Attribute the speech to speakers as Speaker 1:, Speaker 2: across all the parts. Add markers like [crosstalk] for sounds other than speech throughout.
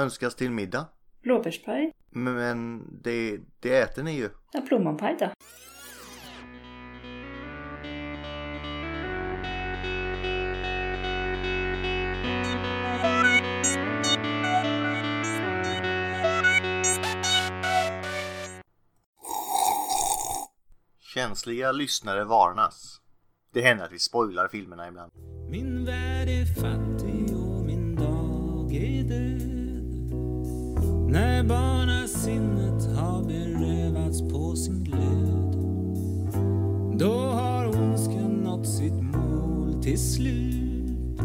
Speaker 1: önskas till middag.
Speaker 2: Blåbärspaj?
Speaker 1: Men det, det äter ni ju.
Speaker 2: Ja, plommonpaj då.
Speaker 1: Känsliga lyssnare varnas. Det händer att vi spoilar filmerna ibland.
Speaker 3: Min värld är fattig och min dag är död När barnasinnet har berövats på sin glöd Då har ondskan nått sitt mål till slut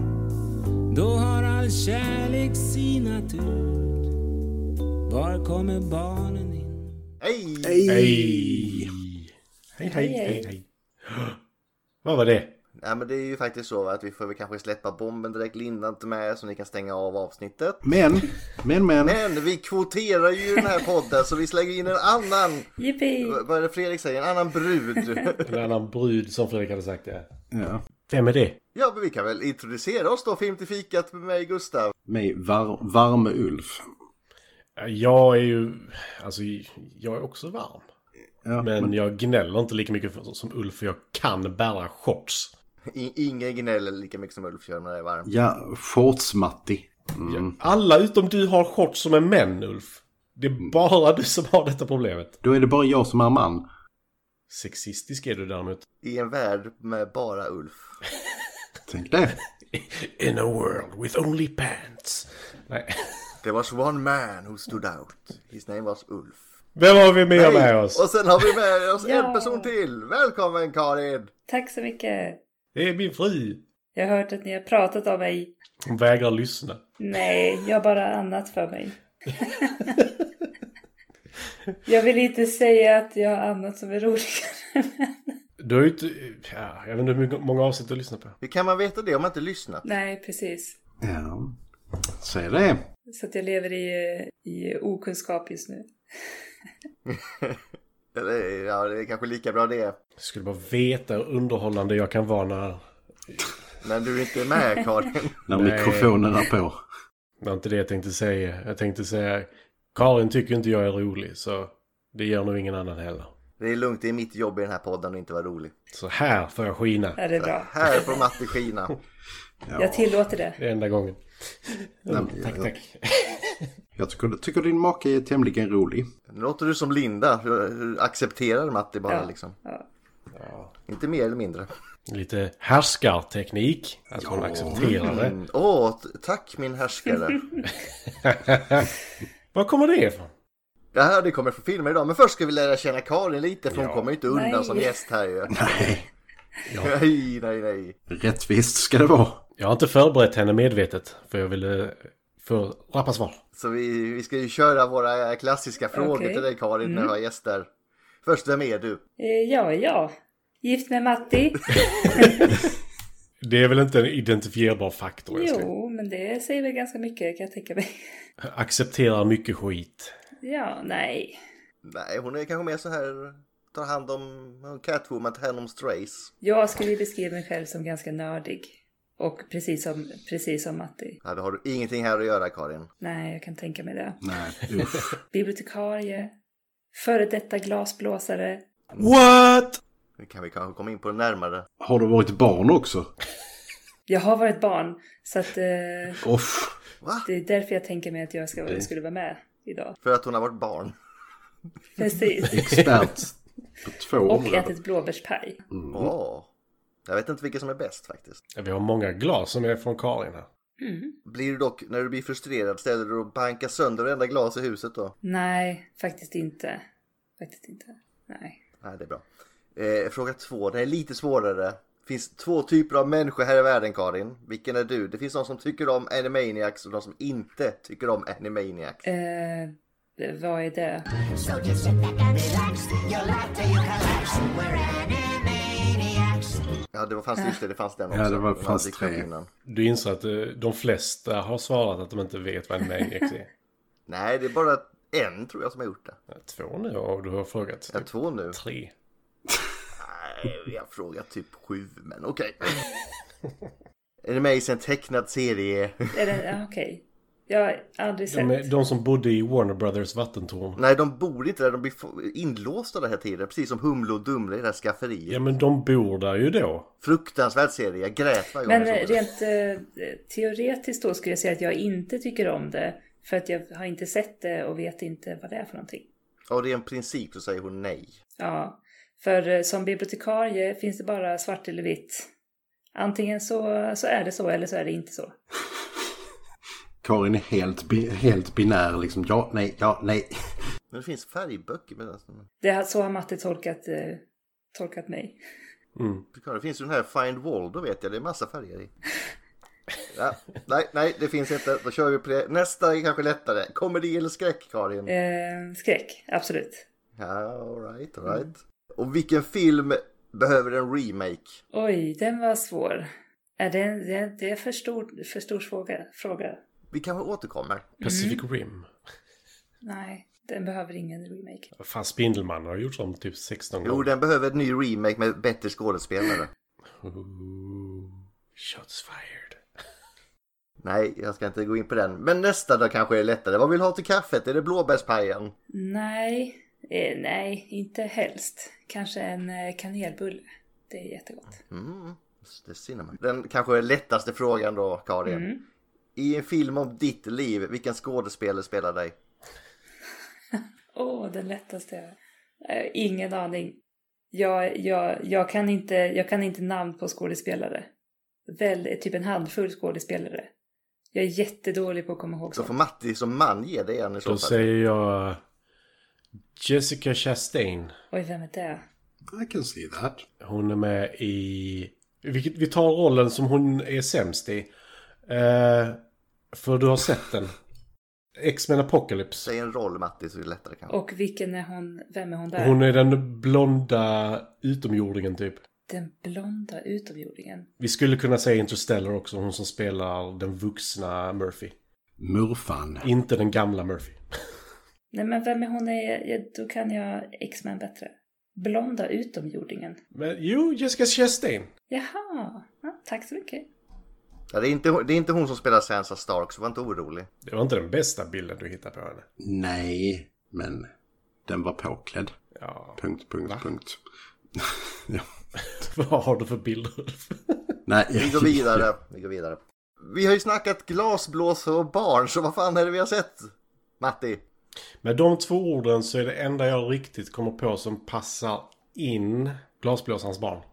Speaker 3: Då har all kärlek sinat ut Var kommer barnen in?
Speaker 1: Hej!
Speaker 4: Hej! Hej, hej,
Speaker 2: Hej, hej.
Speaker 4: hej, hej.
Speaker 5: [gasps]
Speaker 4: Vad var det?
Speaker 1: Nej men det är ju faktiskt så va, att vi får väl kanske släppa bomben direkt. Linda inte med så ni kan stänga av avsnittet.
Speaker 4: Men, men, men.
Speaker 1: Men vi kvoterar ju den här podden så vi slänger in en annan,
Speaker 2: Jippi!
Speaker 1: v- vad är det Fredrik säger, en annan brud.
Speaker 5: En annan brud som Fredrik hade sagt det.
Speaker 4: Ja.
Speaker 5: Vem är det?
Speaker 1: Ja men vi kan väl introducera oss då, Film till fikat med mig Gustav.
Speaker 4: Mig, var, Varme-Ulf.
Speaker 5: Jag är ju... Alltså, jag är också varm.
Speaker 4: Ja,
Speaker 5: Men, jag gnäller inte lika mycket för- som Ulf för jag kan bära shorts.
Speaker 1: I- Ingen gnäller lika mycket som Ulf gör när det är varmt.
Speaker 4: Ja, shorts-Matti. Mm.
Speaker 5: Alla utom du har shorts som är män, Ulf. Det
Speaker 4: Mm.
Speaker 5: är bara du som har detta problemet.
Speaker 4: Då är det bara jag som är man.
Speaker 5: Sexistisk är du däremot.
Speaker 1: I en värld med bara Ulf.
Speaker 4: Tänk det.
Speaker 5: In a world with only pants. Nej. [laughs]
Speaker 1: There was one man who stood out. His name was Ulf.
Speaker 5: Vem har vi mer med
Speaker 1: Hej!
Speaker 5: oss?
Speaker 1: Och sen har vi med oss
Speaker 2: [laughs] Ja.
Speaker 1: en person till. Välkommen Karin!
Speaker 2: Tack så mycket!
Speaker 5: Det är min fru.
Speaker 2: Jag har hört att ni har pratat om mig.
Speaker 5: Hon vägrar lyssna.
Speaker 2: Nej, jag har bara annat för mig. jag vill inte säga att jag har annat som är roligare. [laughs] men-
Speaker 5: Du har ju inte... Ja, jag vet inte hur mycket- många avsnitt du lyssnar på.
Speaker 1: Hur kan man veta det om man inte lyssnat?
Speaker 2: Nej, precis.
Speaker 4: Ja. Säg det.
Speaker 2: Så att jag lever i, i okunskap just nu.
Speaker 1: Eller ja, det är kanske lika bra det.
Speaker 5: Jag skulle bara veta hur underhållande jag kan vara när,
Speaker 1: Men du är inte
Speaker 2: [laughs]
Speaker 1: med Karin.
Speaker 4: När
Speaker 5: Nej.
Speaker 4: mikrofonen är på.
Speaker 5: när inte det jag tänkte säga. Jag tänkte säga Karin tycker inte jag är rolig så det gör nog ingen annan heller.
Speaker 1: Det är lugnt, det är mitt jobb i den här podden att inte vara rolig.
Speaker 5: Så här får jag skina.
Speaker 2: Ja, det är bra.
Speaker 1: Här får Matti skina.
Speaker 2: Jag tillåter det.
Speaker 5: Det är enda gången.
Speaker 4: Nej,
Speaker 5: Tack,
Speaker 4: jag,
Speaker 5: tack.
Speaker 4: jag tycker, tycker din make är tämligen rolig.
Speaker 1: Nu låter du som Linda. Du- du Accepterar Matti bara
Speaker 2: Ja.
Speaker 1: liksom.
Speaker 2: Ja.
Speaker 1: Inte mer eller mindre.
Speaker 5: Lite härskarteknik. Att hon accepterar det.
Speaker 1: Mm. Åh, t- tack min
Speaker 2: [laughs]
Speaker 1: härskare.
Speaker 5: Var kommer det ifrån?
Speaker 1: Det här det kommer från filmer idag. Men först ska vi lära känna Karin lite för hon
Speaker 5: Ja.
Speaker 1: kommer ju inte undan
Speaker 2: Nej.
Speaker 1: som gäst här ju.
Speaker 4: Nej,
Speaker 1: [laughs] Nej, nej, nej.
Speaker 4: rättvist ska det vara.
Speaker 5: Jag har inte förberett henne medvetet för jag ville få rappa svar.
Speaker 1: Så vi, vi ska ju köra våra klassiska frågor
Speaker 2: Okej.
Speaker 1: till dig Karin när vi har gäster. Först, vem är du?
Speaker 2: Eh, Ja, ja. Gift med Matti?
Speaker 5: Det är väl inte en identifierbar faktor? älskling?
Speaker 2: Jo, men det säger väl ganska mycket kan jag tänka mig.
Speaker 5: Accepterar mycket skit.
Speaker 2: Ja, nej.
Speaker 1: Nej, hon är kanske mer så här, tar hand om om Catwoman, tar hand om strays.
Speaker 2: Jag skulle beskriva mig själv som ganska nördig. Och precis som, precis som Matti.
Speaker 1: Ja, då har du ingenting här att göra Karin.
Speaker 2: Nej, jag kan tänka mig det.
Speaker 4: Nej, usch.
Speaker 2: Bibliotekarie. Före detta glasblåsare.
Speaker 5: What?
Speaker 1: Det kan vi kanske komma in på närmare.
Speaker 4: Har du varit barn också?
Speaker 2: Jag har varit barn, så att eh,
Speaker 4: Off.
Speaker 1: Va?
Speaker 2: det är därför jag tänker mig att jag ska, skulle vara med idag.
Speaker 1: För att hon har varit barn.
Speaker 2: Precis.
Speaker 4: [laughs] Expert på två
Speaker 2: Och
Speaker 4: områden.
Speaker 2: ätit blåbärspaj.
Speaker 1: Åh. Jag vet inte vilket som är bäst faktiskt.
Speaker 5: Vi har många glas som är från Karin här.
Speaker 1: Blir du dock, när du blir frustrerad, ställer du dig och bankar sönder varenda glas i huset då?
Speaker 2: Nej, faktiskt inte. Faktiskt inte. Nej.
Speaker 1: Nej, det är bra. Eh, fråga två, det är lite svårare. Det finns två typer av människor här i världen, Karin. Vilken är du? Det finns de som tycker om Animaniacs och de som inte tycker om Animaniacs.
Speaker 2: Eh, vad är det?
Speaker 6: So just sit back and relax. You'll laugh till you collapse. We're animaniacs.
Speaker 1: Ja, det var, fanns just det, det fanns den också.
Speaker 4: Ja, det var-
Speaker 1: Den
Speaker 4: fanns
Speaker 1: hade dykt upp
Speaker 4: tre.
Speaker 1: innan.
Speaker 5: Du inser att eh, de flesta har svarat att de inte vet vad en maniac är.
Speaker 1: Nej, det är bara en tror jag som har gjort det.
Speaker 5: Ja, Två nu och du har frågat
Speaker 1: Ja,
Speaker 5: typ
Speaker 1: två nu.
Speaker 5: tre.
Speaker 1: Nej, vi har frågat typ sju, men okej. Är det med i en tecknad serie?
Speaker 2: Är det, ja, okej. Jag har aldrig sett.
Speaker 5: De, är, de som bodde i Warner Brothers vattentorn.
Speaker 1: Nej, de bor inte där. De blir få- inlåsta den här tiden. Precis som Humle och Dumle i det här skafferiet.
Speaker 5: Ja men de bor där ju då.
Speaker 1: Fruktansvärd serie. Jag grät varje gång
Speaker 2: Men
Speaker 1: jag
Speaker 2: eh,
Speaker 1: såg det.
Speaker 2: rent eh, teoretiskt då skulle jag säga att jag inte tycker om det. För att jag har inte sett det och vet inte vad det är för någonting.
Speaker 1: Av ren princip så säger hon nej.
Speaker 2: Ja, för eh, som bibliotekarie finns det bara svart eller vitt. Antingen så, så är det så eller så är det inte så.
Speaker 4: Karin är helt, bi- helt binär liksom. Ja, nej, ja, nej.
Speaker 1: Men det finns färgböcker. Men alltså,
Speaker 2: Det, har- så har matte tolkat, eh, tolkat mig.
Speaker 5: Mm.
Speaker 1: det finns ju den här Find Waldo vet jag. Det är massa färger i. Ja, nej, nej, det finns inte. Då kör vi på det. Nästa är kanske lättare. Komedi eller skräck, Karin?
Speaker 2: Eh, skräck, absolut.
Speaker 1: Ja, alright, alright. Och vilken film behöver en remake?
Speaker 2: Oj, den var svår. Är det, en- det, det är för stor, för stor fråga, fråga.
Speaker 1: Vi kanske återkommer.
Speaker 5: Pacific Rim.
Speaker 2: Nej, den behöver ingen remake.
Speaker 5: Fan Spindelmannen har gjorts om typ 16
Speaker 1: Jo, den behöver en ny remake med bättre skådespelare.
Speaker 5: Ooh, shots fired.
Speaker 1: Nej, jag ska inte gå in på den. Men nästa då kanske är lättare. Vad vill du ha till kaffet? Är det blåbärspajen?
Speaker 2: Nej, eh, nej, inte helst. Kanske en eh, kanelbulle. Det är jättegott.
Speaker 1: Mm, det synar man. Den kanske är lättaste frågan då, Karin.
Speaker 2: Mm.
Speaker 1: I en film om ditt liv, vilken skådespelare spelar dig?
Speaker 2: Åh, den lättaste. Eh, ingen aning. Jag, jag, jag, kan inte, jag kan inte namn på skådespelare. Väl, typ en handfull skådespelare. Jag är jättedålig på att komma ihåg
Speaker 1: Så får
Speaker 2: sånt.
Speaker 1: Matti som man ge dig en i så
Speaker 5: Då
Speaker 1: fall.
Speaker 5: säger jag Jessica Chastain.
Speaker 2: Oj, vem är det?
Speaker 4: I can see that.
Speaker 5: Hon är med i... Vilket, vi tar rollen som hon är sämst i. Eh, för du har sett den. X-Men Apocalypse.
Speaker 1: Säg en roll Matti så är det lättare kanske.
Speaker 2: Och vilken är hon? Vem är hon där?
Speaker 5: Hon är den blonda utomjordingen typ.
Speaker 2: Den blonda utomjordingen.
Speaker 5: Vi skulle kunna säga Interstellar också, hon som spelar den vuxna Murphy.
Speaker 4: Murfan.
Speaker 5: Inte den gamla Murphy.
Speaker 2: Nej, men vem är hon? Är, ja, då kan jag X-Men bättre. Blonda utomjordingen.
Speaker 5: Men jo, Jessica Chastain.
Speaker 2: Jaha, ja, tack så mycket.
Speaker 1: Ja, det, är inte, hon- det är inte hon som spelar Sansa Stark, så var inte orolig.
Speaker 5: Det var inte den bästa bilden du hittade på henne.
Speaker 4: Nej, men den var påklädd.
Speaker 5: Ja, [laughs]
Speaker 4: Punkt, punkt, punkt. ja.
Speaker 5: vad har du för bilder? Ulf?
Speaker 4: Nej,
Speaker 1: Vi går
Speaker 5: [laughs]
Speaker 1: vidare. Vi går vidare. Vi har ju snackat glasblåsor och barn, så vad fan är det vi har sett? Matti?
Speaker 5: Med de två orden så är det enda jag riktigt kommer på som passar in glasblåsarens barn.
Speaker 4: [laughs]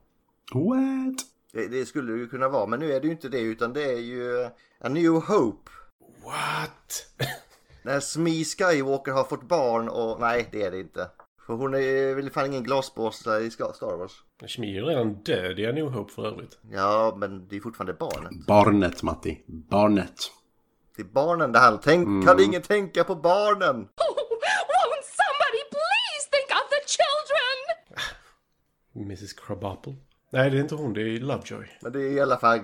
Speaker 4: What?
Speaker 1: Det, det skulle det ju kunna vara, men nu är det ju inte det, utan det är ju eh, A New Hope.
Speaker 5: [laughs] What?
Speaker 1: När Smee Skywalker har fått barn och... Nej, det är det inte. För hon är väl fan ingen glasblåsare i Ska- Star Wars.
Speaker 5: Shmi är ju redan död i A New Hope för övrigt.
Speaker 1: Ja, men det är fortfarande barnet.
Speaker 4: Barnet, Matti. Barnet.
Speaker 1: Det är barnen det handlar Tänk, Kan ingen tänka på barnen?
Speaker 7: Won't somebody please think of the children?
Speaker 5: Mrs Krabappel. Nej, det är inte hon. Det är Lovejoy.
Speaker 1: Men det är i alla fall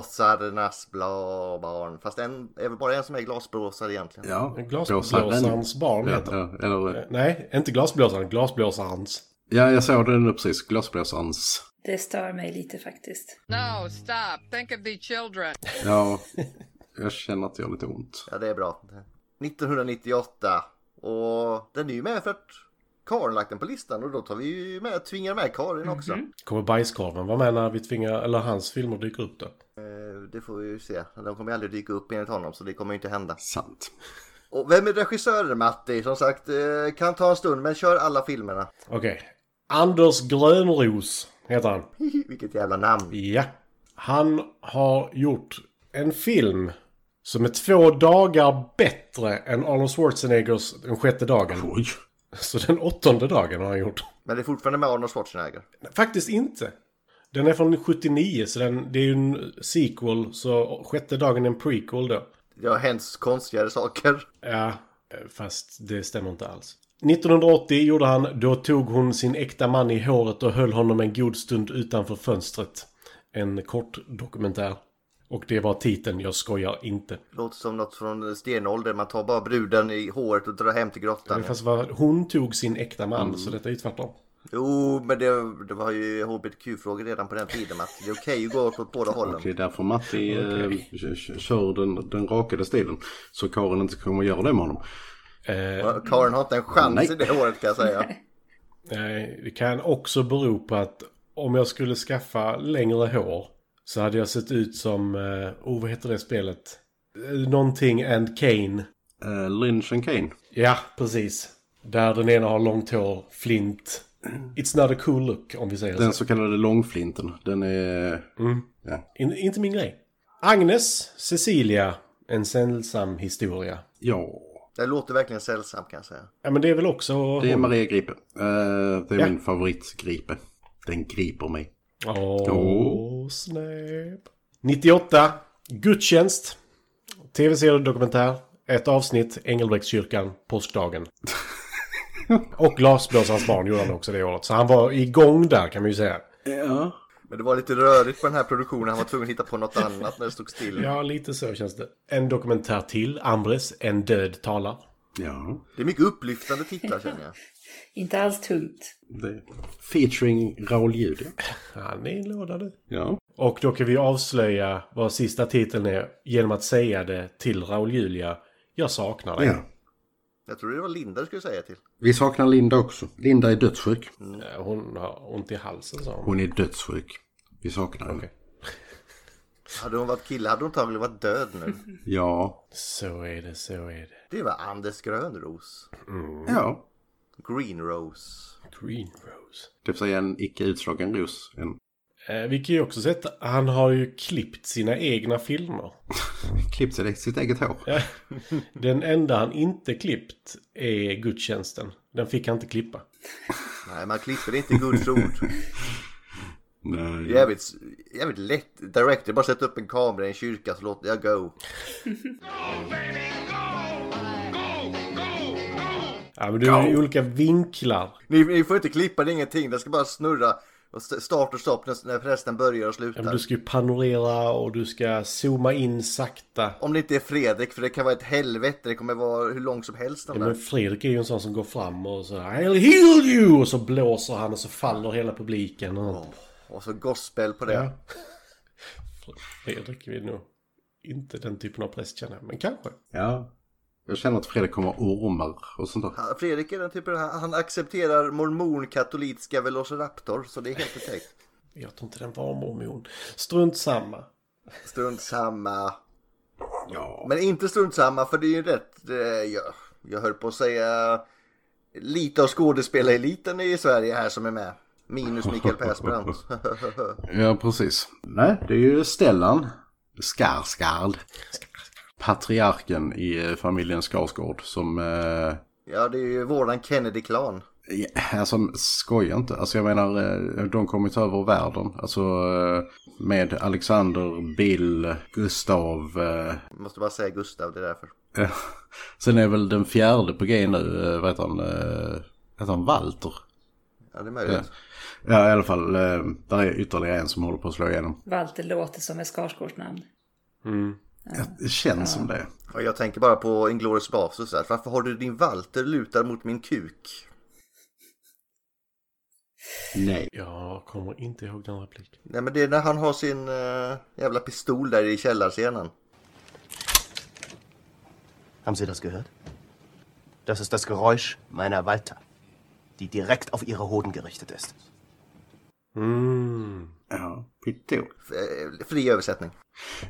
Speaker 1: glasblåsarnas bla barn. Fast en, är väl bara en som är glasblåsare egentligen.
Speaker 4: Ja. blåsaren.
Speaker 5: Glasblåsarens barn
Speaker 4: Ja,
Speaker 5: heter
Speaker 4: ja, eller,
Speaker 5: Nej, inte glasblåsaren. Glasblåsarens.
Speaker 4: ja, jag såg den nu precis. Glasblåsarens.
Speaker 2: Det stör mig lite faktiskt.
Speaker 8: No, stop. Think of the children.
Speaker 4: Ja, jag känner att det gör lite ont.
Speaker 1: Ja, det är bra. 1998. Och den är ju med för att Karin lagt den på listan och då tar vi ju med, tvingar med Karin också.
Speaker 5: Kommer bajskorven vara med när vi tvingar, eller hans filmer dyker upp då?
Speaker 1: Eh, Det får vi ju se. De kommer ju aldrig dyka upp enligt honom så det kommer ju inte hända.
Speaker 4: Sant.
Speaker 1: Och vem är regissören Matti? Som sagt, eh, kan ta en stund men kör alla filmerna. [laughs]
Speaker 5: Okej. Anders Grönros heter han.
Speaker 1: Vilket jävla namn.
Speaker 5: Ja. Han har gjort en film som är två dagar bättre än Arnold Schwarzeneggers den sjätte dagen.
Speaker 4: Oj.
Speaker 5: Så den åttonde dagen har han gjort.
Speaker 1: Men det är fortfarande med Arnold Schwarzenegger.
Speaker 5: Faktiskt inte. Den är från 79 så den, det är ju en sequel så sjätte dagen är en prequel då.
Speaker 1: Det har hänt konstigare saker.
Speaker 5: Ja, eh, fast det stämmer inte alls. 1980 gjorde han, då tog hon sin äkta man i håret och höll honom en god stund utanför fönstret. En kort dokumentär. Och det var titeln, jag skojar inte.
Speaker 1: Låter som något från stenåldern. Man tar bara bruden i håret och drar hem till grottan.
Speaker 5: Fast var, hon tog sin äkta man, så detta är ju tvärtom.
Speaker 1: Jo, men det, det var ju hbtq-frågor redan på den tiden Matt. Det är okej att gå åt båda hållen.
Speaker 4: Och det är därför Matti eh, k- k- kör den, den rakade stilen. Så Karin inte kommer göra det med honom.
Speaker 5: Eh,
Speaker 1: Ja, Karin har inte en chans
Speaker 4: Nej.
Speaker 1: i det håret kan jag säga.
Speaker 5: Nej, Eh, det kan också bero på att om jag skulle skaffa längre hår så hade jag sett ut som, eh, oh vad heter det spelet? Eh, Någonting and Kane.
Speaker 4: Eh, Lynch and Kane.
Speaker 5: Ja, precis. Där den ena har långt hår, flint. It's not a cool look om vi säger
Speaker 4: Den
Speaker 5: så.
Speaker 4: så kallade långflinten. Den är...
Speaker 1: Mm.
Speaker 5: In, inte min grej. Agnes, Cecilia, en sällsam historia.
Speaker 4: Ja.
Speaker 1: Det låter verkligen sällsamt kan jag säga.
Speaker 5: Ja men det är väl också...
Speaker 4: Det är Maria Gripe. Eh, det är
Speaker 5: Ja.
Speaker 4: min favoritgripe. Den griper mig.
Speaker 5: Åh,
Speaker 4: Åh.
Speaker 5: snap. 98. Gudstjänst. Tv-serie och dokumentär. Ett avsnitt. Engelbrektskyrkan.
Speaker 4: [laughs]
Speaker 5: Påskdagen. och Glasblåsarens barn gjorde han också det året. Så han var igång där kan man ju säga.
Speaker 4: Ja.
Speaker 1: Men det var lite rörigt på den här produktionen. Han var tvungen att hitta på något annat när det stod still.
Speaker 5: Ja, lite så känns det. En dokumentär till. Ambres. En död talar.
Speaker 4: Ja.
Speaker 1: Det är mycket upplyftande titlar känner jag.
Speaker 2: Inte alls tungt.
Speaker 4: Det. Featuring Raoul Julia.
Speaker 5: Han är i en låda nu.
Speaker 4: Ja.
Speaker 5: Och då kan vi avslöja vad sista titeln är genom att säga det till Raoul Julia. Jag saknar dig.
Speaker 4: ja.
Speaker 1: Jag tror det var Linda du skulle säga till.
Speaker 4: Vi saknar Linda också. Linda är dödssjuk.
Speaker 5: Eh, Hon har ont i halsen sa hon.
Speaker 4: Hon är dödssjuk. Vi saknar henne.
Speaker 5: Okej.
Speaker 1: Hade hon varit kille hade hon antagligen varit död nu.
Speaker 4: Ja.
Speaker 5: Så är det, så är det.
Speaker 1: Det var Anders Grönros.
Speaker 4: Ja.
Speaker 1: Green Rose.
Speaker 5: Green Rose.
Speaker 4: Det vill säga en icke utslagen ros. En
Speaker 5: Eh, vi kan ju också se att han har ju klippt sina egna filmer.
Speaker 4: klippt sig i sitt eget hår.
Speaker 5: Den enda han inte klippt är gudstjänsten. Den fick han inte klippa.
Speaker 1: Nej, man klipper inte Guds ord.
Speaker 5: [laughs]
Speaker 4: Nej.
Speaker 1: Jävligt, jävligt lätt. Director bara sätta upp en kamera i en kyrka så låter jag go.
Speaker 5: Ja, men det är ju olika vinklar.
Speaker 1: Ni, ni får inte klippa det är ingenting. Det ska bara snurra. Och st- start och stopp när, när prästen börjar och
Speaker 5: Ja, men
Speaker 1: slutar.
Speaker 5: du ska ju panorera och du ska zooma in sakta.
Speaker 1: Om det inte är Fredrik, för det kan vara ett helvete. Det kommer vara hur lång som helst. Den
Speaker 5: Ja,
Speaker 1: där.
Speaker 5: men Fredrik är ju en sån som går fram och så I'll heal you! Och så blåser han och så faller hela publiken. Och sånt.
Speaker 1: Och så gospel på det.
Speaker 5: Ja. Fredrik är nog inte den typen av präst känner jag, men kanske.
Speaker 4: Ja. Jag känner att Fredrik kommer ormar och sånt där.
Speaker 1: Han- Fredrik är den typen, han han accepterar mormonkatolitiska velociraptor. Så det är helt perfekt.
Speaker 5: Jag tror inte den var mormon. Strunt samma.
Speaker 1: Strunt samma.
Speaker 4: Ja.
Speaker 1: Men inte strunt samma, för det är ju rätt. eh, Jag, jag höll på att säga lite av skådespelareliten i Sverige här som är med. Minus Mikael Persbrandt.
Speaker 4: Ja, precis. Nej, det är ju Stellan Skarsgård. Patriarken i eh, familjen Skarsgård som... Eh,
Speaker 1: ja, det är ju våran Kennedy-klan.
Speaker 4: ja, som skojar inte. Alltså jag menar, eh, de kommer ju ta över världen. Alltså eh, med Alexander, Bill, Gustav. Eh,
Speaker 1: Jag måste bara säga Gustav, det är därför.
Speaker 4: eh. Sen är väl den fjärde på G nu, eh, vad heter han? Eh, heter han Walter?
Speaker 1: Ja, det är möjligt.
Speaker 4: Ja, i alla fall. Eh, där är ytterligare en som håller på att slå igenom.
Speaker 2: Walter låter som ett Skarsgårds namn.
Speaker 5: Mm.
Speaker 4: Det känns som det.
Speaker 1: Och jag tänker bara på Inglourious Basterds där. Varför har du din Walter lutad mot min kuk?
Speaker 4: Nej.
Speaker 5: Jag kommer inte ihåg den repliken.
Speaker 1: Nej, men det är när han har sin eh, jävla pistol där i källarscenen.
Speaker 9: Haben Sie das gehört? Das ist das Geräusch meiner Walter, die direkt auf Ihre Hoden gerichtet ist.
Speaker 5: Mm.
Speaker 4: Ja, pittor.
Speaker 1: F- eh, Fri översättning.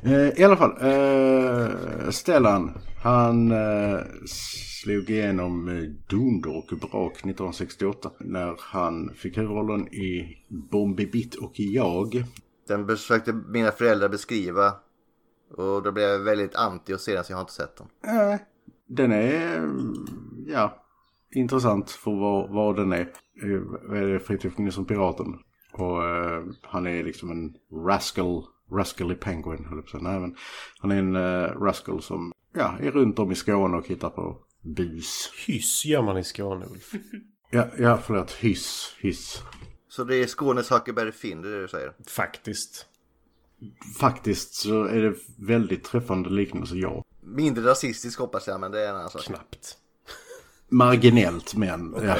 Speaker 4: Eh, I alla fall, eh, Stellan, han eh, slog igenom eh, dunder och brak 1968 när han fick huvudrollen i Bombibitt och i Jag.
Speaker 1: Den försökte mina föräldrar beskriva. Och då blev jag väldigt anti och sedan så jag har inte sett den.
Speaker 4: Eh, den är, mm, ja, intressant för vad, vad den är. Eh, vad är det? Fritiof Nilsson Piraten. Och eh, han är liksom en rascal, rascal i Penguin, höll jag på att säga. Nej, men han är en eh, rascal som, ja, är runt om i Skåne och hittar på bus.
Speaker 5: Hyss gör man i Skåne, Ulf.
Speaker 4: Ja, ja förlåt. Hyss. Hyss.
Speaker 1: Så det är Skånes Huckleberry Finn, det är det du säger?
Speaker 5: Faktiskt.
Speaker 4: Faktiskt så är det väldigt träffande liknelse, ja.
Speaker 1: Mindre rasistisk hoppas jag, men det är en annan
Speaker 5: [laughs]
Speaker 1: sak.
Speaker 5: Knappt.
Speaker 4: Marginellt, men ja.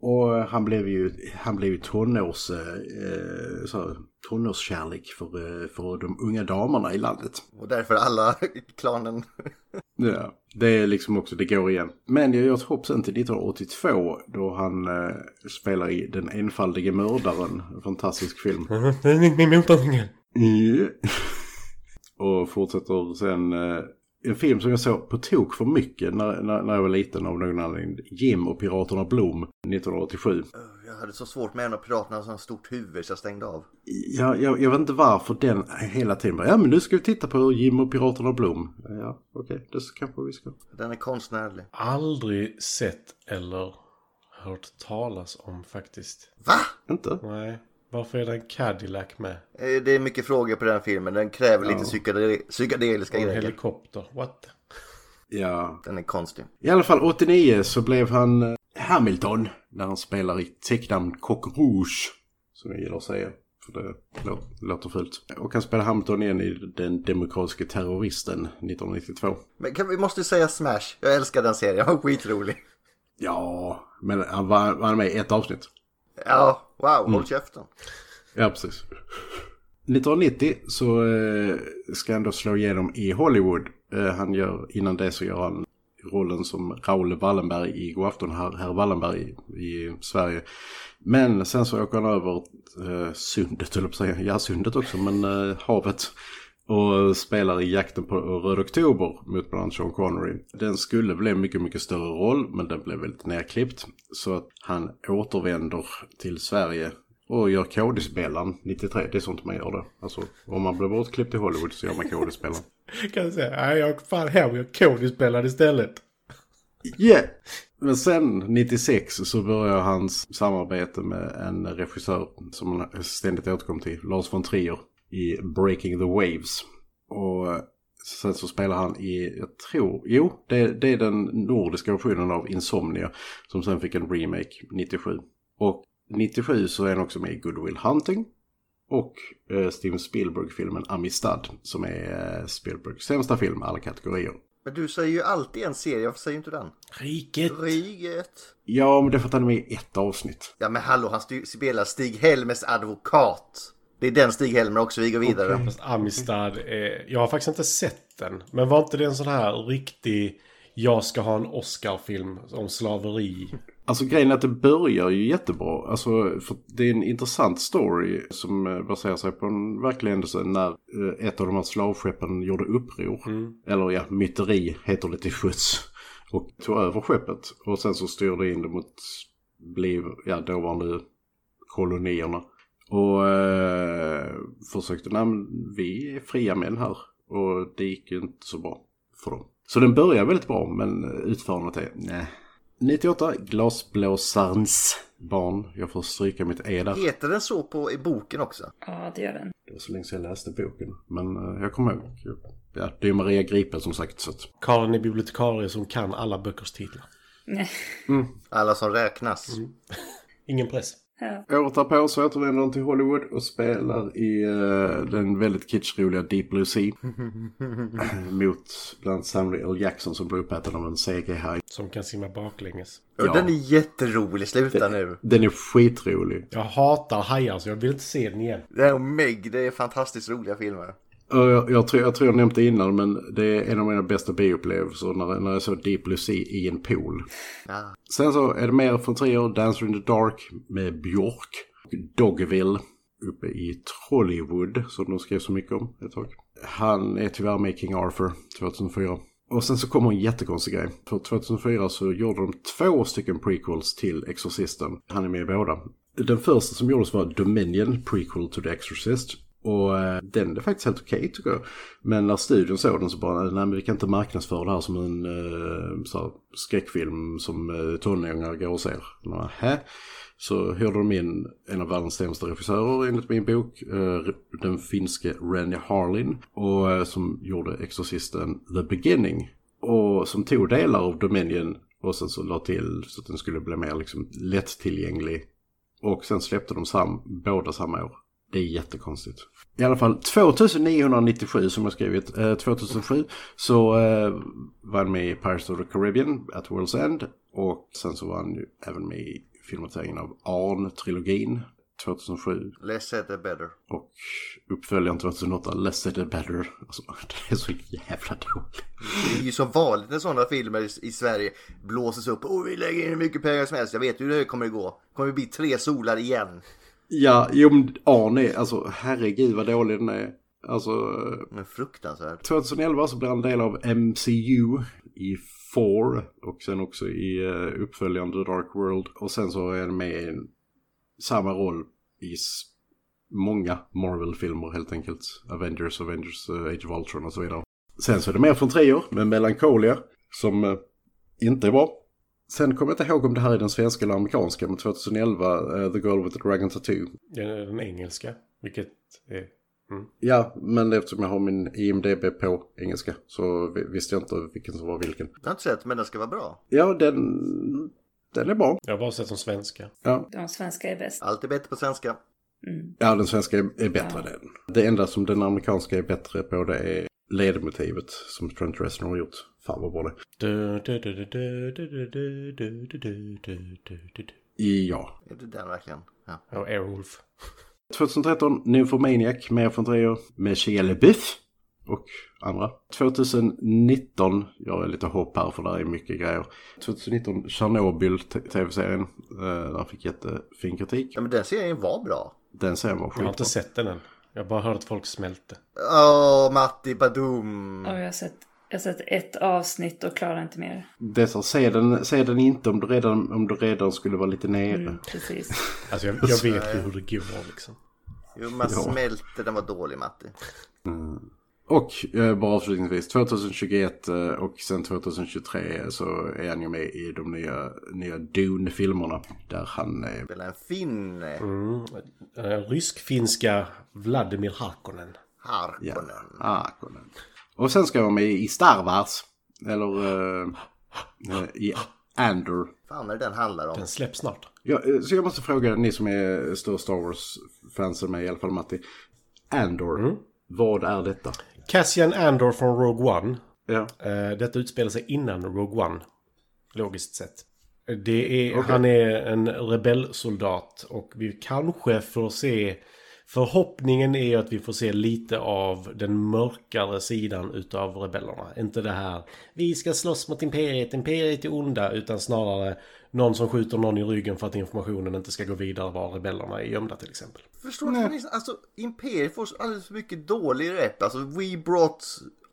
Speaker 4: Och han blev ju, han blev ju tonårs, eh, så, här, tonårskärlek för, eh, för de unga damerna i landet.
Speaker 1: Och därför alla [laughs] i klanen.
Speaker 4: Ja, det är liksom också, det går igen. Men jag gör ett hopp sen till 1982 då han eh, spelar i Den enfaldige mördaren, en fantastisk film.
Speaker 5: Min motorcykel.
Speaker 4: Ja. Och fortsätter sen eh, en film som jag såg på tok för mycket när, när, när jag var liten av någon anledning. Jim och Piraterna Blom 1987.
Speaker 1: Öh, Jag hade så svårt med en av piraterna som hade så stort huvud så jag stängde av.
Speaker 4: Jag, jag, jag vet inte varför den hela tiden bara, ja men nu ska vi titta på Jim och Piraterna Blom. Ja, okej, det kanske vi ska.
Speaker 1: Den är konstnärlig.
Speaker 5: Aldrig sett eller hört talas om faktiskt.
Speaker 1: Va?
Speaker 4: Inte?
Speaker 5: Nej. Varför är det en Cadillac med?
Speaker 1: Eh, Det är mycket frågor på den filmen. Den kräver lite psykedel- psykedeliska
Speaker 5: Och en
Speaker 1: grejer.
Speaker 5: helikopter? What?
Speaker 4: Ja,
Speaker 1: Den är konstig.
Speaker 4: I alla fall 89 så blev han eh, Hamilton när han spelar i tecknamn Coq Rouge. Som jag gillar att säga. För det lå- låter fult. Och han spelar Hamilton igen i Den Demokratiska Terroristen 1992.
Speaker 1: Men kan, vi måste ju säga Smash. Jag älskar den serien. [laughs] Den var skitrolig.
Speaker 4: Ja, men han var, var med i ett avsnitt.
Speaker 1: Ja, wow. Håll käften.
Speaker 4: Ja, precis. 1990 så eh, ska han då slå igenom i Hollywood. Eh, han gör, innan det så gör han rollen som Raoul Wallenberg i Godafton herr, herr Wallenberg i, i Sverige. Men sen så åker han över eh, sundet, höll jag på att säga. Ja, sundet också, men eh, havet. Och spelar i Jakten på Röd Oktober mot bland annat Sean Connery. Den skulle bli en mycket, mycket större roll, men den blev väldigt nerklippt. Så att han återvänder till Sverige och gör Kodisbällan 93. Det är sånt man gör då. Alltså, om man blir bortklippt i Hollywood så gör man Kodisbällan.
Speaker 5: Kan jag säga, nej jag åker fan hem, jag kodispelade istället.
Speaker 4: Yeah! Men sen 96 så börjar hans samarbete med en regissör som han ständigt återkom till, Lars von Trier, i Breaking the Waves. Och sen så spelar han i, jag tror, jo, det, det är den nordiska versionen av Insomnia som sen fick en remake 97. Och 97 så är han också med i Good Will Hunting och eh, Steven Spielberg-filmen Amistad som är eh, Spielbergs sämsta film i alla kategorier.
Speaker 1: Men du säger ju alltid en serie. Varför säger du inte den?
Speaker 5: Riket.
Speaker 1: Riget.
Speaker 4: Ja, men det är för att han är med i ett avsnitt.
Speaker 1: Ja men hallå, han styr- spelar Stig Helmers advokat. Det är den Stig Helmer också, vi går vidare.
Speaker 5: Fast Amistad, är, jag har faktiskt inte sett den. Men var inte det en sån här riktig, jag ska ha en Oscar-film om slaveri?
Speaker 4: Alltså grejen är att det börjar ju jättebra. Alltså för det är en intressant story som eh, baserar sig på en verklig händelse när eh, ett av de här slavskeppen gjorde uppror.
Speaker 5: Mm.
Speaker 4: Eller ja, myteri heter det till sjöss. Och tog över skeppet. Och sen så styrde in det mot blev, ja, dåvarande kolonierna. Och eh, försökte, nej men vi är fria män här. Och det gick ju inte så bra för dem. Så den börjar väldigt bra men eh, utförandet är nej. 98, Glasblåsarens barn. Jag får stryka mitt E där.
Speaker 1: Heter den så på, i boken också?
Speaker 2: Ja, det gör den.
Speaker 4: Det var så länge sedan jag läste boken. Men eh, jag kommer ihåg. Ja, det är ju Maria Gripe som sagt. Så att...
Speaker 5: Karlen är bibliotekarie som kan alla böckers titlar.
Speaker 1: Alla som räknas.
Speaker 5: Ingen press.
Speaker 4: Året därpå så återvänder han till Hollywood och spelar i eh, den väldigt kitschroliga Deep Blue Sea. Mot bland annat Samuel L. Jackson som blir uppäten av en CG-haj.
Speaker 5: Som kan simma baklänges.
Speaker 1: Och Den är jätterolig, sluta nu.
Speaker 4: Den är skitrolig.
Speaker 5: Jag hatar hajar så jag vill inte se den igen.
Speaker 1: Det här och Meg, det är fantastiskt roliga filmer.
Speaker 4: Och jag, jag, tror, jag tror jag nämnt det innan men det är en av mina bästa bioupplevelser när, när jag såg Deep Blue Sea i en pool.
Speaker 1: Ja.
Speaker 4: Sen så är det mer från Trier, Dancer in the Dark med Björk. och Dogville uppe i Trollywood som de skrev så mycket om ett tag. Han är tyvärr med i King Arthur 2004. Och sen så kommer en jättekonstig grej. För 2004 så gjorde de två stycken prequels till Exorcisten. Han är med i båda. Den första som gjordes var Dominion, prequel to the Exorcist. Och eh, den är faktiskt helt okej tycker jag. Men när studion såg den så bara, nej men vi kan inte marknadsföra det här som en eh, så här, skräckfilm som eh, tonåringar går och ser. Nähä. Så hörde de in en av världens sämsta regissörer enligt min bok, eh, den finske Randy Harlin, och eh, som gjorde Exorcisten The Beginning. Och som tog delar av Dominion och sen så la till så att den skulle bli mer liksom lättillgänglig. Och sen släppte de sam, båda samma år. Det är jättekonstigt. I alla fall 2997 som jag skrivit. Eh, 2007 så eh, var han med i Pirates of the Caribbean, At World's End. Och sen så var han ju även med i filmatiseringen av Arn-trilogin 2007.
Speaker 1: Less said the better.
Speaker 4: Och uppföljaren 2008, Less It Better. Alltså, [laughs] det är så jävla dåligt.
Speaker 1: Det är ju som vanligt när sådana filmer i- i Sverige blåses upp. Oh, vi lägger in hur mycket pengar som helst. Jag vet hur det kommer att gå. Det kommer att bli tre solar igen.
Speaker 4: Ja, jo men Arne, alltså herregud vad dålig den är. Alltså,
Speaker 1: Men fruktansvärt.
Speaker 4: 2011 så blev han del av MCU i Four och sen också i eh, uppföljaren The Dark World. Och sen så är han med i en- samma roll i s- många Marvel-filmer helt enkelt. Avengers, Avengers, eh, Age of Ultron och så vidare. Sen så är det mer från treor med Melancholia som eh, inte är bra. Sen kommer jag inte ihåg om det här är den svenska eller amerikanska, men 2011, eh, The Girl with the Dragon Tattoo.
Speaker 5: Den, den engelska, vilket är...
Speaker 4: Ja, men eftersom jag har min IMDB på engelska så vi- visste jag inte vilken som var vilken.
Speaker 1: Jag har inte sett, men den ska vara bra.
Speaker 4: Ja, den, den är bra.
Speaker 5: Jag har bara sett som svenska.
Speaker 4: Ja,
Speaker 2: De svenska är bäst.
Speaker 1: Allt är bättre på svenska.
Speaker 2: Mm.
Speaker 4: ja den svenska är, är bättre än den. Det enda som den amerikanska är bättre på det är ledmotivet som Trent Reznor har gjort. Fan vad bra det
Speaker 5: Du, du, du, du, du, du, du, du, du, du, du, du, du, du.
Speaker 4: är. Ja.
Speaker 1: Är det den verkligen? Ja.
Speaker 5: Och Airwolf.
Speaker 4: 2013, Nymphomaniac med från tre år. Med Shia LaBeouf och andra. 2019, jag är lite hopp här för det här är mycket grejer. 2019, Tjernobyl, t- tv-serien. Eh, den fick jättefin kritik.
Speaker 1: ja, men den serien var bra.
Speaker 4: Den serien var
Speaker 5: Jag har inte
Speaker 4: skitbra.
Speaker 5: sett den än. Jag har bara hört att folk smälte.
Speaker 1: Åh, Matti Badum.
Speaker 2: Och jag har, sett, jag har sett ett avsnitt och klarar inte mer.
Speaker 4: Dessa, se, den, se den inte om du redan, om du redan skulle vara lite nere.
Speaker 2: Mm, precis.
Speaker 5: Alltså jag, jag vet ju hur det går liksom.
Speaker 1: Jo, man
Speaker 4: Ja.
Speaker 1: smälter. Den var dålig, Matti.
Speaker 4: Och eh, bara avslutningsvis, 2021 eh, och sen 2023 så är han ju med i de nya, nya Dune-filmerna. Där han är...
Speaker 1: Spela en finn.
Speaker 5: Mm. Eh, Rysk-finska Vladimir Harkonnen.
Speaker 1: Harkonnen.
Speaker 4: Ah, kolla. Och sen ska han med i Star Wars. Eller eh, eh, i Andor.
Speaker 1: Fan är det den handlar om?
Speaker 5: Den släpps snart.
Speaker 4: Ja, eh, så jag måste fråga ni som är större Star Wars-fans än mig, i alla fall Matti. Andor,
Speaker 5: Mm.
Speaker 4: vad är detta?
Speaker 5: Cassian Andor från Rogue One.
Speaker 4: Ja.
Speaker 5: Eh, Detta utspelar sig innan Rogue One. Logiskt sett. Det är,
Speaker 4: Okej.
Speaker 5: Han är en rebellsoldat och vi kanske får se... Förhoppningen är ju att vi får se lite av den mörkare sidan utav rebellerna. Inte det här vi ska slåss mot imperiet, imperiet är onda. Utan snarare någon som skjuter någon i ryggen för att informationen inte ska gå vidare var rebellerna är gömda till exempel.
Speaker 1: Förstår du? vad ni- Alltså, Imperiet får så- alldeles för mycket dålig rep. Alltså, we brought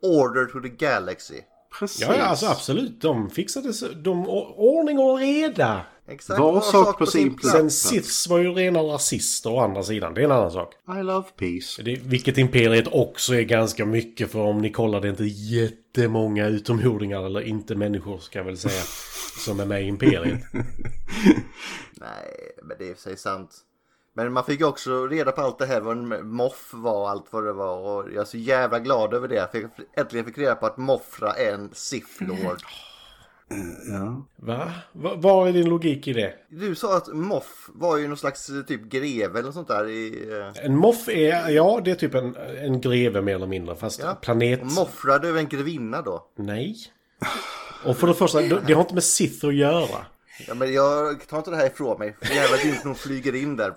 Speaker 1: order to the galaxy.
Speaker 4: Precis.
Speaker 5: Ja, ja alltså absolut. De fixade så- de or- ordning och reda.
Speaker 1: Exakt
Speaker 4: Var sak på sin plats.
Speaker 5: Sen Siths var ju rena rasister å andra sidan. Det är en annan sak.
Speaker 4: I love peace.
Speaker 5: Det, vilket Imperiet också är ganska mycket för om ni kollar det är inte jättemånga utomjordingar eller inte människor ska jag
Speaker 1: [laughs]
Speaker 5: väl säga. Som är med i Imperiet.
Speaker 1: Nej, men det är i och för sig sant. Men man fick ju också reda på allt det här, vad en moff var och allt vad det var. Och jag är så jävla glad över det. För jag äntligen fick reda på att Moffra är en Sith Lord.
Speaker 4: Ja.
Speaker 5: Va? Va? Vad är din logik i det?
Speaker 1: Du sa att moff var ju någon slags eh, typ greve eller sånt där i... eh,
Speaker 5: En moff är, ja det är typ en, en greve mer eller mindre. Fast
Speaker 1: Ja.
Speaker 5: planet...
Speaker 1: Och Moffra, det är väl en grevinna då?
Speaker 5: Nej. Och för det första, det det har inte med Sith att göra.
Speaker 1: Ja, men jag tar inte det här ifrån mig. För Jävla dyrt när hon flyger in där.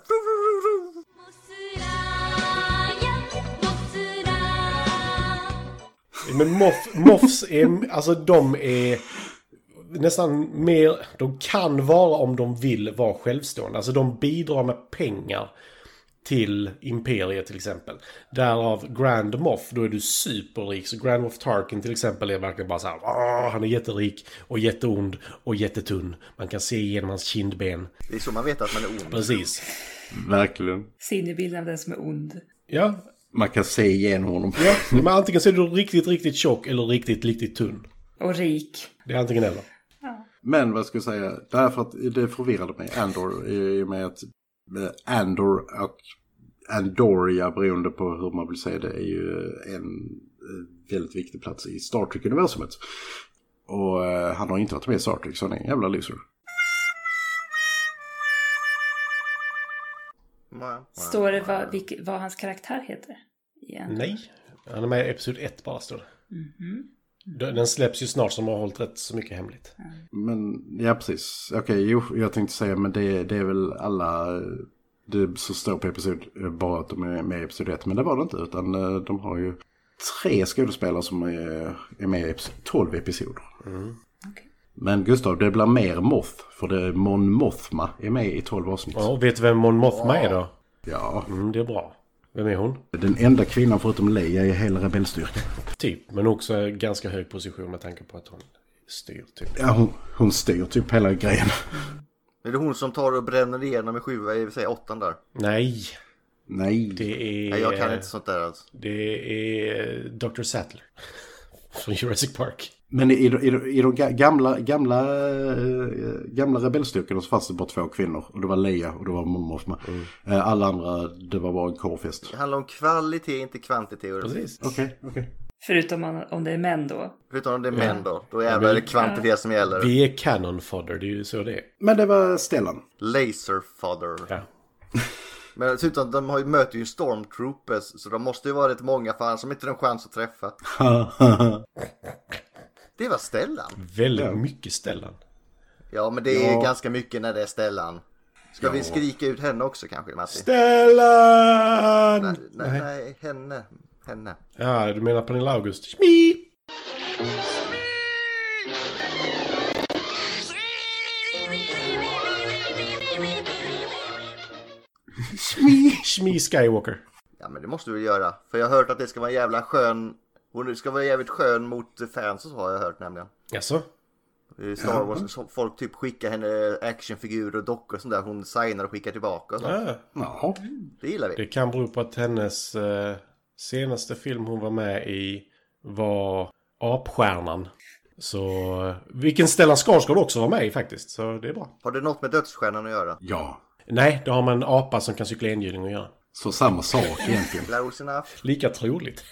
Speaker 5: Men moff, moffs är, alltså de är nästan mer, de kan vara om de vill vara självstående. Alltså de bidrar med pengar till Imperiet till exempel. Därav Grand Moff, då är du superrik. Så Grand Moff Tarkin till exempel är verkligen bara så här, "Åh, han är jätterik och jätteond och jättetunn. Man kan se igenom hans kindben.
Speaker 1: Det är så man vet att man är ond.
Speaker 5: Precis.
Speaker 4: Verkligen.
Speaker 2: Sinnebilden av den som är ond.
Speaker 5: Ja,
Speaker 4: Man kan se igenom honom.
Speaker 5: ja. Men antingen så är du riktigt, riktigt tjock eller riktigt, riktigt tunn.
Speaker 2: Och rik.
Speaker 5: Det är antingen eller.
Speaker 4: [laughs] Men vad ska jag säga, därför att det förvirrade mig, Andor, i och med att eh, Andor och Andoria, beroende på hur man vill säga det, är ju en eh, väldigt viktig plats i Star Trek-universumet. Och eh, han har inte varit med i Star Trek, så han är en jävla loser.
Speaker 1: Ja, ja.
Speaker 2: Står det vad, vilk,
Speaker 5: Mm.
Speaker 2: vad hans karaktär heter? Igen.
Speaker 5: Nej. Han är med i Episod 1 bara står det. Den släpps ju snart som har hållit rätt så mycket hemligt.
Speaker 4: Men ja, precis. Okej, jo, jag tänkte säga, men det, det är väl alla eh, det som står på episod, eh, bara att de är med i episod 1. Men det var det inte, utan eh, de har ju tre skådespelare som är, är med i episod, 12 episoder.
Speaker 2: Okej.
Speaker 4: Men Gustav, det blir mer Moth, för det är Mon Mothma är med i 12 avsnitt.
Speaker 5: Ja, och vet du vem Mon Mothma är då?
Speaker 4: Ja,
Speaker 5: Mm, det är bra. Vem är hon?
Speaker 4: den enda kvinnan förutom Leia i hela rebellstyrkan.
Speaker 5: Typ, men också en ganska hög position med tanke på att hon styr typ.
Speaker 4: Ja, hon, hon styr typ hela grejen.
Speaker 1: Är det hon som tar och bränner igenom i sjuan, jag vill säga åttan där?
Speaker 5: Nej,
Speaker 4: Nej,
Speaker 5: det är...
Speaker 1: Nej, jag kan inte sånt där alls.
Speaker 5: Det är Dr. Sattler. [laughs] Från Jurassic Park.
Speaker 4: Men i, i, i de ga- gamla, gamla, eh, gamla rebellstyrkorna så fanns det bara två kvinnor. Och det var Leia och det var Momofma. Eh, alla andra, det var bara en korvfest.
Speaker 1: Det handlar om kvalitet, inte kvantitet.
Speaker 5: Precis.
Speaker 4: Okej, okej.
Speaker 2: Förutom om- om det är män då.
Speaker 1: Förutom om det är män då. Då jävlar är det kvantitet som gäller.
Speaker 5: Vi är canon fodder, det är ju så det är.
Speaker 4: Men det var Stellan.
Speaker 1: Laser fodder.
Speaker 5: Ja. [laughs]
Speaker 1: Men dessutom, de har ju, möter ju stormtroopers. Så de måste ju vara rätt många, för annars har de inte en chans att träffa. Det var Stellan.
Speaker 5: Väldigt mycket Stellan.
Speaker 1: Ja, men det är
Speaker 4: Ja.
Speaker 1: ganska mycket när det är Stellan. Ska vi skrika ut henne också kanske, Matti?
Speaker 5: Stellan!
Speaker 1: nej, nej, nej, henne. Henne.
Speaker 5: Ja, du menar Pernilla August? Schmi! Schmi Skywalker.
Speaker 1: Ja, men det måste vi göra. För jag har hört att det ska vara en jävla skön... Hon ska vara jävligt skön mot fans och så har jag hört nämligen.
Speaker 5: Jaså?
Speaker 1: I Star Wars, så folk typ skickar henne actionfigurer och dockor och sånt där. Hon signar och skickar tillbaka. Och så.
Speaker 5: Ja,
Speaker 4: Ja.
Speaker 1: Det gillar
Speaker 5: det
Speaker 1: vi.
Speaker 5: kan bero på att hennes eh, senaste film hon var med i var Apstjärnan. Så eh, vilken Stellan Skarsgård också var med i faktiskt, så det är bra.
Speaker 1: Har det något med Dödsstjärnan att göra?
Speaker 4: ja.
Speaker 5: Nej, då har man en apa som kan cykla enhjuling och göra.
Speaker 4: Så samma sak egentligen.
Speaker 1: Close enough.
Speaker 5: Lika troligt.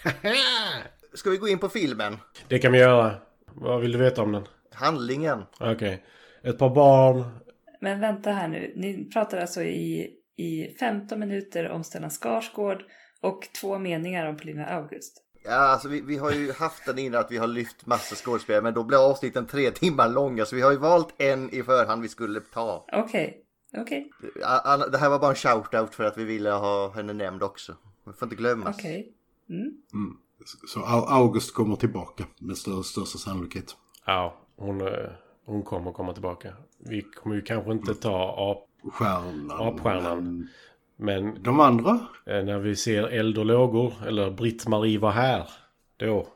Speaker 1: Ska vi gå in på filmen?
Speaker 5: Det kan vi göra. Vad vill du veta om den?
Speaker 1: Handlingen.
Speaker 5: Okej. Ett par barn.
Speaker 2: Men vänta här nu. Ni pratar alltså i, i 15 minuter om Stellan Skarsgård och två meningar om Paulina August.
Speaker 1: Ja, alltså vi, vi har ju haft den innan att vi har lyft massa skådespelare, men då blir avsnitten tre timmar långa, så vi har ju valt en i förhand vi skulle ta.
Speaker 2: Okej, okej,
Speaker 1: Ja, Anna, Det här var bara en shout-out för att vi ville ha henne nämnd också. Vi får inte glömmas.
Speaker 2: okej.
Speaker 4: Mm. Så Au- August kommer tillbaka med stör, största sannolikhet.
Speaker 5: Ja, hon, eh, hon kommer komma tillbaka. Vi kommer ju kanske inte ta ap,
Speaker 4: Stjärnan.
Speaker 5: apstjärnan. Men
Speaker 4: De andra?
Speaker 5: eh, när vi ser eld och lågor, eller Britt-Marie var här, då.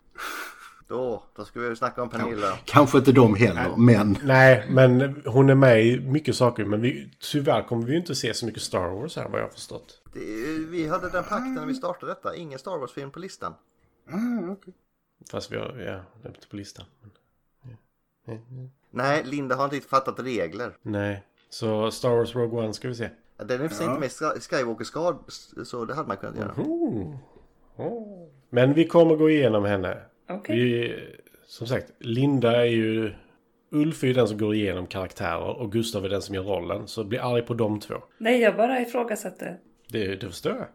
Speaker 1: Då, då ska vi snacka om Pernilla.
Speaker 4: Kanske inte de heller, men...
Speaker 5: Nej, men hon är med i mycket saker. Men vi, tyvärr kommer vi ju inte se så mycket Star Wars här, vad jag har förstått.
Speaker 1: Det, vi hade den pakten när vi startade detta. Ingen Star Wars-film på listan.
Speaker 4: Ah,
Speaker 5: Fast vi har, ja, det är inte på listan.
Speaker 1: Nej, Linda har inte riktigt fattat regler.
Speaker 5: Nej, så Star Wars Rogue One ska vi se.
Speaker 1: Den är i och för sig inte med i Sky- Skywalker-skad, så det hade man kunnat göra.
Speaker 5: Men vi kommer gå igenom henne.
Speaker 2: Okej.
Speaker 5: Vi, som sagt, Linda är ju... Ulf är ju den som går igenom karaktärer och Gustav är den som gör rollen. Så bli arg på de två.
Speaker 2: Nej, jag bara ifrågasatte.
Speaker 5: Det, det förstår jag.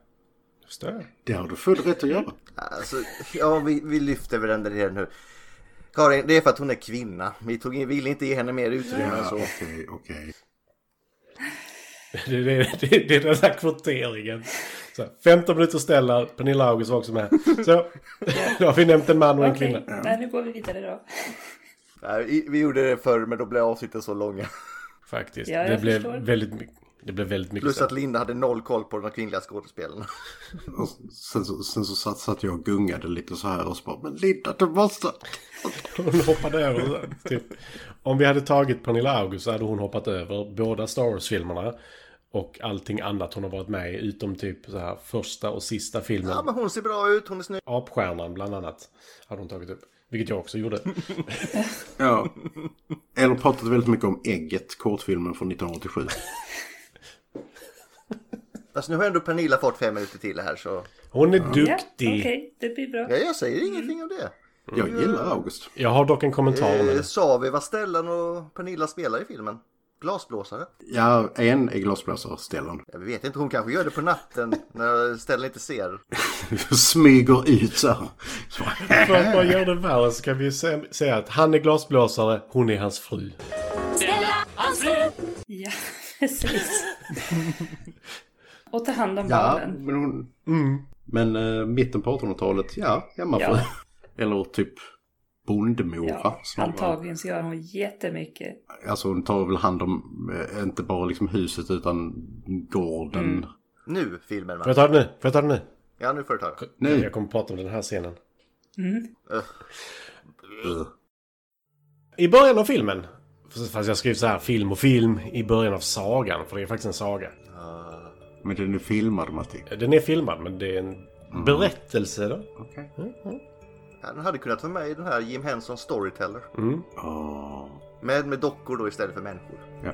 Speaker 5: Det förstår jag.
Speaker 4: Det har du full rätt att göra.
Speaker 1: Alltså, ja, vi, vi lyfter över den redan nu. Karin, det är för att hon är kvinna. Vi tog in, ville inte ge henne mer utrymme än så.
Speaker 4: Alltså, Okej, okej.
Speaker 5: Det, det, det, det är den här kvoteringen. Så, 15 minuter ställa, Pernilla August var också med. Så, då har vi nämnt en man och en
Speaker 2: Okej,
Speaker 5: kvinna.
Speaker 2: nej, nu går vi vidare då.
Speaker 1: Nej, vi- vi gjorde det förr, men då blev avsnitten så långa.
Speaker 5: Faktiskt.
Speaker 2: Ja, jag
Speaker 5: det, blev
Speaker 2: förstår.
Speaker 5: väldigt, mycket- det blev väldigt mycket
Speaker 1: Plus
Speaker 5: så.
Speaker 1: att Linda hade noll koll på de kvinnliga skådespelarna.
Speaker 4: Och Sen så, sen så satt, satt jag och gungade lite så här och så bara, men Linda, du måste...
Speaker 5: [laughs] Hon hoppade över. så, Typ. Om vi hade tagit Pernilla August så hade hon hoppat över båda Star Wars-filmerna. Och allting annat hon har varit med i, utom typ så här första och sista filmen.
Speaker 1: Ja, men hon ser bra ut, hon är snygg.
Speaker 5: Apstjärnan bland annat. Hade hon tagit upp. Vilket jag också gjorde.
Speaker 4: Ja. Eller pratat väldigt mycket om Ägget, kortfilmen från 1987.
Speaker 1: Fast Alltså, nu har ändå Pernilla fått fem minuter till här, så...
Speaker 5: Hon är
Speaker 2: Ja,
Speaker 5: duktig.
Speaker 2: okej, det blir bra.
Speaker 1: Ja, jag säger ingenting om det.
Speaker 4: Jag gillar August.
Speaker 5: Jag har dock en kommentar om
Speaker 1: Eh,
Speaker 5: henne.
Speaker 1: sa vi vad Stellan och Pernilla spelar i filmen? Glasblåsare?
Speaker 4: Ja, en är glasblåsare, Stellan.
Speaker 1: Jag vet inte, hon kanske gör det på natten när Stellan inte ser.
Speaker 4: [laughs] Smyger ut så här. Så,
Speaker 5: För att bara göra det värre så kan vi ju sä- säga att han är glasblåsare, hon är hans fru.
Speaker 2: Ja, [laughs] precis. Och ta hand om
Speaker 4: ja,
Speaker 2: barnen.
Speaker 4: men hon... Men eh, mitten på 1800-talet, ja, hemmafru.
Speaker 2: Ja.
Speaker 4: [laughs] Eller typ bondmora.
Speaker 2: Ja,
Speaker 4: snarare.
Speaker 2: antagligen så gör hon jättemycket.
Speaker 4: Alltså hon tar väl hand om eh, inte bara liksom huset utan gården.
Speaker 2: Mm.
Speaker 1: Nu filmen
Speaker 5: Får
Speaker 1: va?
Speaker 5: jag ta det nu? Får jag ta det nu?
Speaker 1: Ja, nu får du ta det.
Speaker 4: Nej.
Speaker 5: Jag kommer att prata om den här scenen.
Speaker 4: Ugh.
Speaker 5: I början av filmen, fast jag skrev så här film och film, i början av sagan, för det är faktiskt en saga.
Speaker 4: Men den är filmad Matti.
Speaker 5: Den är filmad, men det är en berättelse då.
Speaker 4: Okej.
Speaker 5: Mm.
Speaker 1: Han hade kunnat vara med i den här Jim Henson Storyteller.
Speaker 4: Åh.
Speaker 1: Med, med dockor då istället för människor.
Speaker 4: Ah, Ja.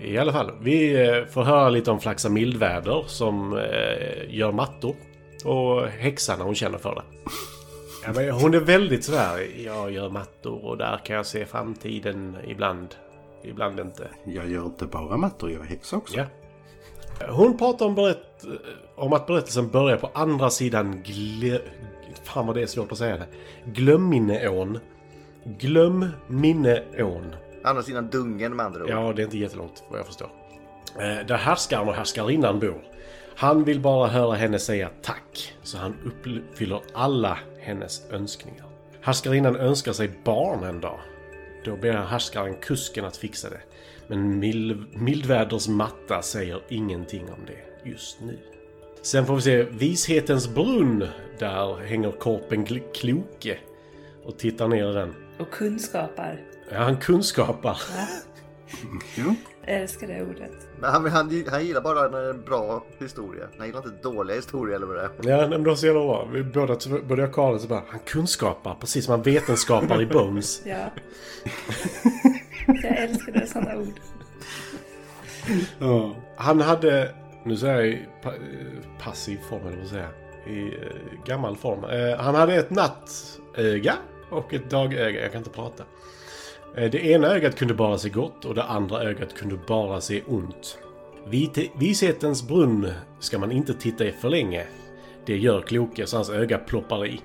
Speaker 5: I alla fall, vi eh, får höra lite om Flaxa Mildväder som eh, gör mattor. Och häxan när hon känner för det. Ja, men hon är väldigt sådär, jag gör mattor och där kan jag se framtiden ibland. Ibland inte.
Speaker 4: Jag gör inte bara mattor, jag är häxa också.
Speaker 5: Ja. Hon pratar om, berätt, eh, om att berättelsen börjar på andra sidan glö... Fan vad det är svårt att säga det. Glömminneån. Glömminneån.
Speaker 1: Andra sidan dungen med andra ord.
Speaker 5: Ja, det är inte jättelångt vad jag förstår. Eh, Där härskaren och härskarinnan bor. Han vill bara höra henne säga tack, så han uppfyller alla hennes önskningar. Härskarinnan önskar sig barn en dag. Då ber härskaren kusken att fixa det. Men Mil- Mildväders matta säger ingenting om det just nu. Sen får vi se Vishetens brunn. Där hänger korpen Gl- Kloke och tittar ner i den.
Speaker 2: Och kunskapar.
Speaker 5: Ja, han kunskapar.
Speaker 4: Jo.
Speaker 2: Jag älskar det ordet.
Speaker 1: Men han, han, han gillar bara när det är en eh, bra historia. Han gillar inte dåliga historier eller vad det är.
Speaker 5: Ja, nej, men då ser det bra. Vi båda, både jag och Karin så bara, han kunskapar precis som han vetenskapar
Speaker 2: [laughs]
Speaker 5: i Bones.
Speaker 2: Ja.
Speaker 5: [laughs]
Speaker 2: Jag älskar det, sådana ord.
Speaker 5: Han hade, nu säger jag i pa- eh, passiv form eller vad säger jag? I eh, gammal form. Eh, han hade ett nattöga och ett dagöga. Jag kan inte prata. Eh, det ena ögat kunde bara se gott och det andra ögat kunde bara se ont. Vite, vishetens brunn ska man inte titta i för länge. Det gör kloke så hans öga ploppar i.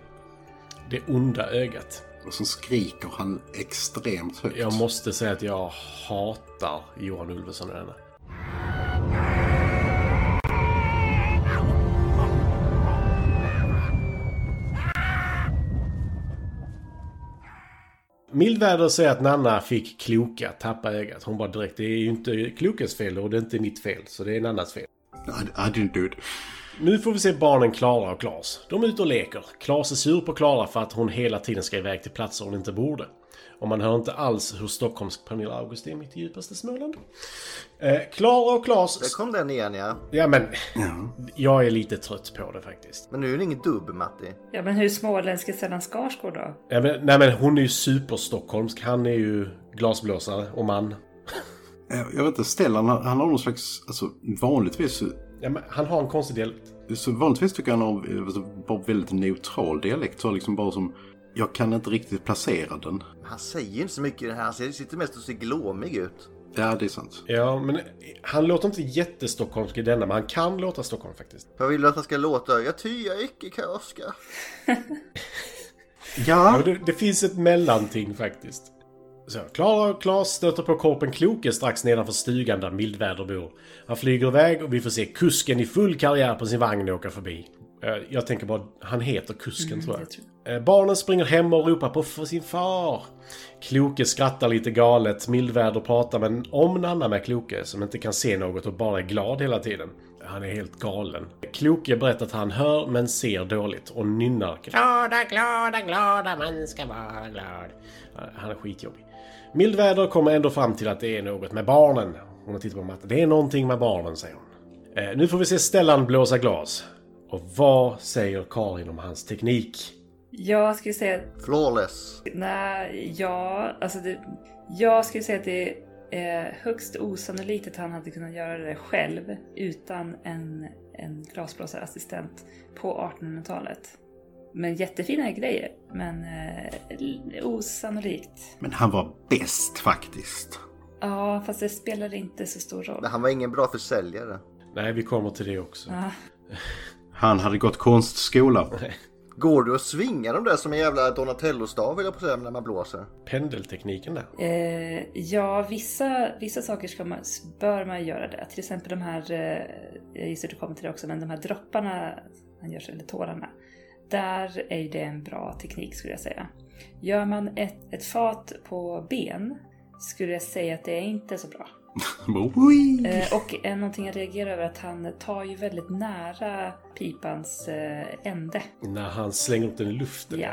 Speaker 5: Det onda ögat.
Speaker 4: Och så skriker han extremt högt.
Speaker 5: Jag måste säga att jag hatar Johan Ulveson i denna. Mildväder säger att Nanna fick Kloka tappa ögat. Hon bara direkt, det är ju inte Klokes fel och det är inte mitt fel, så det är Nannas fel.
Speaker 4: I, I didn't do it.
Speaker 5: Nu får vi se barnen Klara och Klas. De är ute och leker. Klas är sur på Klara för att hon hela tiden ska iväg till platser hon inte borde. Och man hör inte alls hur stockholmsk Pernilla August är mitt i djupaste Småland. Eh, Klara och
Speaker 1: Där
Speaker 5: Klas...
Speaker 1: kom den igen ja.
Speaker 5: Ja men... Jag är lite trött på det faktiskt.
Speaker 1: Men nu är det ingen dubb Matti.
Speaker 2: Ja, men hur småländsk är Stellan Skarsgård då?
Speaker 5: Ja, men, nej men hon är ju superstockholmsk. Han är ju glasblåsare och man.
Speaker 4: Eh, Jag vet inte, Stellan han, han har någon slags, alltså vanligtvis, så-
Speaker 5: Ja, men han har en konstig dialekt.
Speaker 4: så vanligtvis tycker jag han har eh, alltså, bara väldigt neutral dialekt. Så liksom bara som, jag kan inte riktigt placera den.
Speaker 1: Men Han säger ju inte så mycket i den här. Han ser- sitter mest och ser glåmig ut.
Speaker 4: Ja, det är sant.
Speaker 5: Ja, men han låter inte jättestockholmsk i denna, men han kan låta Stockholm faktiskt.
Speaker 1: Vad vill du att han ska låta? Jag tyar icke kioska.
Speaker 5: Ja,
Speaker 4: Ja,
Speaker 5: det, det finns ett mellanting faktiskt. Så, Klara och Klas stöter på korpen Kloke strax nedanför stugan där Mildväder bor. Han flyger iväg och vi får se kusken i full karriär på sin vagn åka förbi. Eh, Jag tänker bara, han heter kusken tror jag.
Speaker 2: jag
Speaker 5: Eh, Barnen springer hem och ropar på för sin far. Kloke skrattar lite galet. Mildväder pratar men om Nanna med Kloke som inte kan se något och bara är glad hela tiden. Han är helt galen. Kloke berättar att han hör men ser dåligt och nynnar glada, glada, glada, man ska vara glad. Eh, Han är skitjobbig. Mildväder kommer ändå fram till att det är något med barnen. Hon har tittat på matten. Det är någonting med barnen, säger hon. Eh, nu får vi se Stellan blåsa glas. Och vad säger Karin om hans teknik?
Speaker 2: Jag skulle säga
Speaker 1: Flawless.
Speaker 2: Nej, ja, alltså det, jag skulle säga att det är högst osannolikt att han hade kunnat göra det själv utan en, en glasblåsarassistent på 1800-talet. Men jättefina grejer, men eh, l- osannolikt.
Speaker 4: men han var bäst faktiskt.
Speaker 2: Ja, fast det spelar inte så stor roll.
Speaker 1: Men han var ingen bra försäljare.
Speaker 5: Nej, vi kommer till det också.
Speaker 2: Ja.
Speaker 4: Han hade gått konstskola.
Speaker 5: [laughs]
Speaker 1: Går du och svingar de där som en jävla Donatello-stav vill jag på säga när man blåser?
Speaker 5: Pendeltekniken där.
Speaker 2: Eh, ja, vissa, vissa saker ska man, bör man göra det. Till exempel de här, eh, jag gissar att du kommer till det också, men de här dropparna man gör, sig- eller tårarna. Där är ju det en bra teknik skulle jag säga. Gör man ett, ett fat på ben skulle jag säga att det är inte så bra.
Speaker 4: Oj!
Speaker 2: Eh, och eh, någonting jag reagerar över är att han tar ju väldigt nära pipans eh, ände.
Speaker 5: När han slänger upp den i luften.
Speaker 2: Ja,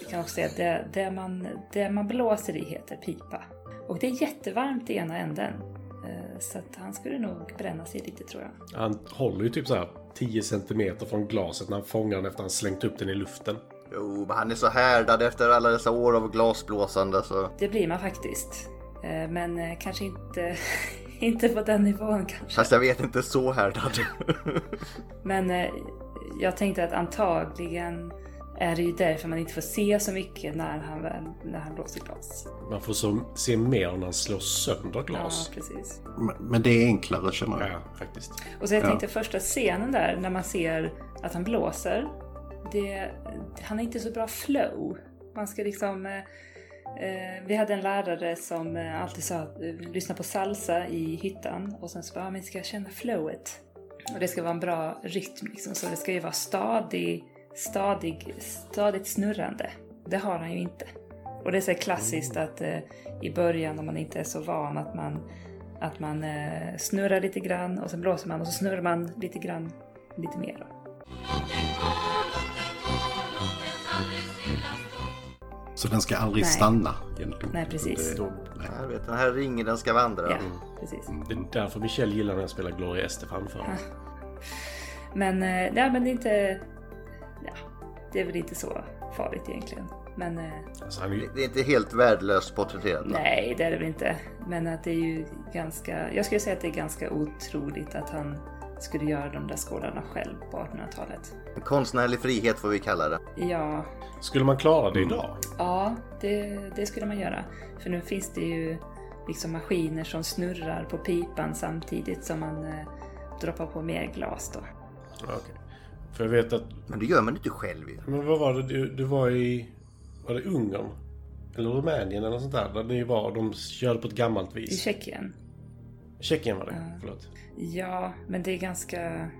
Speaker 2: jag kan också säga att det, det, man, det man blåser i heter pipa. Och det är jättevarmt i ena änden. Eh, Så att han skulle nog bränna sig lite tror jag.
Speaker 5: Han håller ju typ så här 10 centimeter från glaset när han fångar den efter han slängt upp den i luften.
Speaker 1: Jo, men han är så härdad efter alla dessa år av glasblåsande så...
Speaker 2: Det blir man faktiskt. Eh, Men eh, kanske inte, [laughs] inte på den nivån kanske.
Speaker 1: Fast jag vet inte så
Speaker 2: [laughs]
Speaker 1: härdad.
Speaker 2: Men eh, jag tänkte att antagligen är det ju därför man inte får se så mycket när han, väl- när han blåser glas.
Speaker 5: Man får så se mer när han slår sönder
Speaker 2: Ja,
Speaker 5: glas.
Speaker 2: precis.
Speaker 4: Men- Men det är enklare känner
Speaker 5: Ja,
Speaker 4: jag.
Speaker 5: ja faktiskt.
Speaker 2: Och så jag
Speaker 4: Ja.
Speaker 2: tänkte första scenen där när man ser att han blåser. Det, han är inte så bra flow. Man ska liksom... Eh, eh, vi hade en lärare som eh, alltid sa att eh, lyssna på salsa i hyttan och sen så bara, ah, men ska jag känna flowet? Och det ska vara en bra rytm liksom, så det ska ju vara stadig, stadig, stadigt snurrande. Det har han ju inte. Och det är så här klassiskt att eh, i början om man inte är så van att man, att man eh, snurrar lite grann och sen blåser man och så snurrar man lite grann, lite mer. då.
Speaker 4: Så den ska aldrig
Speaker 2: Nej.
Speaker 4: stanna egentligen.
Speaker 2: Nej, precis.
Speaker 5: Då,
Speaker 1: Jag vet, den här ringen den ska vandra.
Speaker 2: Ja, precis.
Speaker 5: det är därför Michelle gillar när jag spelar Gloria Estefan för.
Speaker 2: Men, eh, nej, men det är inte... Ja, det är väl inte så farligt egentligen. Men eh,
Speaker 5: Alltså, han är ju
Speaker 1: Det är inte helt värdelöst porträtterat. va?
Speaker 2: nej, det är det väl inte. Men att det är ju ganska... Jag skulle säga att det är ganska otroligt att han skulle göra de där skålarna själv på 1800-talet.
Speaker 1: Konstnärlig frihet får vi kalla det.
Speaker 2: Ja,
Speaker 5: Skulle man klara det idag?
Speaker 2: Ja, det, det skulle man göra. För nu finns det ju liksom maskiner som snurrar på pipan samtidigt som man eh, droppar på mer glas då.
Speaker 5: Ja, okej. För jag vet att...
Speaker 1: Men det gör man inte själv ju.
Speaker 5: Men vad var det? Du, du var i... Var det Ungern? Eller Rumänien eller något sånt där? Där ni var. De körde på ett gammalt
Speaker 2: I
Speaker 5: vis.
Speaker 2: Tjeckien?
Speaker 5: Tjeckien var det. Förlåt.
Speaker 2: Ja, men det är ganska...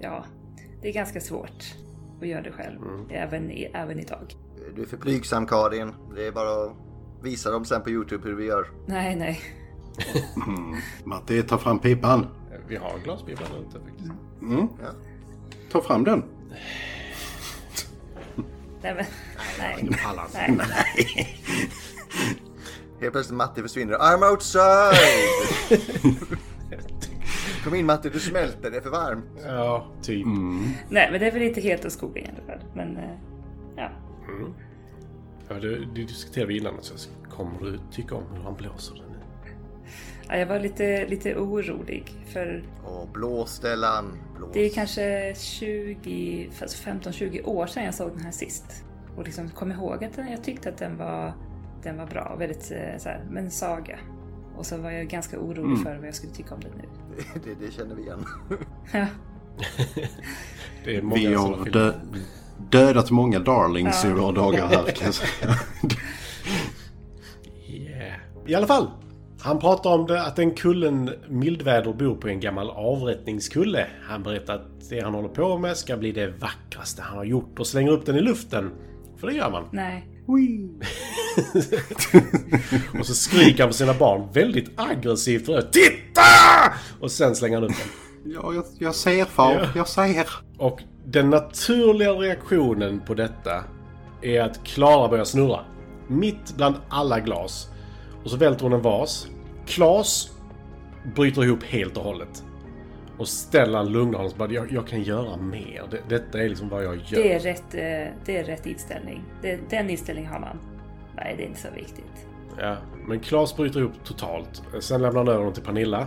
Speaker 2: Ja, det är ganska svårt att göra det själv. Även, i, även idag.
Speaker 1: Du är för blygsam Karin. Det är bara att visa dem sen på Youtube hur vi gör.
Speaker 2: Nej, nej.
Speaker 4: Matti, ta fram pipan.
Speaker 5: Vi har en glasbibel där ute faktiskt.
Speaker 2: Mm.
Speaker 4: Ta fram den.
Speaker 2: Nej, men, nej.
Speaker 5: Pallan.
Speaker 2: nej.
Speaker 1: Helt plötsligt Matti försvinner. I'm outside!
Speaker 2: [laughs]
Speaker 1: Kom in Matti, du smälter. Det är för varmt.
Speaker 5: Ja, typ.
Speaker 2: nej, men det är väl inte helt åt skogen i alla fall. Men eh, ja.
Speaker 5: Ja, det, det diskuterade vi innan. Så jag- kommer du tycka om hur han blåser den? nu?
Speaker 2: ja, jag var lite, lite orolig för
Speaker 1: Åh, blås Stellan. Blås.
Speaker 2: Det är kanske 20, fast 15-20 år sedan jag såg den här sist. Och liksom kom ihåg att den, jag tyckte att den var, den var bra. Väldigt eh, så här, men saga. Och så var jag ganska orolig
Speaker 5: Mm.
Speaker 2: för vad jag skulle tycka om den nu.
Speaker 1: det, det känner vi igen. [laughs]
Speaker 2: Ja,
Speaker 5: Det är många
Speaker 4: Vi
Speaker 5: sådana
Speaker 4: har
Speaker 5: filmer.
Speaker 4: dö- dödat många darlings i våra dagar här kan
Speaker 5: [laughs]
Speaker 4: jag säga.
Speaker 5: Yeah. I alla fall. Han pratar om det att en kullen mildväder bor på en gammal avrättningskulle. Han berättar att det han håller på med ska bli det vackraste han har gjort och slänger upp den i luften. För det gör man.
Speaker 2: nej.
Speaker 5: Och så skriker han på sina barn väldigt aggressivt för det. TITTA! Och sen slänger han upp den.
Speaker 4: Ja, jag, jag ser far. Jag ser.
Speaker 5: Och den naturliga reaktionen på detta är att Klara börjar snurra. Mitt bland alla glas. Och så välter hon en vas. Klas bryter ihop helt och hållet. Och Stellan lugnar honom och bara, jag, jag kan göra mer. Det, detta är liksom vad jag gör.
Speaker 2: Det är rätt, eh, det är rätt inställning. Det, den inställningen har man. Nej, det är inte så viktigt.
Speaker 5: Ja, men Claes bryter upp totalt. Sen lämnar han över dem till Pernilla.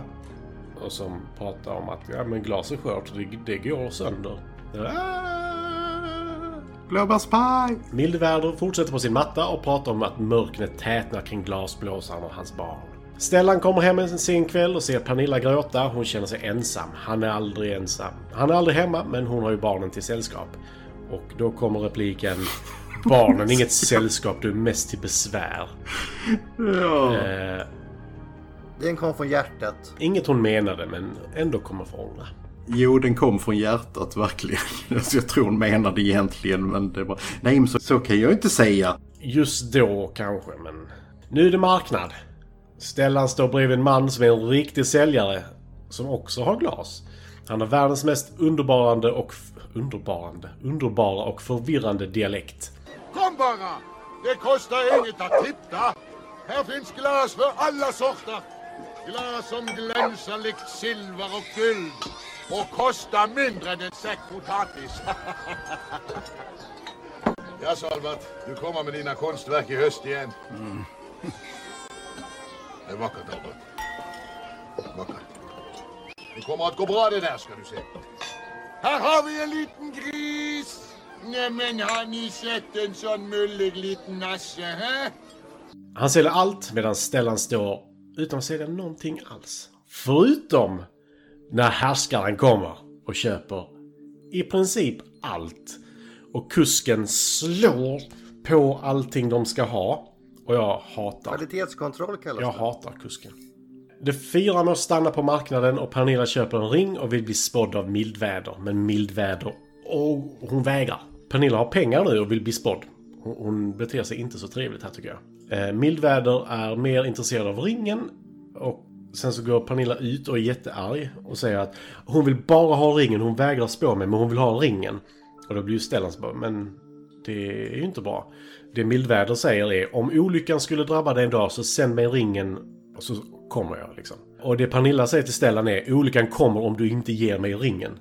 Speaker 5: Och som pratar om att ja, men glas är skört, så det, det går sönder. Ah!
Speaker 4: Global Spy!
Speaker 5: Mildväder fortsätter på sin matta och pratar om att mörknet tätnar kring glasblåsaren och hans barn. Stellan kommer hem en sen kväll och ser Pernilla gråta. Hon känner sig ensam. Han är aldrig ensam. Han är aldrig hemma, men hon har ju barnen till sällskap. Och då kommer repliken Barnen, inget sällskap. Du är mest till besvär.
Speaker 4: Ja.
Speaker 5: Eh,
Speaker 1: Den kom från hjärtat.
Speaker 5: inget hon menade, men ändå kommer förhålla.
Speaker 4: Jo, den kom från hjärtat verkligen. [laughs] Alltså, jag tror hon menade egentligen, men det var... Nej, men så, så kan jag inte säga.
Speaker 5: Just då kanske, men... Nu är det marknad. Stellan står bredvid en man som är en riktig säljare. Som också har glas. Han har världens mest underbarande och... f- Underbarande? Underbara och förvirrande dialekt.
Speaker 10: Kom bara! Det kostar inget att titta. Här finns glas för alla sorter. Glas som glänser likt silver och guld och kostar mindre än en säck potatis. [laughs] ja, Salvat, du kommer med dina konstverk i höst igen. Det är vackert, Albert. Vackert. Det kommer att gå bra det där, ska du se. Här har vi en liten gris! Nämen, har ni sett en sån mullig liten nasse, hä?
Speaker 5: Han säljer allt medan Stellan står utan att sälja någonting alls. Förutom när härskaren kommer och köper i princip allt. Och kusken slår på allting de ska ha. Och jag hatar
Speaker 1: Kvalitetskontroll kallas
Speaker 5: jag hatar kusken. De fyra må stanna på marknaden och Pernilla köper en ring och vill bli spådd av mildväder. Men mildväder... Och hon vägrar. Pernilla har pengar nu och vill bli spådd. Hon, hon beter sig inte så trevligt här tycker jag. Eh, mildväder är mer intresserad av ringen. Och sen så går Pernilla ut och är jättearg och säger att hon vill bara ha ringen. Hon vägrar spå mig men hon vill ha ringen. Och då blir ju Stellan så bara, men det är ju inte bra. Det Mildväder säger är om olyckan skulle drabba dig en dag så sänd mig ringen och så kommer jag liksom. Och det Pernilla säger till Stellan är olyckan kommer om du inte ger mig ringen.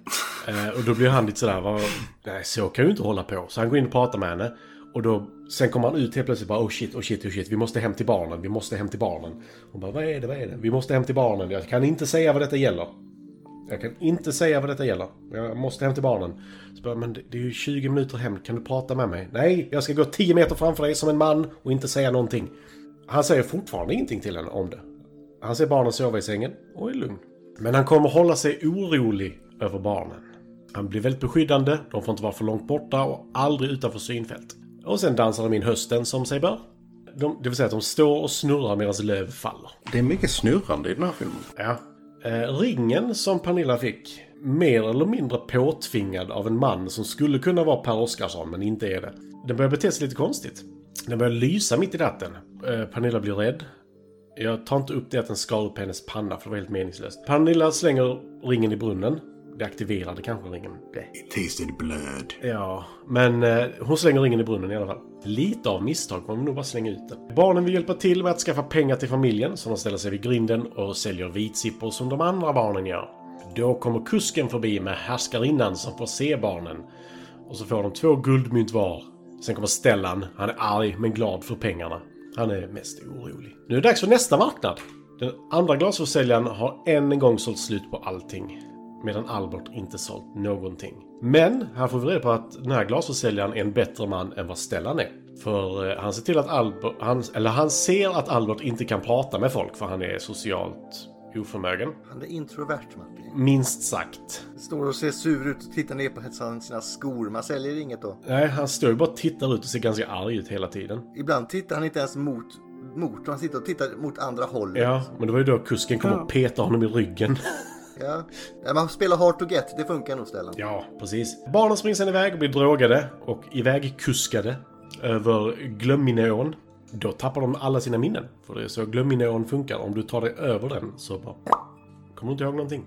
Speaker 5: Eh, och då blir han lite sådär, vad, nej så kan du inte hålla på. Så han går in och pratar med henne. Och då, sen kommer han ut helt plötsligt bara oh shit, oh shit, oh shit, vi måste hem till barnen, vi måste hem till barnen. Hon bara vad är det, vad är det? Vi måste hem till barnen, jag kan inte säga vad detta gäller. Jag kan inte säga vad detta gäller. Jag måste hem till barnen. Så bara, men det- det är ju 20 minuter hem. Kan du prata med mig? Nej, jag ska gå 10 meter framför dig som en man och inte säga någonting. Han säger fortfarande ingenting till henne om det. Han ser barnen sova i sängen och är lugn. Men han kommer hålla sig orolig över barnen. Han blir väldigt beskyddande, de får inte vara för långt borta och aldrig utanför synfält. Och sen dansar de in hösten som sig bör. De, det vill säga att de står och snurrar medan löv faller.
Speaker 4: Det är mycket snurrande i den här filmen.
Speaker 5: Ja. Eh, ringen som Pernilla fick, mer eller mindre påtvingad av en man som skulle kunna vara Per Oscarsson, men inte är det. Den börjar bete sig lite konstigt. Den börjar lysa mitt i natten. Eh, Pernilla blir rädd. Jag tar inte upp det att den skar upp hennes panna, för det var helt meningslöst. Pernilla slänger ringen i brunnen. Det aktiverade kanske ringen. Blä.
Speaker 4: It tasted blood.
Speaker 5: Ja, men eh, hon slänger ringen i brunnen i alla fall. Lite av misstag kommer vi nog bara slänga ut den. Barnen vill hjälpa till med att skaffa pengar till familjen, så de ställer sig vid grinden och säljer vitsippor som de andra barnen gör. Då kommer kusken förbi med härskarinnan som får se barnen. Och så får de två guldmynt var. Sen kommer Stellan. Han är arg, men glad för pengarna. Han är mest orolig. Nu är det dags för nästa marknad. Den andra glasförsäljaren har än en gång sålt slut på allting. Medan Albert inte sålt någonting. Men här får vi reda på att den här glasförsäljaren är en bättre man än vad Stellan är. För eh, han ser till att Albert... Han, eller han ser att Albert inte kan prata med folk för han är socialt oförmögen.
Speaker 1: Han är introvert, Martin.
Speaker 5: Minst sagt.
Speaker 1: Står och ser sur ut och tittar ner på hans- sina skor. Man säljer inget då.
Speaker 5: Nej, han står ju bara och tittar ut och ser ganska arg ut hela tiden.
Speaker 1: Ibland tittar han inte ens mot, mot han sitter och tittar mot andra hållet.
Speaker 5: Ja, men det var ju då kusken kom och petade honom i ryggen.
Speaker 1: Ja. Ja, man spelar hard to get, det funkar nog Stellan.
Speaker 5: [laughs] Ja, precis. Barnen springer sen iväg och blir drogade och ivägkuskade över Glömminån. Då tappar de alla sina minnen. För det är så Glömminån funkar. Om du tar dig över den så bara... Kommer du inte ihåg någonting?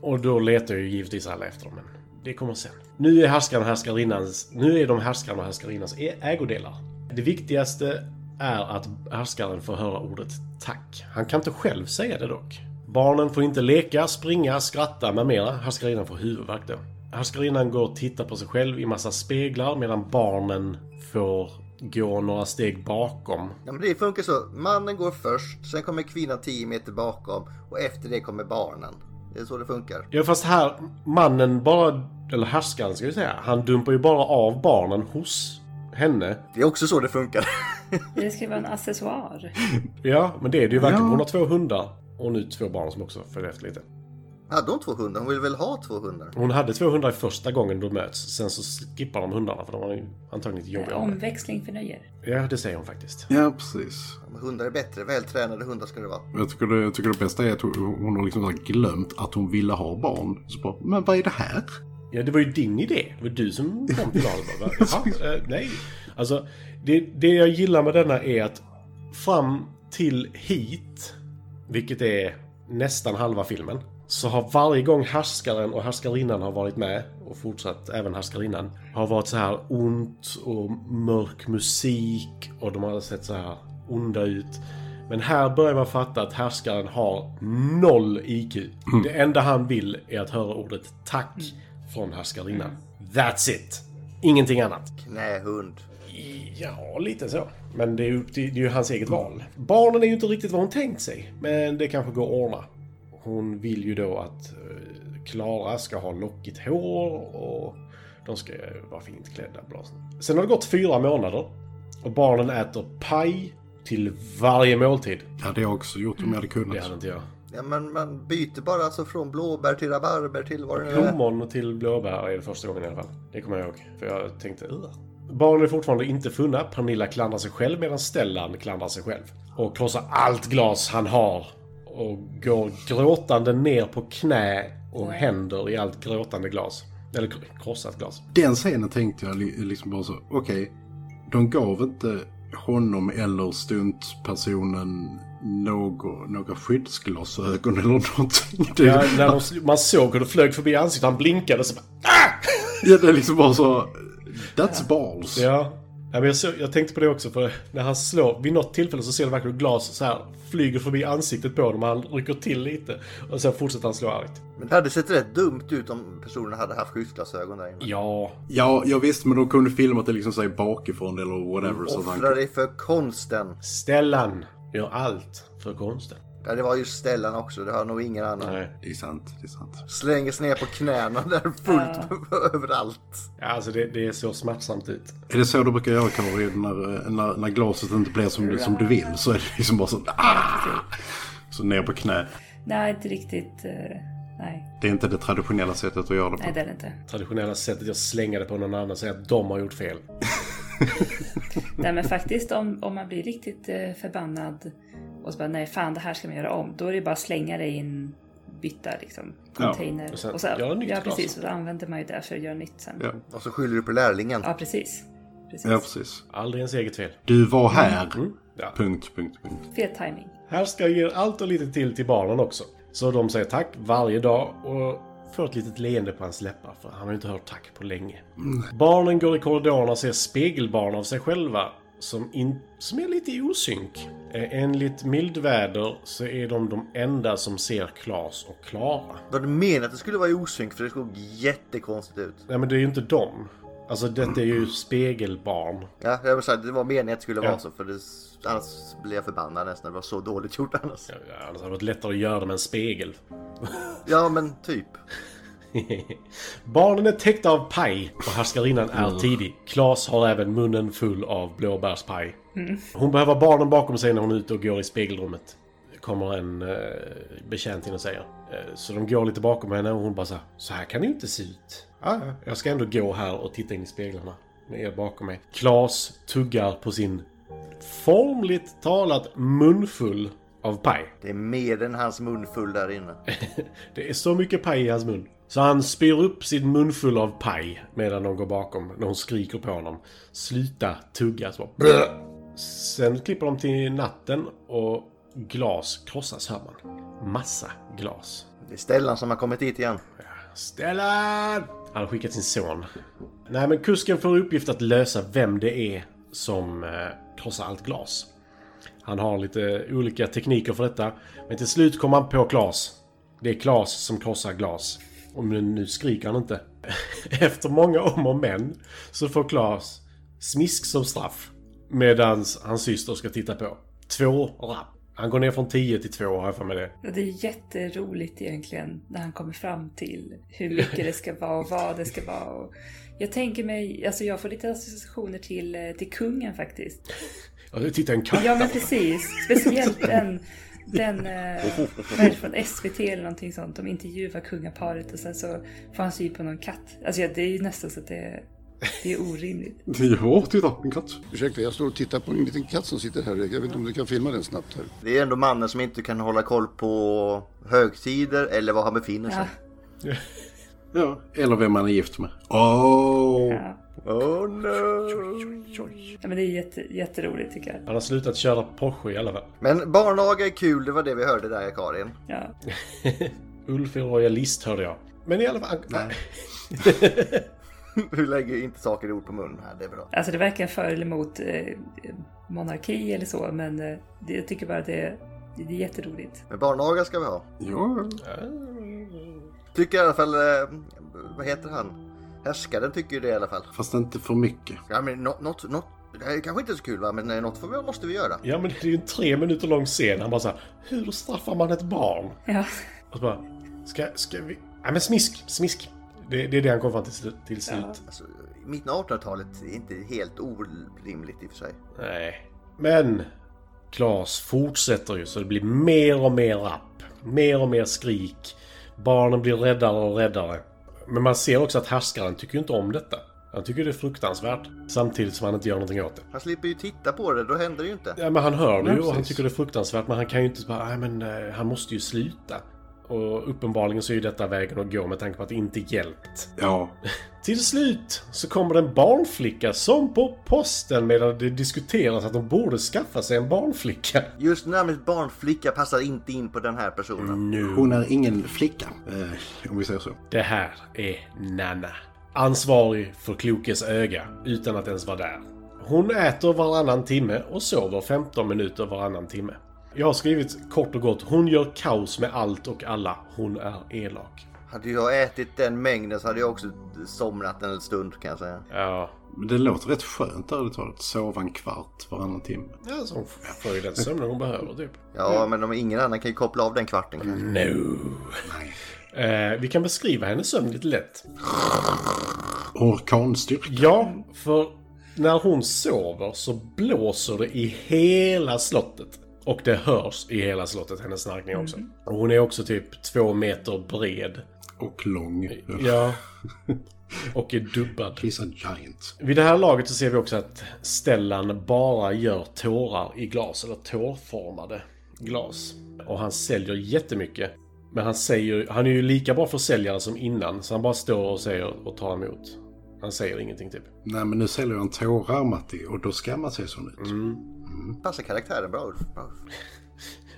Speaker 5: Och då letar ju givetvis alla efter dem, men det kommer sen. Nu är härskaren och härskarinnans... Nu är de härskaren och härskarinnans ä- ägodelar. Det viktigaste är att härskaren får höra ordet tack. Han kan inte själv säga det dock. Barnen får inte leka, springa, skratta med mera. Härskarinnan får huvudvärk då. Härskarinnan går och tittar på sig själv i massa speglar medan barnen får gå några steg bakom.
Speaker 1: Ja, men det funkar så. Mannen går först, sen kommer kvinnan 10 meter bakom och efter det kommer barnen. Det är så det funkar.
Speaker 5: Ja fast här, mannen bara, eller härskaren ska vi säga, han dumpar ju bara av barnen hos henne.
Speaker 1: Det är också så det funkar. [laughs]
Speaker 2: Det ska vara en accessoar.
Speaker 5: Ja, men det är det ju verkligen.
Speaker 1: Ja.
Speaker 5: Hon har två hundar och nu två barn som också följer efter lite.
Speaker 1: Hade hon 200? Hon vill väl ha 200?
Speaker 5: Hon hade två hundar i första gången de möts. Sen så skippar de hundarna för de var ju antagligen lite jobbiga. av det.
Speaker 2: eh, Omväxling för nöjer.
Speaker 5: Ja, det säger hon faktiskt.
Speaker 4: Ja, precis.
Speaker 1: Hundar är bättre. Vältränade hundar ska det vara.
Speaker 4: Jag tycker, det, jag tycker det bästa är att hon, hon har liksom så här glömt att hon ville ha barn. Så bara, men vad är det här?
Speaker 5: Ja, det var ju din idé. Det var du som kom till Alba. Jaha, eh, nej. Alltså, det, det jag gillar med denna är att fram till hit, vilket är nästan halva filmen, så har varje gång härskaren och härskarinnan har varit med, och fortsatt även härskarinnan, har varit så här ont och mörk musik och de har sett så här onda ut. Men här börjar man fatta att härskaren har noll IQ. Det enda han vill är att höra ordet tack från härskarinnan. That's it! Ingenting annat.
Speaker 1: Knähund.
Speaker 5: Ja, lite så. Men det är, ju, det är ju hans eget val. Barnen är ju inte riktigt vad hon tänkt sig, men det kanske går att ordna. Hon vill ju då att eh, Klara ska ha lockigt hår och de ska vara fint klädda. Bla. Sen har det gått fyra månader och barnen äter paj till varje måltid.
Speaker 4: Det hade jag också gjort om jag hade kunnat.
Speaker 5: Det hade inte jag.
Speaker 1: Ja, men man byter bara alltså från blåbär till rabarber till vad det nu är.
Speaker 5: Plommon till blåbär är det första gången i alla fall. Det kommer jag ihåg. För jag tänkte, "Ugh." Barnen är fortfarande inte funna. Pernilla klandrar sig själv medan Stellan klandrar sig själv. Och krossar allt glas han har. Och går gråtande ner på knä och händer i allt gråtande glas. Eller kr- krossat glas.
Speaker 4: Den scenen tänkte jag li- liksom bara så, okej. de gav inte honom eller stuntpersonen någon, några skyddsglasögon eller någonting. [laughs] Det,
Speaker 5: Ja, när de, sl- man såg hur det flög förbi ansiktet. Han blinkade så bara,
Speaker 4: ja, det är liksom bara så, that's balls.
Speaker 5: Ja. Nej, men jag, så, jag tänkte på det också, för när han slår, vid något tillfälle så ser du verkligen hur glas så här flyger förbi ansiktet på honom, och han rycker till lite. Och sen fortsätter han slå argt.
Speaker 1: Men det hade sett rätt dumt ut om personen hade haft skyddsglasögon där inne.
Speaker 5: Ja.
Speaker 4: Ja, jag visste men de kunde filma det liksom sig bakifrån eller whatever. Så att han,
Speaker 1: Offra dig för konsten.
Speaker 5: Stellan gör allt för konsten.
Speaker 1: Ja, det var ju Stellan också. Det har nog ingen annan.
Speaker 5: Nej.
Speaker 4: det är sant, det är sant.
Speaker 1: Slänger sig ner på knäna där fullt [laughs] överallt.
Speaker 5: Ja, alltså det, det är så smärtsamt ut.
Speaker 4: Är det så du brukar göra Karin, när, när, när glaset inte blir som, som du vill så är det liksom bara så, ah! Så ner på knä.
Speaker 2: Nej, inte riktigt. eh, Nej,
Speaker 4: Det är inte det traditionella sättet att göra det på.
Speaker 2: nej det är det inte.
Speaker 5: Traditionella sättet jag slänger det på någon annan säger att de har gjort fel.
Speaker 2: Nej, men faktiskt om, om man blir riktigt eh, förbannad och så bara nej, fan det här ska man göra om. Då är det bara att slänga det i en bytta liksom.
Speaker 4: Ja,
Speaker 2: Container.
Speaker 5: och sen
Speaker 2: och så,
Speaker 5: göra nytt
Speaker 2: ja,
Speaker 5: glas.
Speaker 2: precis. Och då använder man ju det för att göra nytt sen.
Speaker 4: Ja.
Speaker 1: Och så skyller du på lärlingen.
Speaker 2: Ja, precis. precis.
Speaker 4: Ja, precis.
Speaker 5: Aldrig ens eget fel.
Speaker 4: Du var här.
Speaker 5: Ja.
Speaker 4: Punkt, punkt, punkt.
Speaker 2: Fel timing.
Speaker 5: Här ska jag ge allt och lite till till barnen också. Så de säger tack varje dag och får ett litet leende på hans läppar för han har ju inte hört tack på länge. Barnen går i korridorerna och ser spegelbarn av sig själva som, in, som är lite i osynk. Eh, Enligt mildväder så är de de enda som ser Klas och Klara.
Speaker 1: Var det meningen att det skulle vara i osynk? För det såg jättekonstigt ut.
Speaker 5: Nej men det är ju inte dem. Alltså detta är ju spegelbarn.
Speaker 1: Ja, jag vill säga, det var meningen att det skulle
Speaker 5: Ja.
Speaker 1: vara så. För det, annars blev jag förbannad nästan. Det var så dåligt gjort annars.
Speaker 5: Ja, Annars hade det varit lättare att göra det med en spegel.
Speaker 1: Ja, men typ.
Speaker 5: [laughs] Barnen är täckta av paj och härskarinnan är tidig. Klas har även munnen full av blåbärspaj. Hon behöver barnen bakom sig när hon är ute och går i spegelrummet. Det kommer en eh, betjänt in och säger. Eh, så de går lite bakom henne och hon bara så här, så här kan det ju inte se ut. "Ja, ja, Jag ska ändå gå här och titta in i speglarna. Ni är bakom mig. Klas tuggar på sin formligt talat munfull av paj.
Speaker 1: Det är mer än hans mun full där inne.
Speaker 5: Det är så mycket paj i hans mun. Så han spyr upp sin munfull av paj medan de går bakom. När hon skriker på honom. Sluta tugga. Så bara, "Bleh!" Sen klipper de till natten och glas krossas hör man. Massa glas.
Speaker 1: Det är Stellan som har kommit dit igen.
Speaker 5: Stellan! Han har skickat sin son. Nej, men kusken får i uppgift att lösa vem det är som eh, krossar allt glas. Han har lite olika tekniker för detta. Men till slut kommer han på Klas. Det är Klas som krossar glas. Och nu- nu skriker han inte. [laughs] Efter många om och men så får Klas smisk som straff. Medans hans syster ska titta på. Två rapp. Han går ner från 10 till 2 har jag för mig det.
Speaker 2: Och det är jätteroligt egentligen när han kommer fram till hur mycket det ska vara och vad det ska vara. Och Jag tänker mig, alltså jag får lite associationer till, eh, till kungen faktiskt.
Speaker 5: Ja, titta en katt.
Speaker 2: Ja men precis. Speciellt den, den eh, vad är det från SVT eller någonting sånt. De intervjuar kungaparet och sen så får han syn på någon katt. Alltså ja, det är ju nästan så att det, det är orimligt.
Speaker 4: Ja, titta, en katt.
Speaker 11: Ursäkta, jag står och tittar på en liten katt som sitter här. Jag vet inte om du kan filma den snabbt här.
Speaker 1: Det är ändå mannen som inte kan hålla koll på högtider eller var han befinner sig.
Speaker 4: Ja, eller vem man är gift med. Oh.
Speaker 1: Oh no!
Speaker 2: Ja, men det är jätte, jätteroligt tycker jag.
Speaker 5: Han har slutat köra Porsche i alla fall.
Speaker 1: Men barnaga är kul, det var det vi hörde där Karin. [laughs]
Speaker 2: Ja.
Speaker 5: Ulf är royalist hörde jag. Men i alla fall... Nej.
Speaker 1: Du lägger ju inte saker i ord på munnen här, det är bra.
Speaker 2: Alltså det är varken för eller emot eh, monarki eller så men eh, det, jag tycker bara att det, det är jätteroligt.
Speaker 1: Men barnaga ska vi ha.
Speaker 4: Ja.
Speaker 1: Tycker i alla fall, eh, vad heter han? Härskaren tycker ju det i alla fall.
Speaker 4: Fast inte för mycket.
Speaker 1: Ja men nå- något, något, det här är kanske inte så kul va, men eh, något får vi, måste vi göra.
Speaker 5: Ja, men det är ju en tre minuter lång scen. Han bara så här, hur straffar man ett barn?
Speaker 2: Ja.
Speaker 5: Och så bara, ska, ska vi... Nej, men smisk, smisk. Det, det är det han kom fram till, slut- till slut.
Speaker 1: Alltså, i mitten av 1800-talet är inte helt orimligt i och för sig.
Speaker 5: Nej. Men Klas fortsätter ju så det blir mer och mer rapp. Mer och mer skrik. Barnen blir räddare och räddare. Men man ser också att härskaren tycker ju inte om detta. Han tycker det är fruktansvärt. Samtidigt som han inte gör någonting åt det.
Speaker 1: Han slipper ju titta på det, då händer det ju inte.
Speaker 5: Ja, men han hör det
Speaker 4: Ja,
Speaker 5: ju och han
Speaker 4: precis.
Speaker 5: tycker det är fruktansvärt. Men han kan ju inte bara, nej men eh, han måste ju sluta. Och uppenbarligen så är ju detta vägen att gå med tanke på att det inte hjälpt.
Speaker 4: Ja.
Speaker 5: Till slut så kommer det en barnflicka som på posten medan det diskuteras att de borde skaffa sig en barnflicka.
Speaker 1: Just namnet barnflicka passar inte in på den här personen.
Speaker 5: Mm.
Speaker 4: Hon är ingen flicka, eh, om vi säger så.
Speaker 5: Det här är Nanna. Ansvarig för Klokes öga, utan att ens vara där. Hon äter varannan timme och sover 15 minuter varannan timme. Jag har skrivit kort och gott, hon gör kaos med allt och alla. Hon är elak.
Speaker 1: Hade jag ätit den mängden så hade jag också somnat en stund kan jag säga.
Speaker 5: Ja,
Speaker 4: Men det låter rätt skönt ärligt talat. Sova en kvart varannan timme.
Speaker 5: alltså hon får ju den sömnen hon behöver typ.
Speaker 1: Ja, men om ingen annan kan ju koppla av den kvarten. kanske.
Speaker 5: No. Eh, vi kan beskriva hennes sömn lite lätt.
Speaker 4: Orkanstyrka.
Speaker 5: Ja, för när hon sover så blåser det i hela slottet. Och det hörs i hela slottet, hennes snarkning också. Och hon är också typ två meter bred.
Speaker 4: Och lång.
Speaker 5: Ja. Och är dubbad.
Speaker 4: He's a giant.
Speaker 5: Vid det här laget så ser vi också att Stellan bara gör tårar i glas, eller tårformade glas. Och han säljer jättemycket. Men han säger, han är ju lika bra försäljare som innan, så han bara står och säger och tar emot. Han säger ingenting typ.
Speaker 4: Nej men nu säljer han tårar Matti och då ska man se sån ut.
Speaker 5: Mm.
Speaker 1: Passar karaktären bra Ulf? Bra, Ulf.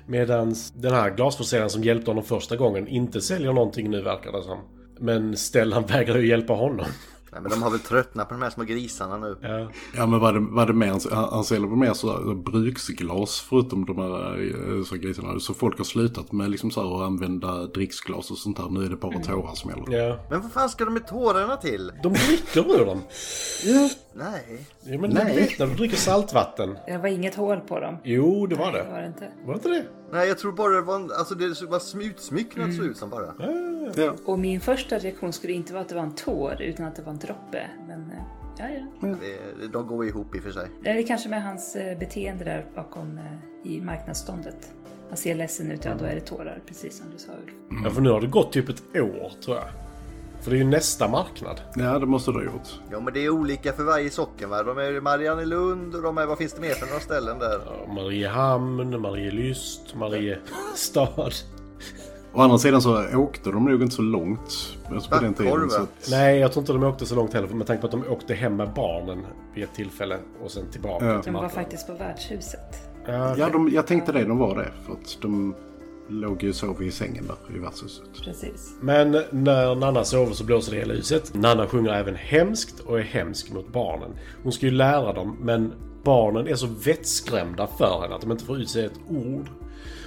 Speaker 5: Medan den här glasförsäljaren som hjälpte honom första gången inte säljer någonting nu verkar det som. Men Stellan [laughs] vägrar ju hjälpa honom.
Speaker 1: Nej, men de har väl tröttnat på de här små grisarna nu.
Speaker 5: Ja.
Speaker 4: Ja men vad är det, vad är det mer? Han- Han säljer väl mer sådär bruksglas förutom de här eh, så grisarna. Så folk har slutat med liksom så här, att använda dricksglas och sånt där. Nu är det bara tårar som gäller.
Speaker 5: Mm. ja.
Speaker 1: Men vad fan ska de med tårarna till?
Speaker 5: De dricker ur dem.
Speaker 1: Nej.
Speaker 5: Ja, men Nej. Vet, när du dricker saltvatten.
Speaker 2: Det var inget hål på dem.
Speaker 5: Jo, det var
Speaker 2: Det var
Speaker 5: det.
Speaker 2: det inte.
Speaker 5: Var det inte det?
Speaker 1: Nej, jag tror bara det var, en, alltså det var smutsmycknat
Speaker 5: Mm.
Speaker 1: såg ut som bara.
Speaker 4: Ja.
Speaker 2: Och min första reaktion skulle inte vara att det var en tår utan att det var en droppe. Men eh, ja, ja.
Speaker 1: Det, de går ihop i och för sig.
Speaker 2: Det är kanske med hans eh, beteende där bakom eh, i marknadsståndet. Han ser ledsen ut, ja då är det tårar precis som du sa Ulf.
Speaker 5: Ja, för nu har det gått typ ett år tror jag. För det är ju nästa marknad.
Speaker 4: ja det måste du ha gjort.
Speaker 1: Ja, men det är olika för varje socken va? De är i Mariannelund och de är, vad finns det mer för några ställen där?
Speaker 5: Ja, Mariehamn, Marielyst, Mariestad. [laughs]
Speaker 4: Å andra sidan så åkte de nog inte så långt alltså på den tiden.
Speaker 1: Backkorven.
Speaker 4: Så att,
Speaker 5: Nej, jag tror inte de åkte så långt heller med tanke på att de åkte hem med barnen vid ett tillfälle och sen tillbaka
Speaker 4: Ja.
Speaker 5: till
Speaker 2: De var
Speaker 5: marknaden.
Speaker 2: faktiskt på värdshuset.
Speaker 5: Ja,
Speaker 4: Ja, de, jag tänkte det. De var det. För att de låg ju och sov i sängen där i värdshuset.
Speaker 2: Precis.
Speaker 5: Men när Nanna sover så blåser det hela huset. Nanna sjunger även hemskt och är hemsk mot barnen. Hon ska ju lära dem, men barnen är så vettskrämda för henne att de inte får ut sig ett ord.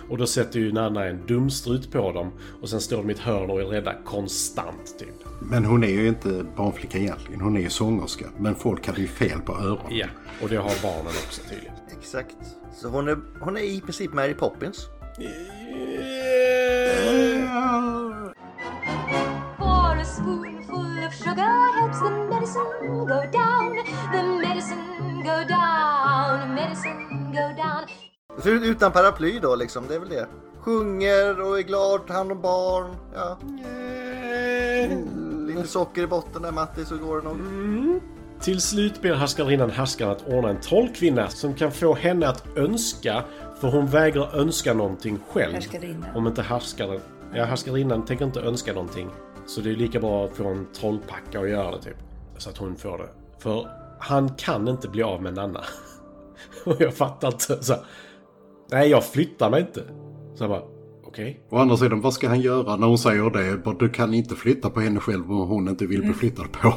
Speaker 5: Och då sätter ju Nanna en dumstrut på dem och sen står de i ett hörn och är rädda konstant typ.
Speaker 4: Men hon är ju inte barnflicka egentligen. Hon är ju sångerska. Men folk hade ju fel på öronen.
Speaker 5: Ja, och det har barnen också tydligen.
Speaker 1: Exakt. Så hon är, hon är i princip Mary Poppins.
Speaker 7: For a spoonful of sugar helps the
Speaker 12: medicine
Speaker 7: medicine
Speaker 12: go down, the medicine go down, medicine go down.
Speaker 1: Det ser ut utan paraply då liksom, det är väl det. Sjunger och är glad, tar hand om barn. Ja. Lite socker i botten där Matti så går det nog.
Speaker 5: Till slut ber härskarinnan härskaren att ordna en trollkvinna som kan få henne att önska, för hon vägrar önska någonting själv.
Speaker 2: Härskarinna.
Speaker 5: Om inte härskaren... Ja, härskarinnan tänker inte önska någonting. Så det är lika bra att få en trollpacka och göra det typ. Så att hon får det. För han kan inte bli av med Nanna. [laughs] Och jag fattar inte. Så här, Nej, jag flyttar mig inte. Så jag bara, okej.
Speaker 4: Å andra sidan, vad ska han göra när hon säger det? Bara, Du kan inte flytta på henne själv om hon inte vill bli flyttad på.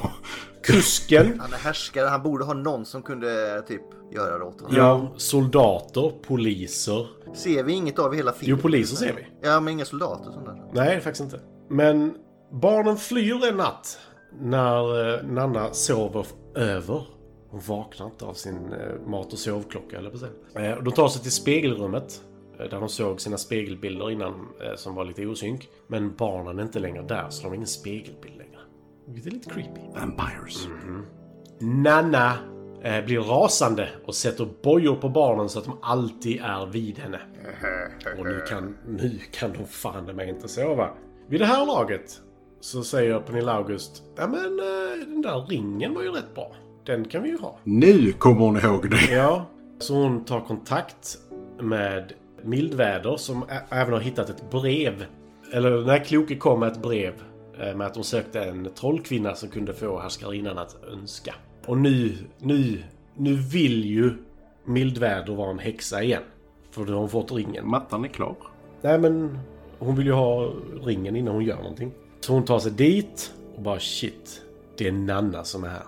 Speaker 5: Kusken!
Speaker 1: Han är härskare, han borde ha någon som kunde eh, typ göra det åt honom.
Speaker 5: Ja, soldater, poliser.
Speaker 1: Ser vi inget av i hela filmen?
Speaker 5: Jo, poliser ser vi.
Speaker 1: Ja, men inga soldater och sånt där.
Speaker 5: Nej, faktiskt inte. Men barnen flyr en natt när eh, Nanna sover över. Hon vaknar inte av sin eh, mat och sovklocka, eller precis. Eh, De tar sig till spegelrummet eh, där de såg sina spegelbilder innan eh, som var lite osynk. Men barnen är inte längre där, så de har ingen spegelbild längre. Vilket är lite creepy.
Speaker 4: Vampires.
Speaker 5: Nanna eh, blir rasande och sätter bojor på barnen så att de alltid är vid henne. Och nu kan, nu kan de fan i mig inte sova. Vid det här laget så säger Pernilla August Ja men eh, den där ringen var ju rätt bra. Den kan vi ju ha.
Speaker 4: Nu kommer hon ihåg det.
Speaker 5: Ja. Så hon tar kontakt med Mildväder som ä- även har hittat ett brev. Eller den här kloke kom med ett brev eh, med att hon sökte en trollkvinna som kunde få härskarinnan att önska. Och nu, nu, nu vill ju Mildväder vara en häxa igen. För då har hon fått ringen.
Speaker 4: Mattan är klar.
Speaker 5: Nej men hon vill ju ha ringen innan hon gör någonting. Så hon tar sig dit och bara shit. Det är Nanna som är här.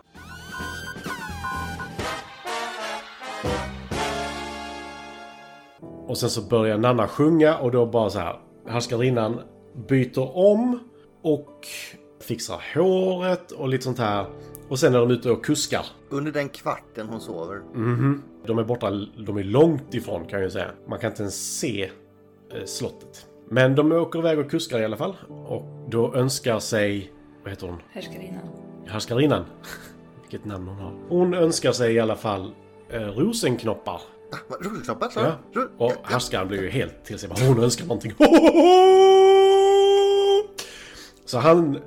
Speaker 5: Och sen så börjar Nanna sjunga och då bara så här. Härskarinnan byter om och fixar håret och lite sånt här. Och sen är de ute och kuskar.
Speaker 1: Under den kvarten hon sover.
Speaker 5: Mhm. De är borta, de är långt ifrån kan jag ju säga. Man kan inte ens se eh, slottet. Men de åker iväg och kuskar i alla fall. Och då önskar sig, vad heter hon? Mm.
Speaker 2: Härskarinnan.
Speaker 5: Härskarinnan. [laughs] Vilket namn hon har. Hon önskar sig i alla fall eh, rosenknoppar.
Speaker 1: Rullknoppar så.
Speaker 5: Ja. Och härskaren blir ju helt till sig. Bara, Hon önskar någonting. [laughs] Så han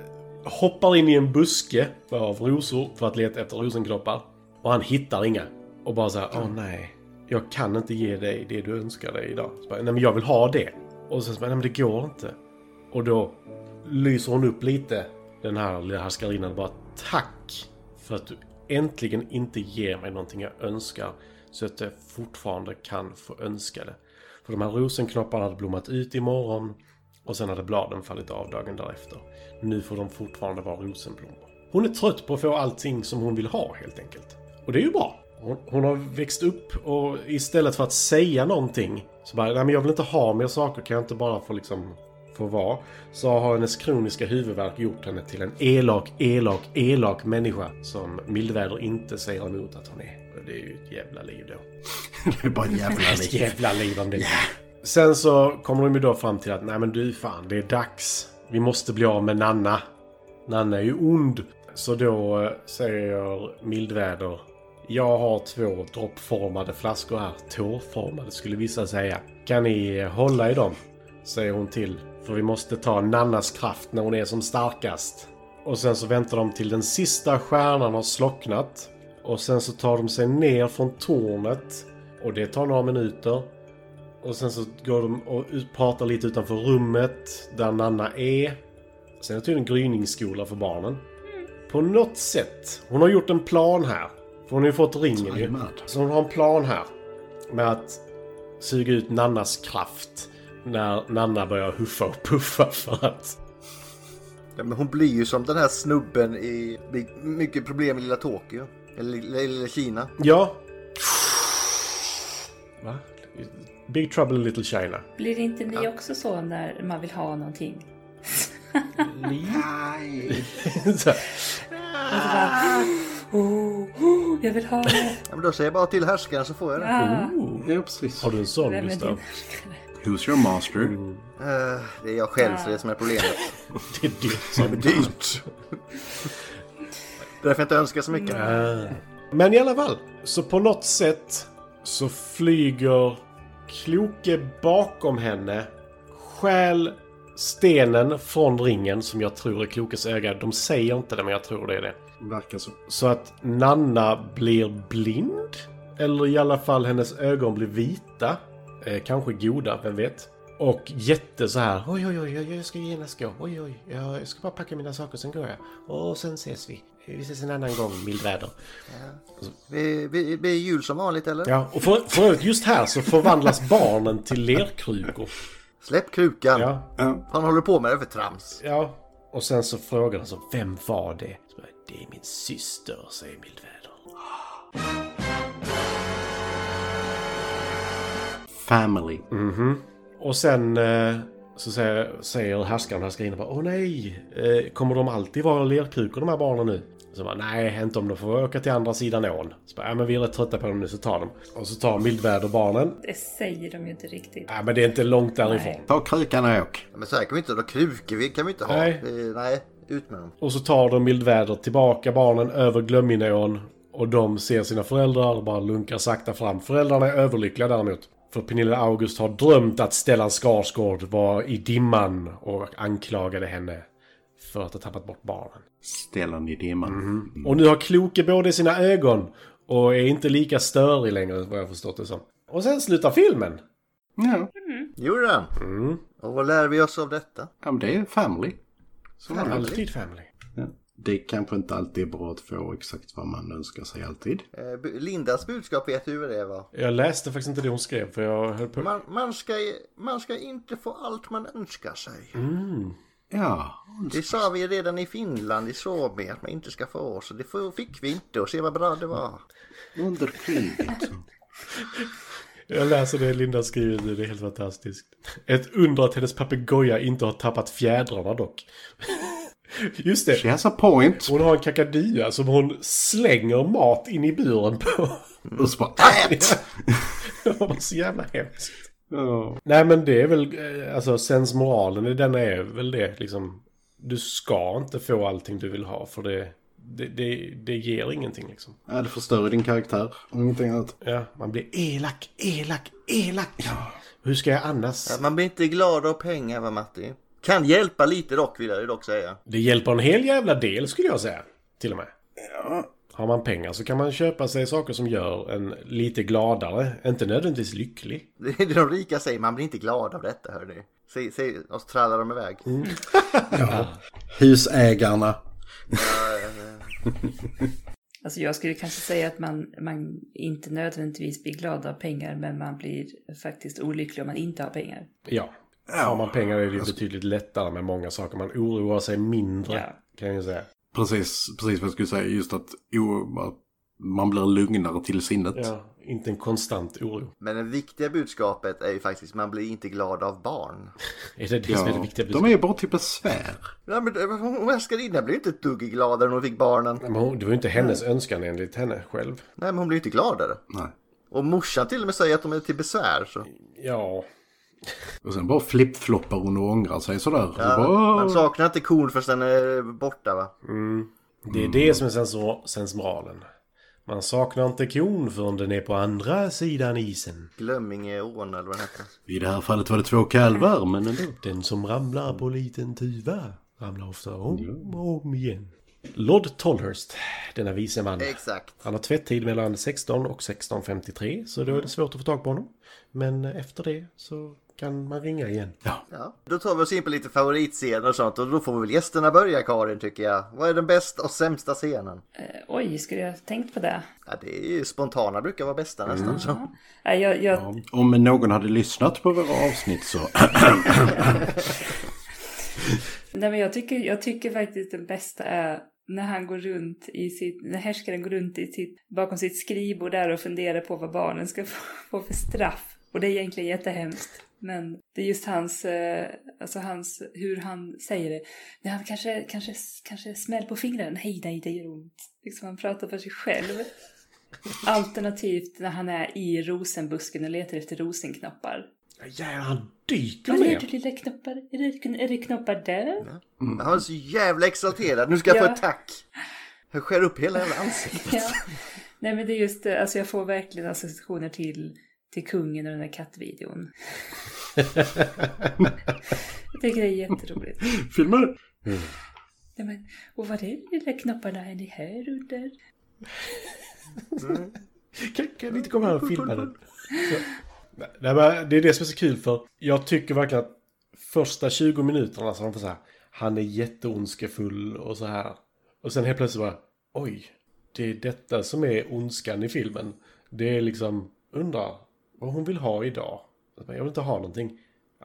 Speaker 5: hoppar in i en buske av rosor för att leta efter rosenknoppar. Och han hittar inga. Och bara så här, åh nej. Jag kan inte ge dig det du önskar dig idag. Så bara, nej men jag vill ha det. Och sen så bara, nej men det går inte. Och då lyser hon upp lite, den här lilla härskarinnan. och Bara tack för att du äntligen inte ger mig någonting jag önskar. Så att jag fortfarande kan få önska det. För de här rosenknopparna hade blommat ut imorgon. Och sen hade bladen fallit av dagen därefter. Nu får de fortfarande vara rosenblommor. Hon är trött på att få allting som hon vill ha helt enkelt. Och det är ju bra. Hon, hon har växt upp och istället för att säga någonting så bara, nej men jag vill inte ha mer saker, kan jag inte bara få liksom få vara? Så har hennes kroniska huvudvärk gjort henne till en elak, elak, elak människa som Mildväder inte säger emot att hon är. Och det är ju ett jävla liv då.
Speaker 4: Det är bara en
Speaker 5: [laughs]
Speaker 4: jävla
Speaker 5: Ett
Speaker 4: liv.
Speaker 5: jävla liv om det. Sen så kommer de ju då fram till att nej men du fan, det är dags. Vi måste bli av med Nanna. Nanna är ju ond. Så då eh, säger Mildväder. Jag har två droppformade flaskor här. Tårformade skulle vissa säga. Kan ni eh, hålla i dem? Säger hon till. För vi måste ta Nannas kraft när hon är som starkast. Och sen så väntar de till den sista stjärnan har slocknat. Och sen så tar de sig ner från tornet. Och det tar några minuter. Och sen så går de och ut- pratar lite utanför rummet där Nanna är. Sen är det tydligen gryningsskola för barnen. På något sätt. Hon har gjort en plan här. För hon har ju fått ringen ju.
Speaker 4: Tajmad.
Speaker 5: Så hon har en plan här. Med att suga ut Nannas kraft. När Nanna börjar huffa och puffa för att...
Speaker 1: Ja, men hon blir ju som den här snubben i... Det är mycket problem i lilla Tokyo. Eller lilla, lilla Kina.
Speaker 5: Ja. Va? Big Trouble in Little China. [laughs]
Speaker 2: Blir inte ni också så när man vill ha någonting?
Speaker 5: Så här.
Speaker 2: Och så bara, oh, oh, jag vill ha det.
Speaker 1: Ja, men då säger jag bara till härskaren så får jag det.
Speaker 2: Ah,
Speaker 4: Ja, precis.
Speaker 5: Har du en sån
Speaker 2: vem är din?
Speaker 5: [laughs] Gustav?
Speaker 4: Who's your master?
Speaker 1: Eh, det är jag själv så det är som är problemet.
Speaker 5: Det är dyrt som
Speaker 1: Dyrt! Det är därför jag inte önskar så mycket.
Speaker 5: Men i alla fall, så på något sätt så flyger Kloke bakom henne, stjäl stenen från ringen som jag tror är Klokes öga. De säger inte det, men jag tror det är det.
Speaker 4: Verkar så.
Speaker 5: Så att Nanna blir blind. Eller i alla fall hennes ögon blir vita. Eh, kanske goda, vem vet? Och jätte så här. Oj, oj, oj, oj, jag ska genast gå. Oj, oj, jag ska bara packa mina saker, sen går jag. Och sen ses vi. Vi ses en annan gång, mildväder.
Speaker 1: Vi, vi, vi är jul som vanligt eller?
Speaker 5: Ja, och för, för övrigt just här så förvandlas barnen till lerkrukor.
Speaker 1: Släpp krukan!
Speaker 5: Ja.
Speaker 1: Han håller du på med det för trams.
Speaker 5: Ja. Och sen så frågar de så, vem var det? Så bara, det är min syster, säger mildväder.
Speaker 4: Family.
Speaker 5: Mhm. Och sen eh, så säger, säger härskaren och härskarinnan bara Åh nej! eh, Kommer de alltid vara lerkrukor de här barnen nu? Så bara, nej, inte om de får åka till andra sidan ån. Så bara, ja, men vi är rätt trötta på dem nu så ta dem. Och så tar mildväder barnen.
Speaker 2: Det säger de ju inte riktigt.
Speaker 5: Ja, men det är inte långt därifrån.
Speaker 4: Ta krukan och åk.
Speaker 1: Men så här kan vi inte ha. Krukor vi- kan vi inte ha.
Speaker 5: Nej.
Speaker 1: Vi, nej, ut med dem.
Speaker 5: Och så tar de mildväder tillbaka barnen över Glömminån. Och de ser sina föräldrar och bara lunkar sakta fram. Föräldrarna är överlyckliga däremot. För Pernilla August har drömt att Stellan Skarsgård var i dimman och anklagade henne för att ha tappat bort barnen.
Speaker 4: Stellan i dimman.
Speaker 5: Och nu har Kloke båda i sina ögon och är inte lika störig längre vad jag förstått det som. Och sen slutar filmen!
Speaker 4: Ja.
Speaker 1: Gjorde den?
Speaker 5: Mm.
Speaker 1: Och vad lär vi oss av detta?
Speaker 4: Ja, men det är family. Som
Speaker 1: Family.
Speaker 4: vanligt.
Speaker 5: Alltid family.
Speaker 4: Ja. Det kanske inte alltid är bra att få exakt vad man önskar sig alltid.
Speaker 1: Eh, bu- Lindas budskap vet du vad det var?
Speaker 5: Jag läste faktiskt inte det hon skrev för jag höll på...
Speaker 1: Man, man, ska, man ska inte få allt man önskar sig.
Speaker 5: Mm.
Speaker 4: Ja.
Speaker 1: Det sa vi redan i Finland i Suomi att man inte ska få. Så det får- fick vi inte och se vad bra det var.
Speaker 4: Under [laughs] kriget.
Speaker 5: Jag läser det Linda skriver nu, det är helt fantastiskt. Ett under att hennes papegoja inte har tappat fjädrarna dock. Just det,
Speaker 4: She has a point.
Speaker 5: hon har en kakadua som hon slänger mat in i buren på. [laughs]
Speaker 4: Och så bara... "Äh!"
Speaker 5: Det var så jävla hemskt.
Speaker 4: Ja.
Speaker 5: Nej men det är väl, eh, alltså sensmoralen i den är väl det liksom. Du ska inte få allting du vill ha för det, det, det, det ger ingenting liksom.
Speaker 4: Ja, det förstör din karaktär. Om ingenting annat.
Speaker 5: Ja, man blir elak, elak, elak. Hur ska jag annars?
Speaker 1: Ja, Man blir inte glad av pengar va Matti? Kan hjälpa lite dock vill jag ju dock säga.
Speaker 5: Det hjälper en hel jävla del skulle jag säga. Till och med. Har man pengar så kan man köpa sig saker som gör en lite gladare. Inte nödvändigtvis lycklig.
Speaker 1: Det är det de rika säger, man blir inte glad av detta hörni. Se, se oss trallar de iväg.
Speaker 4: Husägarna.
Speaker 2: Alltså jag skulle kanske säga att man, man inte nödvändigtvis blir glad av pengar men man blir faktiskt olycklig om man inte har pengar.
Speaker 5: Ja. Har man pengar är det ju betydligt lättare med många saker. Man oroar sig mindre.
Speaker 2: Ja.
Speaker 5: Kan jag ju säga.
Speaker 4: Precis, precis vad jag skulle säga. Just att o, att man blir lugnare till sinnet.
Speaker 5: Ja. Inte en konstant oro.
Speaker 1: Men det viktiga budskapet är ju faktiskt man blir inte glad av barn.
Speaker 5: Är det det
Speaker 4: Ja.
Speaker 5: som är det viktiga?
Speaker 4: De är ju bara till besvär.
Speaker 1: Nej men eh, det- hon älskarinnan blev ju inte ett dugg gladare när hon fick barnen.
Speaker 5: Men hon- Det var ju inte hennes önskan enligt henne själv.
Speaker 1: Nej men hon blev ju inte gladare.
Speaker 4: Nej.
Speaker 1: Och morsan till och med säger att de är till besvär. Så.
Speaker 5: Ja.
Speaker 4: Och sen bara flippfloppar hon och ångrar sig sådär. Ja,
Speaker 1: Ja,
Speaker 4: bara,
Speaker 1: man saknar inte kon förrän den är borta va?
Speaker 5: Det
Speaker 4: Mm.
Speaker 5: är det som är sensor- sensmoralen. Man saknar inte kon förrän den är på andra sidan isen.
Speaker 1: Glömmingeån eller vad den heter.
Speaker 4: I det här fallet var det två kalvar, men ändå.
Speaker 5: Den som ramlar på liten tuva ramlar ofta om och om igen. Lord Tolhurst, denna vise man.
Speaker 1: Exakt.
Speaker 5: Han har tvättid mellan 16 och 16.53 så då är det svårt att få tag på honom. Men efter det så kan man ringa igen.
Speaker 1: Ja. Då tar vi oss in på lite favoritscener och sånt och då får vi väl gästerna börja Karin tycker jag. Vad är den bästa och sämsta scenen?
Speaker 2: Eh, oj, skulle jag ha tänkt på det?
Speaker 1: Ja, det är ju spontana brukar vara bästa nästan. Så.
Speaker 2: Nej, jag, jag,
Speaker 4: Om någon hade lyssnat på våra avsnitt så... [coughs]
Speaker 2: Nej, men jag, tycker, jag tycker faktiskt den bästa är när han går runt i sitt, när härskaren går runt i sitt, bakom sitt skrivbord där och funderar på vad barnen ska [laughs] få, få för straff. Och det är egentligen jättehemskt. Men det är just hans, eh, alltså hans, hur han säger det. Nej, han kanske, kanske, kanske smäll på fingren. Nej, nej, det gör ont. Liksom han pratar för sig själv. Alternativt när han är i rosenbusken och letar efter rosenknoppar.
Speaker 5: Ja, jävlar, han dyker
Speaker 2: Vad är det
Speaker 5: ner!
Speaker 2: lilla knoppar? Är det, är det knoppar där?
Speaker 1: Mm. Han är så jävla exalterad. Nu ska jag
Speaker 2: Ja.
Speaker 1: få ett tack. Han skär upp hela jävla ansiktet.
Speaker 2: [laughs] Ja. Nej men det är just det, alltså jag får verkligen associationer till, till kungen och den där kattvideon. jag tycker det är jätteroligt.
Speaker 4: Filmer!
Speaker 2: Nej, men, och vad är det de där knapparna är ni här under?
Speaker 5: Kan, kan ni inte komma här och filma den? Så. Nej, Nej, men det är det som är så kul för jag tycker verkligen att första 20 minuterna så har de får så här, han är jätteondskefull och så här. Och sen helt plötsligt bara, oj, det är detta som är ondskan i filmen. Det är liksom, undrar vad hon vill ha idag. Jag bara, Jag vill inte ha någonting.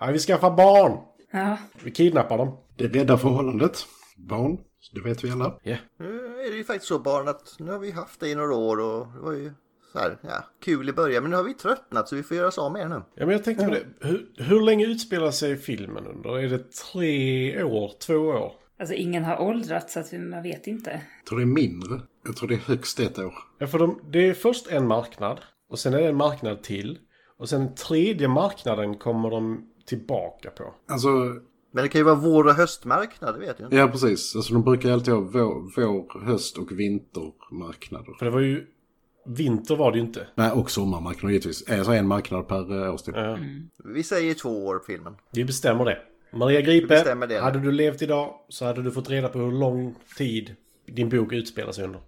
Speaker 5: Nej, vi skaffar barn!
Speaker 2: Ja.
Speaker 5: Vi kidnappar dem.
Speaker 4: Det räddar förhållandet. Barn, det vet vi alla.
Speaker 5: Ja.
Speaker 1: Nu är det ju faktiskt så barn att nu har vi haft dig i några år och det var ju så här, ja, kul i början. Men nu har vi tröttnat så vi får göra oss av med er nu.
Speaker 5: Ja, men jag tänkte på det. Hur, hur länge utspelar sig filmen under? Är det tre år? Två år?
Speaker 2: Alltså ingen har åldrats så att man vet inte.
Speaker 4: Jag tror det är mindre. Jag tror det är högst ett år.
Speaker 5: Ja, för de, det är först en marknad och sen är det en marknad till. Och sen den tredje marknaden kommer de tillbaka på.
Speaker 4: Alltså,
Speaker 1: Men det kan ju vara vår och höstmarknad, det vet jag inte.
Speaker 4: ja precis. Alltså de brukar alltid ha vår, vår höst och vintermarknader.
Speaker 5: För det var ju... Vinter var det ju inte.
Speaker 4: Nej, och sommarmarknader givetvis. Alltså en marknad per eh, årstid.
Speaker 5: Ja.
Speaker 1: Vi säger två år filmen.
Speaker 5: Vi bestämmer det. Maria
Speaker 1: Vi
Speaker 5: Gripe,
Speaker 1: bestämmer det.
Speaker 5: hade du levt idag så hade du fått reda på hur lång tid din bok utspelar sig under.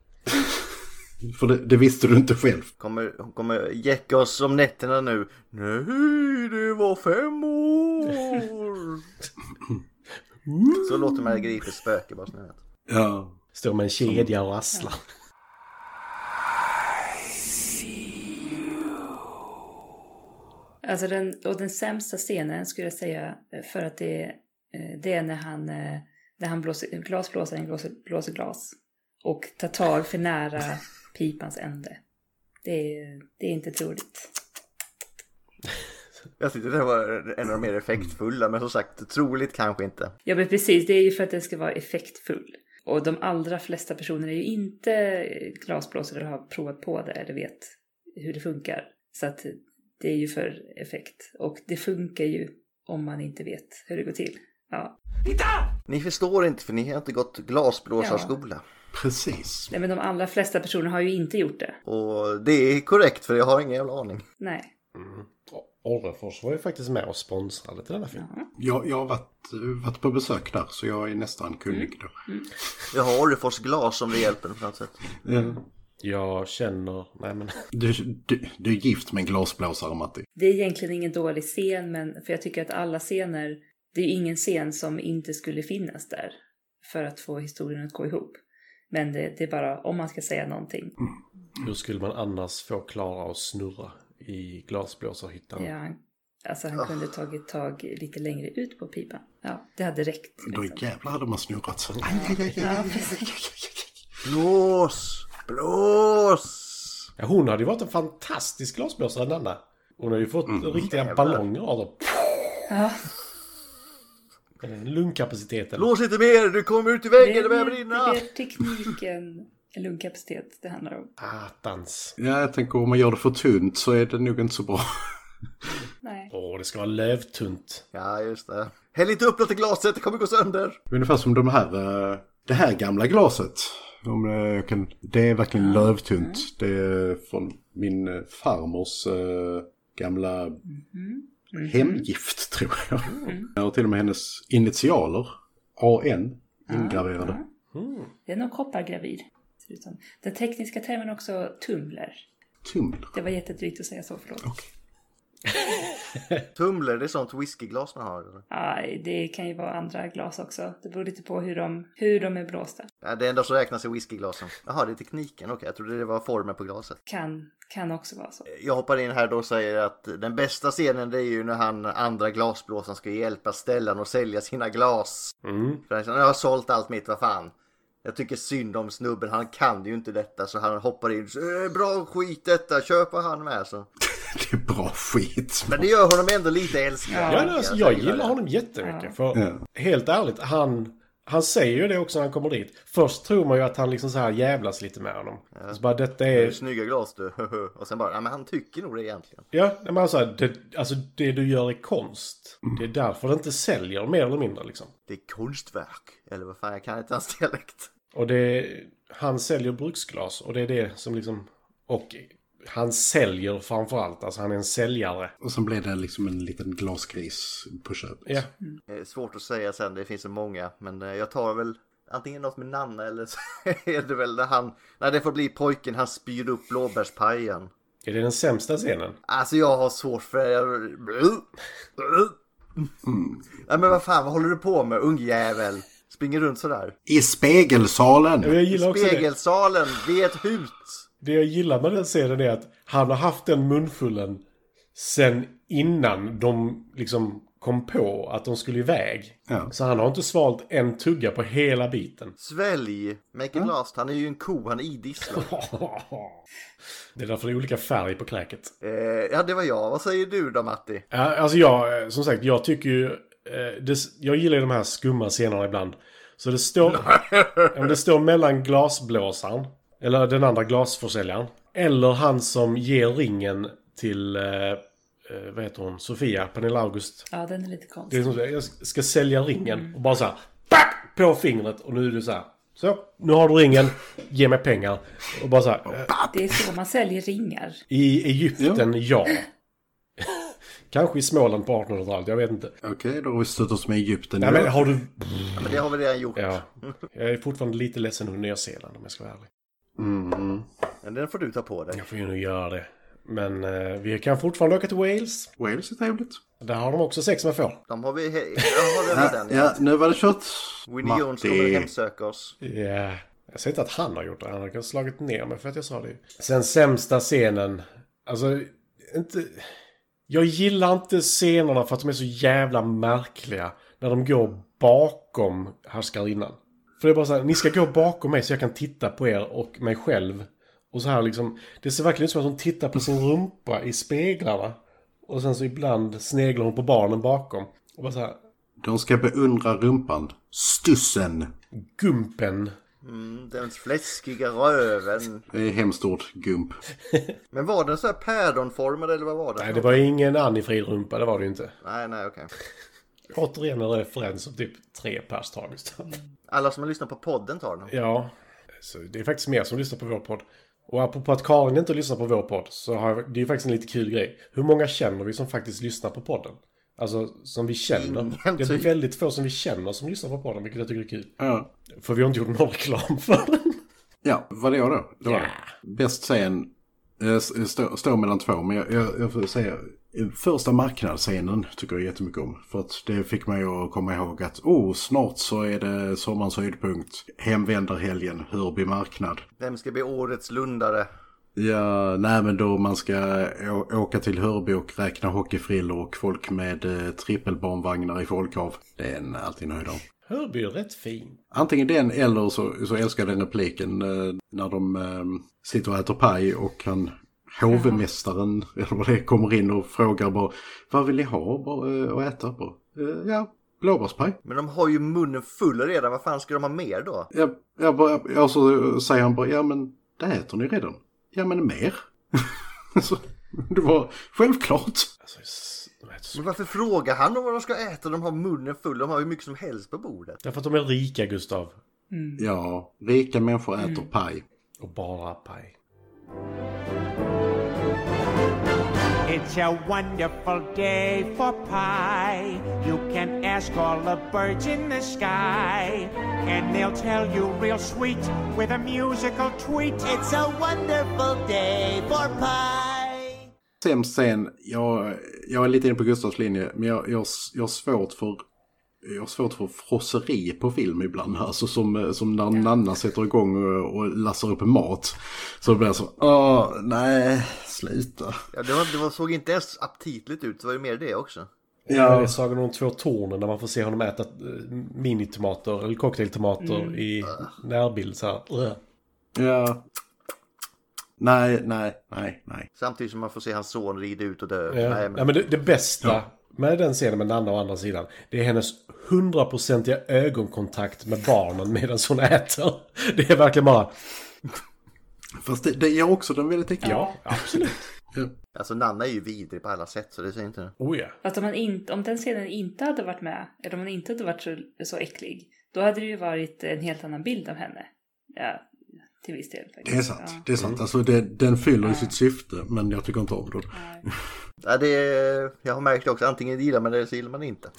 Speaker 4: För det, det visste du inte själv.
Speaker 1: Kommer, hon kommer jäcka oss om nätterna nu. Nej, det var fem år! så låter man gripa spöke bara så ni vet.
Speaker 4: Ja.
Speaker 5: Står med en kedja och rasslar.
Speaker 2: Alltså den, och den sämsta scenen skulle jag säga för att det, eh, det är när han, eh, när han blåser, glasblåsaren blåser, blåser glas och tar tag för nära pipans ände. Det är, det är inte troligt.
Speaker 1: Jag tyckte det var en av de mer effektfulla, men som sagt, troligt kanske inte.
Speaker 2: Ja men precis, det är ju för att den ska vara effektfull. Och de allra flesta personer är ju inte eh, glasblåsare eller har provat på det eller vet hur det funkar. Så att det är ju för effekt. Och det funkar ju om man inte vet hur det går till. Ja.
Speaker 1: Ni förstår inte, för ni har inte gått glasblåsarskola.
Speaker 4: Precis.
Speaker 2: Nej men de allra flesta personer har ju inte gjort det.
Speaker 1: Och det är korrekt, för jag har ingen jävla aning.
Speaker 2: Nej.
Speaker 5: Mm. Orrefors var ju faktiskt med och sponsrade till denna film.
Speaker 4: Jag, jag har varit, eh, varit på besök där, så jag är nästan kunnig då.
Speaker 1: Jag har Orrefors glas om det hjälper på något sätt.
Speaker 4: Ja.
Speaker 5: Jag känner... Nej men...
Speaker 4: Du, du, du är gift med en glasblåsare, Matti.
Speaker 2: Det är egentligen ingen dålig scen men för jag tycker att alla scener, det är ju ingen scen som inte skulle finnas där för att få historien att gå ihop. Men det, det är bara om man ska säga någonting.
Speaker 5: Hur skulle man annars få Klara att snurra i glasblåsarhyttan?
Speaker 2: Ja, han- alltså han kunde tagit tag lite längre ut på pipan. Ja, det hade räckt. liksom.
Speaker 4: Då jävlar hade man snurrat. Aj, aj, aj, aj.
Speaker 2: Ja, precis.
Speaker 1: Blås! Blås!
Speaker 5: Ja, hon hade ju varit en fantastisk glasblåsare, Nanna. Hon har ju fått riktiga ballonger av dem.
Speaker 2: Ja.
Speaker 5: Eh, Lungkapaciteten.
Speaker 1: Blås inte mer! Du kommer ut i väggen, det
Speaker 2: Det
Speaker 1: börjar
Speaker 2: är-
Speaker 1: brinna!
Speaker 2: Det är tekniken, lungkapacitet det handlar om.
Speaker 5: Attans.
Speaker 4: Ja, jag tänker om man gör det för tunt så är det nog inte så bra.
Speaker 2: Nej.
Speaker 5: Åh, det ska vara lövtunt.
Speaker 1: Ja, just det. Häll inte upp något i glaset, det kommer gå sönder!
Speaker 4: Ungefär som de här, eh, det här gamla glaset. Om eh, jag kan, det är verkligen lövtunt. Det är från min eh, farmors eh, gamla hemgift tror jag. Och till och med hennes initialer, AN, ingraverade.
Speaker 2: Det är nog koppargravid. ser ut som. Den tekniska termen är också tumler.
Speaker 4: Tumler.
Speaker 2: Det var jättedrygt att säga så, förlåt.
Speaker 1: Tumler, det är sånt whiskyglas man har. eller?
Speaker 2: Aj, det kan ju vara andra glas också. Det beror lite på hur de, hur de är blåsta.
Speaker 1: Ja, det enda som räknas är whiskyglasen. Jaha, det är tekniken. Okej, jag trodde det var formen på glaset.
Speaker 2: Kan, kan också vara så.
Speaker 1: Jag hoppar in här då och säger att den bästa scenen det är ju när han andra glasblåsaren ska hjälpa Stellan att sälja sina glas.
Speaker 5: Mm.
Speaker 1: För han säger, jag har sålt allt mitt, vad fan. Jag tycker synd om snubben, han kan ju inte detta så han hoppar in. Så, "Eh, Bra skit detta, köp vad han med så.
Speaker 4: [laughs] Det är bra skit.
Speaker 1: Men det gör honom ändå lite älskvärd.
Speaker 5: Ja, men alltså, jag gillar honom jättemycket. För
Speaker 4: Ja.
Speaker 5: helt ärligt, han, han säger ju det också när han kommer dit. Först tror man ju att han liksom så här jävlas lite med honom. Så bara detta
Speaker 1: Det är
Speaker 5: är...
Speaker 1: Snygga glas du. [laughs] Och sen bara, ja men han tycker nog det egentligen.
Speaker 5: Ja, nej, men alltså, det, alltså det du gör är konst. Det är därför det inte säljer mer eller mindre liksom.
Speaker 1: Det är konstverk. Eller vad fan, jag kan inte hans [laughs] dialekt.
Speaker 5: Och det... han säljer bruksglas och det är det som liksom... Och han säljer framförallt, alltså han är en säljare.
Speaker 4: Och sen blev det liksom en liten glasgris på köpet.
Speaker 5: Ja.
Speaker 1: Det är svårt att säga sen, det finns så många. Men eh, jag tar väl antingen något med Nanna eller så [laughs] är det väl när han... När det får bli pojken, han spyr upp blåbärspajen.
Speaker 5: Är det den sämsta scenen?
Speaker 1: Alltså jag har svårt för... jag-
Speaker 5: Mm.
Speaker 1: Nej men vad fan, vad håller du på med ungjävel? Springer runt sådär.
Speaker 4: I spegelsalen!
Speaker 5: Jag gillar också det.
Speaker 1: Spegelsalen, det är ett hus.
Speaker 5: Det jag gillar med den scenen är att han har haft den munfullen sen innan de liksom kom på att de skulle iväg.
Speaker 4: Ja.
Speaker 5: Så han har inte svalt en tugga på hela biten.
Speaker 1: Svälj, make it last. Han är ju en ko, han är idisslad.
Speaker 5: Det är därför det är olika färg på kräket.
Speaker 1: eh, ja, det var jag. Vad säger du då Matti?
Speaker 5: Ja, Alltså jag, eh, som sagt, jag tycker ju... eh, Det, jag gillar ju de här skumma scenerna ibland. Så det står... [laughs] Ja, men det står mellan glasblåsaren, eller den andra glasförsäljaren, eller han som ger ringen till, eh, eh, vad heter hon, Sofia, Pernilla August.
Speaker 2: Ja, den är lite
Speaker 5: Det
Speaker 2: konstig.
Speaker 5: är som att jag ska sälja ringen och bara så här, pack, på fingret och nu är det så här. Så, nu har du ringen, ge mig pengar. Och bara så här, eh,
Speaker 2: Det är så man säljer ringar.
Speaker 5: i Egypten, ja. [laughs] Kanske i Småland på 1800-talet, jag vet inte.
Speaker 4: Okej, då har vi stött oss med Egypten.
Speaker 5: Nej
Speaker 4: nu.
Speaker 5: men har du...
Speaker 1: Ja, men det har vi redan gjort.
Speaker 5: Ja. Jag är fortfarande lite ledsen över Nya Zeeland om jag ska vara ärlig.
Speaker 4: Mm.
Speaker 1: Men den får du ta på dig.
Speaker 5: Jag får ju nog göra det. Men eh, vi kan fortfarande åka till Wales.
Speaker 4: Wales är trevligt.
Speaker 5: Där har de också sex med får.
Speaker 1: De har vi... he- Jag har
Speaker 4: Ja,
Speaker 1: redan den.
Speaker 4: ja,
Speaker 1: Ja.
Speaker 4: nu var det kört.
Speaker 1: Winnie Jones kommer att hemsöka oss.
Speaker 5: Ja. Jag säger inte att han har gjort det. Han har slagit ner mig för att jag sa det. Sen sämsta scenen. Alltså, inte... Jag gillar inte scenerna för att de är så jävla märkliga. När de går bakom härskarinnan. För det är bara så här, ni ska gå bakom mig så jag kan titta på er och mig själv. Och så här liksom, det ser verkligen ut som att hon tittar på sin rumpa i speglarna. Och sen så ibland sneglar hon på barnen bakom. Och bara så här,
Speaker 4: De ska beundra rumpan. Stussen.
Speaker 5: gumpen.
Speaker 1: Mm, den fläskiga röven.
Speaker 4: Det är hemskt ord, gump.
Speaker 1: Men var den så här päronformad eller vad var den?
Speaker 5: Nej, det var ingen Annie-fri rumpa, det var det ju inte.
Speaker 1: Nej, nej, okej.
Speaker 5: Återigen en referens som typ tre pers tar just
Speaker 1: Mm.
Speaker 5: nu.
Speaker 1: Alla som har lyssnat på podden tar den.
Speaker 5: Ja, så det är faktiskt mer som lyssnar på vår podd. Och apropå att Karin inte lyssnar på vår podd så har jag, det är ju faktiskt en lite kul grej. Hur många känner vi som faktiskt lyssnar på podden? Alltså som vi känner.
Speaker 1: Ingen
Speaker 5: det är
Speaker 1: typ.
Speaker 5: väldigt få som vi känner som lyssnar på podden, vilket jag tycker är kul.
Speaker 4: Ja.
Speaker 5: För vi har inte gjort någon reklam för den.
Speaker 4: Ja, vad det jag då? Det var det. Bäst scen eh, s- stå- står mellan två, men jag, jag, jag får säga eh, första marknadsscenen tycker jag jättemycket om. För att det fick mig att komma ihåg att oh, snart så är det sommarens höjdpunkt. Hemvändarhelgen, Hörby marknad.
Speaker 1: Vem ska bli årets lundare?
Speaker 4: Ja, nej men då man ska å- åka till Hörby och räkna hockeyfrillor och folk med eh, trippelbarnvagnar i folkhav. Det är en alltid nöjd av.
Speaker 5: Hörby är ju rätt fin.
Speaker 4: Antingen den eller så, så älskar jag den repliken eh, när de eh, sitter och äter paj och han hovmästaren eller vad det är, kommer in och frågar bara vad vill ni ha bara, eh, att äta på? Eh, ja, blåbärspaj.
Speaker 1: Men de har ju munnen full redan, vad fan ska de ha mer då?
Speaker 4: Ja, ja, bara, ja, så säger han bara ja men det äter ni redan. Ja men mer. [laughs] så, det var självklart.
Speaker 5: Alltså, s- de är så-
Speaker 1: Men varför frågar han om vad de ska äta? De har munnen full, de har hur mycket som helst på bordet.
Speaker 5: Därför att de är rika, Gustav.
Speaker 4: Ja, rika människor äter
Speaker 5: Mm.
Speaker 4: paj.
Speaker 5: Och bara paj.
Speaker 3: It's a wonderful day for pie. You can ask all the birds in the sky, and they'll tell you real sweet with a musical tweet. It's a wonderful day for pie.
Speaker 4: Sämst scen, jag, jag är lite inne på Gustavs linje, men jag, jag, jag har svårt för jag har svårt för frosseri på film ibland, alltså som, som när Nanna sätter igång och, och lassar upp mat. Så det blir så, åh, nej, sluta.
Speaker 1: Ja, det, var, det var, såg inte ens aptitligt ut, så var det mer det också.
Speaker 5: Ja. Det är Sagan om de två tornen där man får se honom äta eh, minitomater eller cocktailtomater i närbild. Så här. Äh.
Speaker 4: Ja. Nej, nej, nej, nej.
Speaker 1: Samtidigt som man får se hans son rida ut och dö.
Speaker 5: Ja.
Speaker 1: Nej, men,
Speaker 5: Ja, men det, det bästa med den scenen med Nanna å andra sidan, det är hennes hundraprocentiga ögonkontakt med barnen medan hon äter. [laughs] Det är verkligen bara...
Speaker 4: Fast det, det gör också den väldigt äcklig.
Speaker 5: Ja, absolut.
Speaker 1: Alltså Nanna är ju vidrig på alla sätt, så det säger inte det.
Speaker 5: Oh ja.
Speaker 2: Fast om, man inte, om den scenen inte hade varit med, eller om hon inte hade varit så, så äcklig, då hade det ju varit en helt annan bild av henne. Ja, Till viss del. Faktiskt.
Speaker 4: Det är sant.
Speaker 2: Ja.
Speaker 4: Det är sant. Alltså det, den fyller ju sitt syfte, men jag tycker inte om den.
Speaker 1: Ja, det är, jag har märkt det också, antingen gillar man det eller så gillar man det inte.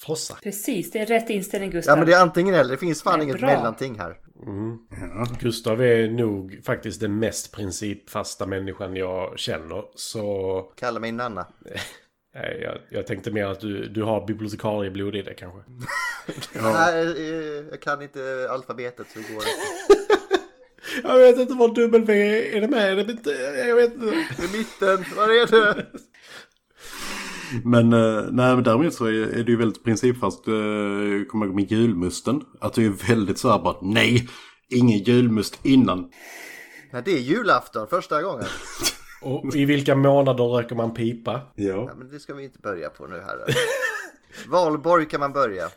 Speaker 5: Frossa.
Speaker 2: Precis, det är rätt inställning Gustav.
Speaker 1: Ja men det är antingen eller, det finns fan
Speaker 2: Nej,
Speaker 1: inget
Speaker 2: bra.
Speaker 1: mellanting här.
Speaker 5: Mm. Gustav är nog faktiskt den mest principfasta människan jag känner. Så...
Speaker 1: Kalla mig Nanna.
Speaker 5: Nej, jag, jag tänkte mer att du, du har bibliotekarieblod i det kanske.
Speaker 1: Nej, eh, jag kan inte alfabetet så det går inte.
Speaker 5: Jag vet inte vad W är det med. Är det inte, jag vet inte.
Speaker 1: I mitten, var är du?
Speaker 4: Men, eh, nej, men däremot så är, är det ju väldigt principfast, eh, jag kommer ihåg med julmusten. Att det är väldigt så här bara, nej, ingen julmust innan.
Speaker 1: Nej, det är julafton första gången.
Speaker 5: Och i vilka månader röker man pipa?
Speaker 1: Ja, men det ska vi inte börja på nu här. Valborg kan man börja.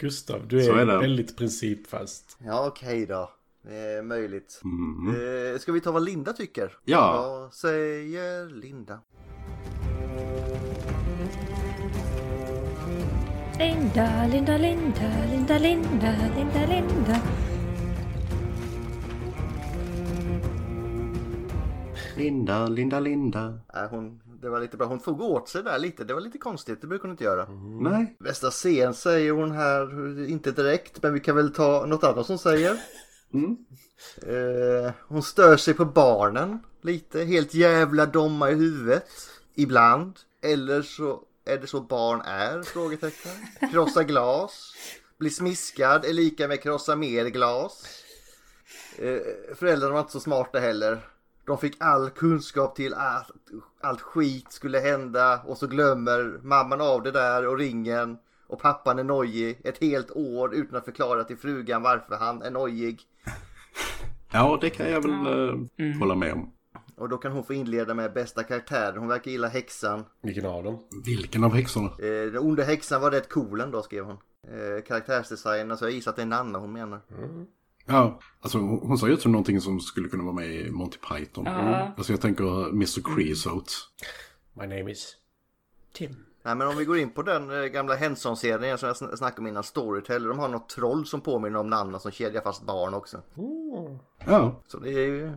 Speaker 5: Gustav, du
Speaker 4: Så
Speaker 5: är,
Speaker 4: är det.
Speaker 5: väldigt principfast.
Speaker 1: Ja, okej då. Det är möjligt. Eh, ska vi ta vad Linda tycker?
Speaker 5: Ja.
Speaker 1: Vad säger Linda?
Speaker 13: Linda, Linda, Linda, Linda, Linda, Linda, Linda.
Speaker 4: Linda, Linda, Linda.
Speaker 1: Nej, hon, det var lite bra. Hon tog åt sig där lite. Det var lite konstigt. Det brukar hon inte göra.
Speaker 4: Nej.
Speaker 1: Bästa scen säger hon här. Inte direkt, men vi kan väl ta något annat hon säger. Eh, hon stör sig på barnen lite. Helt jävla domma i huvudet. Ibland. Eller så är det så barn är? Frågetecken. Krossa glas. Bli smiskad är lika med krossa mer glas. Eh, föräldrarna var inte så smarta heller. De fick all kunskap till att allt skit skulle hända och så glömmer mamman av det där och ringen och pappan är nojig ett helt år utan att förklara till frugan varför han är nojig.
Speaker 4: Ja, det kan jag väl eh, hålla med om.
Speaker 1: Och då kan hon få inleda med bästa karaktären. Hon verkar gilla häxan.
Speaker 5: Vilken av dem?
Speaker 4: Vilken av häxorna?
Speaker 1: Eh, den onda häxan var rätt cool ändå skrev hon. Eh, karaktärsdesign, alltså jag gissar att det är Nanna hon menar.
Speaker 4: Ja, alltså hon hon ser ut som någonting som skulle kunna vara med i Monty Python.
Speaker 1: Ja.
Speaker 4: Alltså jag tänker eh, Mr. Creosote.
Speaker 5: My name is Tim.
Speaker 1: Nej men om vi går in på den eh, gamla Henson-serien som jag sn- snackade om innan, Storytel. De har något troll som påminner om Nanna som kedjar fast barn också.
Speaker 4: Ja.
Speaker 1: Så det är ju...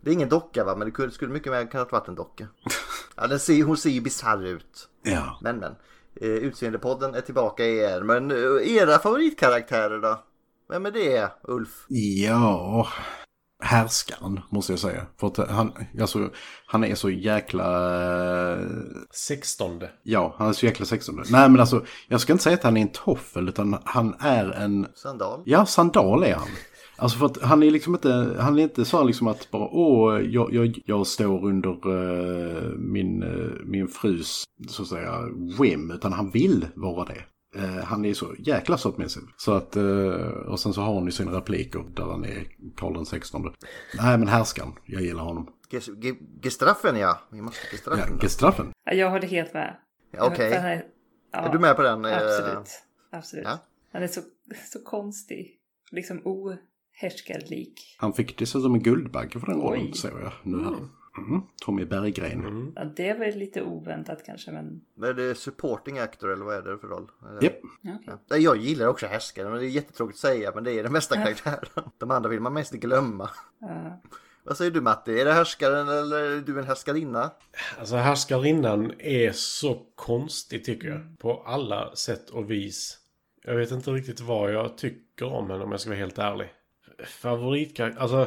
Speaker 1: Det är ingen docka va, men det kunde- skulle mycket väl kunnat varit en
Speaker 4: [laughs]
Speaker 1: docka. ja, den ser, hon ser ju bisarr ut.
Speaker 4: Ja.
Speaker 1: Men men. Eh, Utseendepodden är tillbaka igen. Men eh, era favoritkaraktärer då? Vem är det, Ulf?
Speaker 4: Ja, härskaren måste jag säga. För att han, alltså, han är så jäkla... eh,
Speaker 5: Sextonde.
Speaker 4: Ja, han är så jäkla sextonde. Nej men alltså, jag ska inte säga att han är en toffel utan han är en...
Speaker 1: Sandal?
Speaker 4: Ja, sandal är han. Alltså för att han är liksom inte, han är inte så här liksom att bara åh, jag, jag, jag står under eh, min, eh, min frus, så att säga, whim. Utan han vill vara det. Eh, han är så jäkla sötmysig. Så att, eh, och sen så har han ju sina repliker där han är Karl den sextonde. Nej men härskaren, jag gillar honom.
Speaker 1: Ges, ge, gestraffen ja. Vi måste
Speaker 4: Ja,
Speaker 1: gestraffen. då.
Speaker 4: Gestraffen.
Speaker 2: Ja, jag håller helt med.
Speaker 1: Ja, okej.
Speaker 2: Han är-
Speaker 1: Är du med på den, eh?
Speaker 2: Absolut. Absolut.
Speaker 1: Ja.
Speaker 2: Han är så, så konstig. Liksom ohärskarlik.
Speaker 4: Han fick dessutom en guldbagge för den
Speaker 2: Oj.
Speaker 4: rollen såg jag nu här. Mm. Tommy Berggren.
Speaker 5: Mm.
Speaker 2: Ja, det var lite oväntat kanske, men...
Speaker 1: Men är det supporting actor eller vad är det för roll? Eller-
Speaker 4: Japp.
Speaker 2: Ja, okej.
Speaker 1: Ja. Nej, Jag gillar också härskaren men det är jättetråkigt att säga men det är den bästa karaktären. [laughs] De andra vill man mest glömma.
Speaker 2: Ja.
Speaker 1: Vad säger du Matti? Är det härskaren eller är du en härskarinna?
Speaker 5: Alltså härskarinnan är så konstig tycker jag. På alla sätt och vis. Jag vet inte riktigt vad jag tycker om henne om jag ska vara helt ärlig. Favoritkaraktär? Alltså,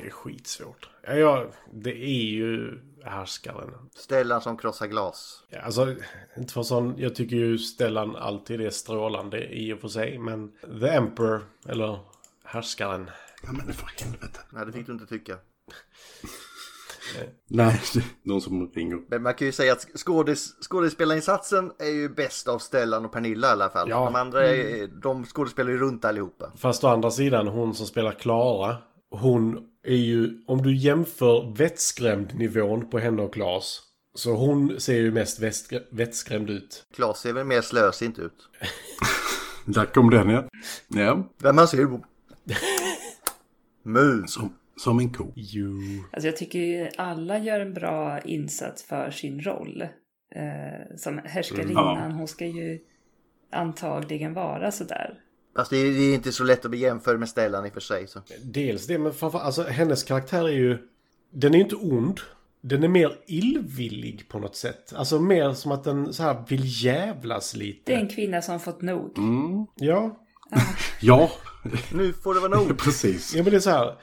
Speaker 5: det är skitsvårt. Ja, jag, det är ju härskaren.
Speaker 1: Stellan som krossar glas.
Speaker 5: Ja, Alltså, inte för sån, jag tycker ju Stellan alltid är strålande i och för sig, men The Emperor, eller härskaren.
Speaker 4: Ja, men för helvete.
Speaker 1: Nej, det fick du inte tycka.
Speaker 4: Nej, [laughs] någon som ringer.
Speaker 1: Men man kan ju säga att skådis, skådespelarinsatsen är ju bäst av Stellan och Pernilla i alla fall.
Speaker 5: Ja.
Speaker 1: De andra är, de skådespelar ju runt allihopa.
Speaker 5: Fast å andra sidan, hon som spelar Klara, hon är ju, om du jämför vettskrämd nivån på henne och Klas, så hon ser ju mest vätskrä- vettskrämd ut.
Speaker 1: Klas ser väl mer slösint ut.
Speaker 4: Där kom den ja. ja.
Speaker 1: Vem han ser på? Mus.
Speaker 4: Som, som en ko.
Speaker 5: Jo.
Speaker 2: Alltså jag tycker ju alla gör en bra insats för sin roll. Eh, som härskarinnan,
Speaker 4: Mm.
Speaker 2: hon ska ju antagligen vara sådär.
Speaker 1: Fast det är, det är inte så lätt att bli jämförd med Stellan i och för sig. Så.
Speaker 5: Dels det, men framför, alltså, hennes karaktär är ju... Den är ju inte ond. Den är mer illvillig på något sätt. Alltså mer som att den så här vill jävlas lite.
Speaker 2: Det är en kvinna som fått nog.
Speaker 5: Mm. Ja.
Speaker 4: ja.
Speaker 1: Nu får det vara nog.
Speaker 4: [laughs] Precis.
Speaker 5: Ja men det är så här.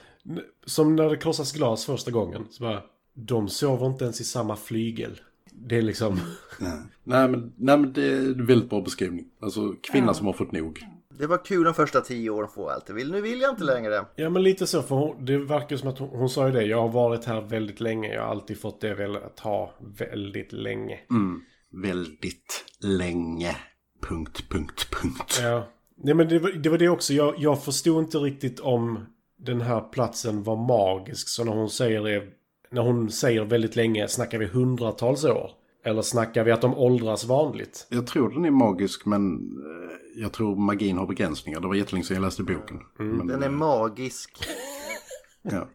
Speaker 5: Som när det krossas glas första gången. Så bara, de sover inte ens i samma flygel. Det är liksom... [laughs]
Speaker 4: Nej. Nej, men, nej men det är en väldigt bra beskrivning. Alltså kvinna
Speaker 5: Ja.
Speaker 4: som har fått nog.
Speaker 1: Det var kul de första tio åren får jag alltid vill. Nu vill jag
Speaker 4: Mm.
Speaker 1: inte längre.
Speaker 5: Ja men lite så, för hon, det verkar som att hon, hon sa ju det. Jag har varit här väldigt länge. Jag har alltid fått det jag velat ha väldigt länge.
Speaker 4: Mm. Väldigt länge. Punkt, punkt, punkt.
Speaker 5: Ja. Nej men det var det, var det också. Jag, jag förstod inte riktigt om den här platsen var magisk. Så när hon säger det, när hon säger väldigt länge, snackar vi hundratals år? Eller snackar vi att de åldras vanligt?
Speaker 4: Jag tror den är magisk men eh, jag tror magin har begränsningar. Det var jättelänge sedan jag läste boken. Men,
Speaker 1: Den är magisk.
Speaker 4: ja.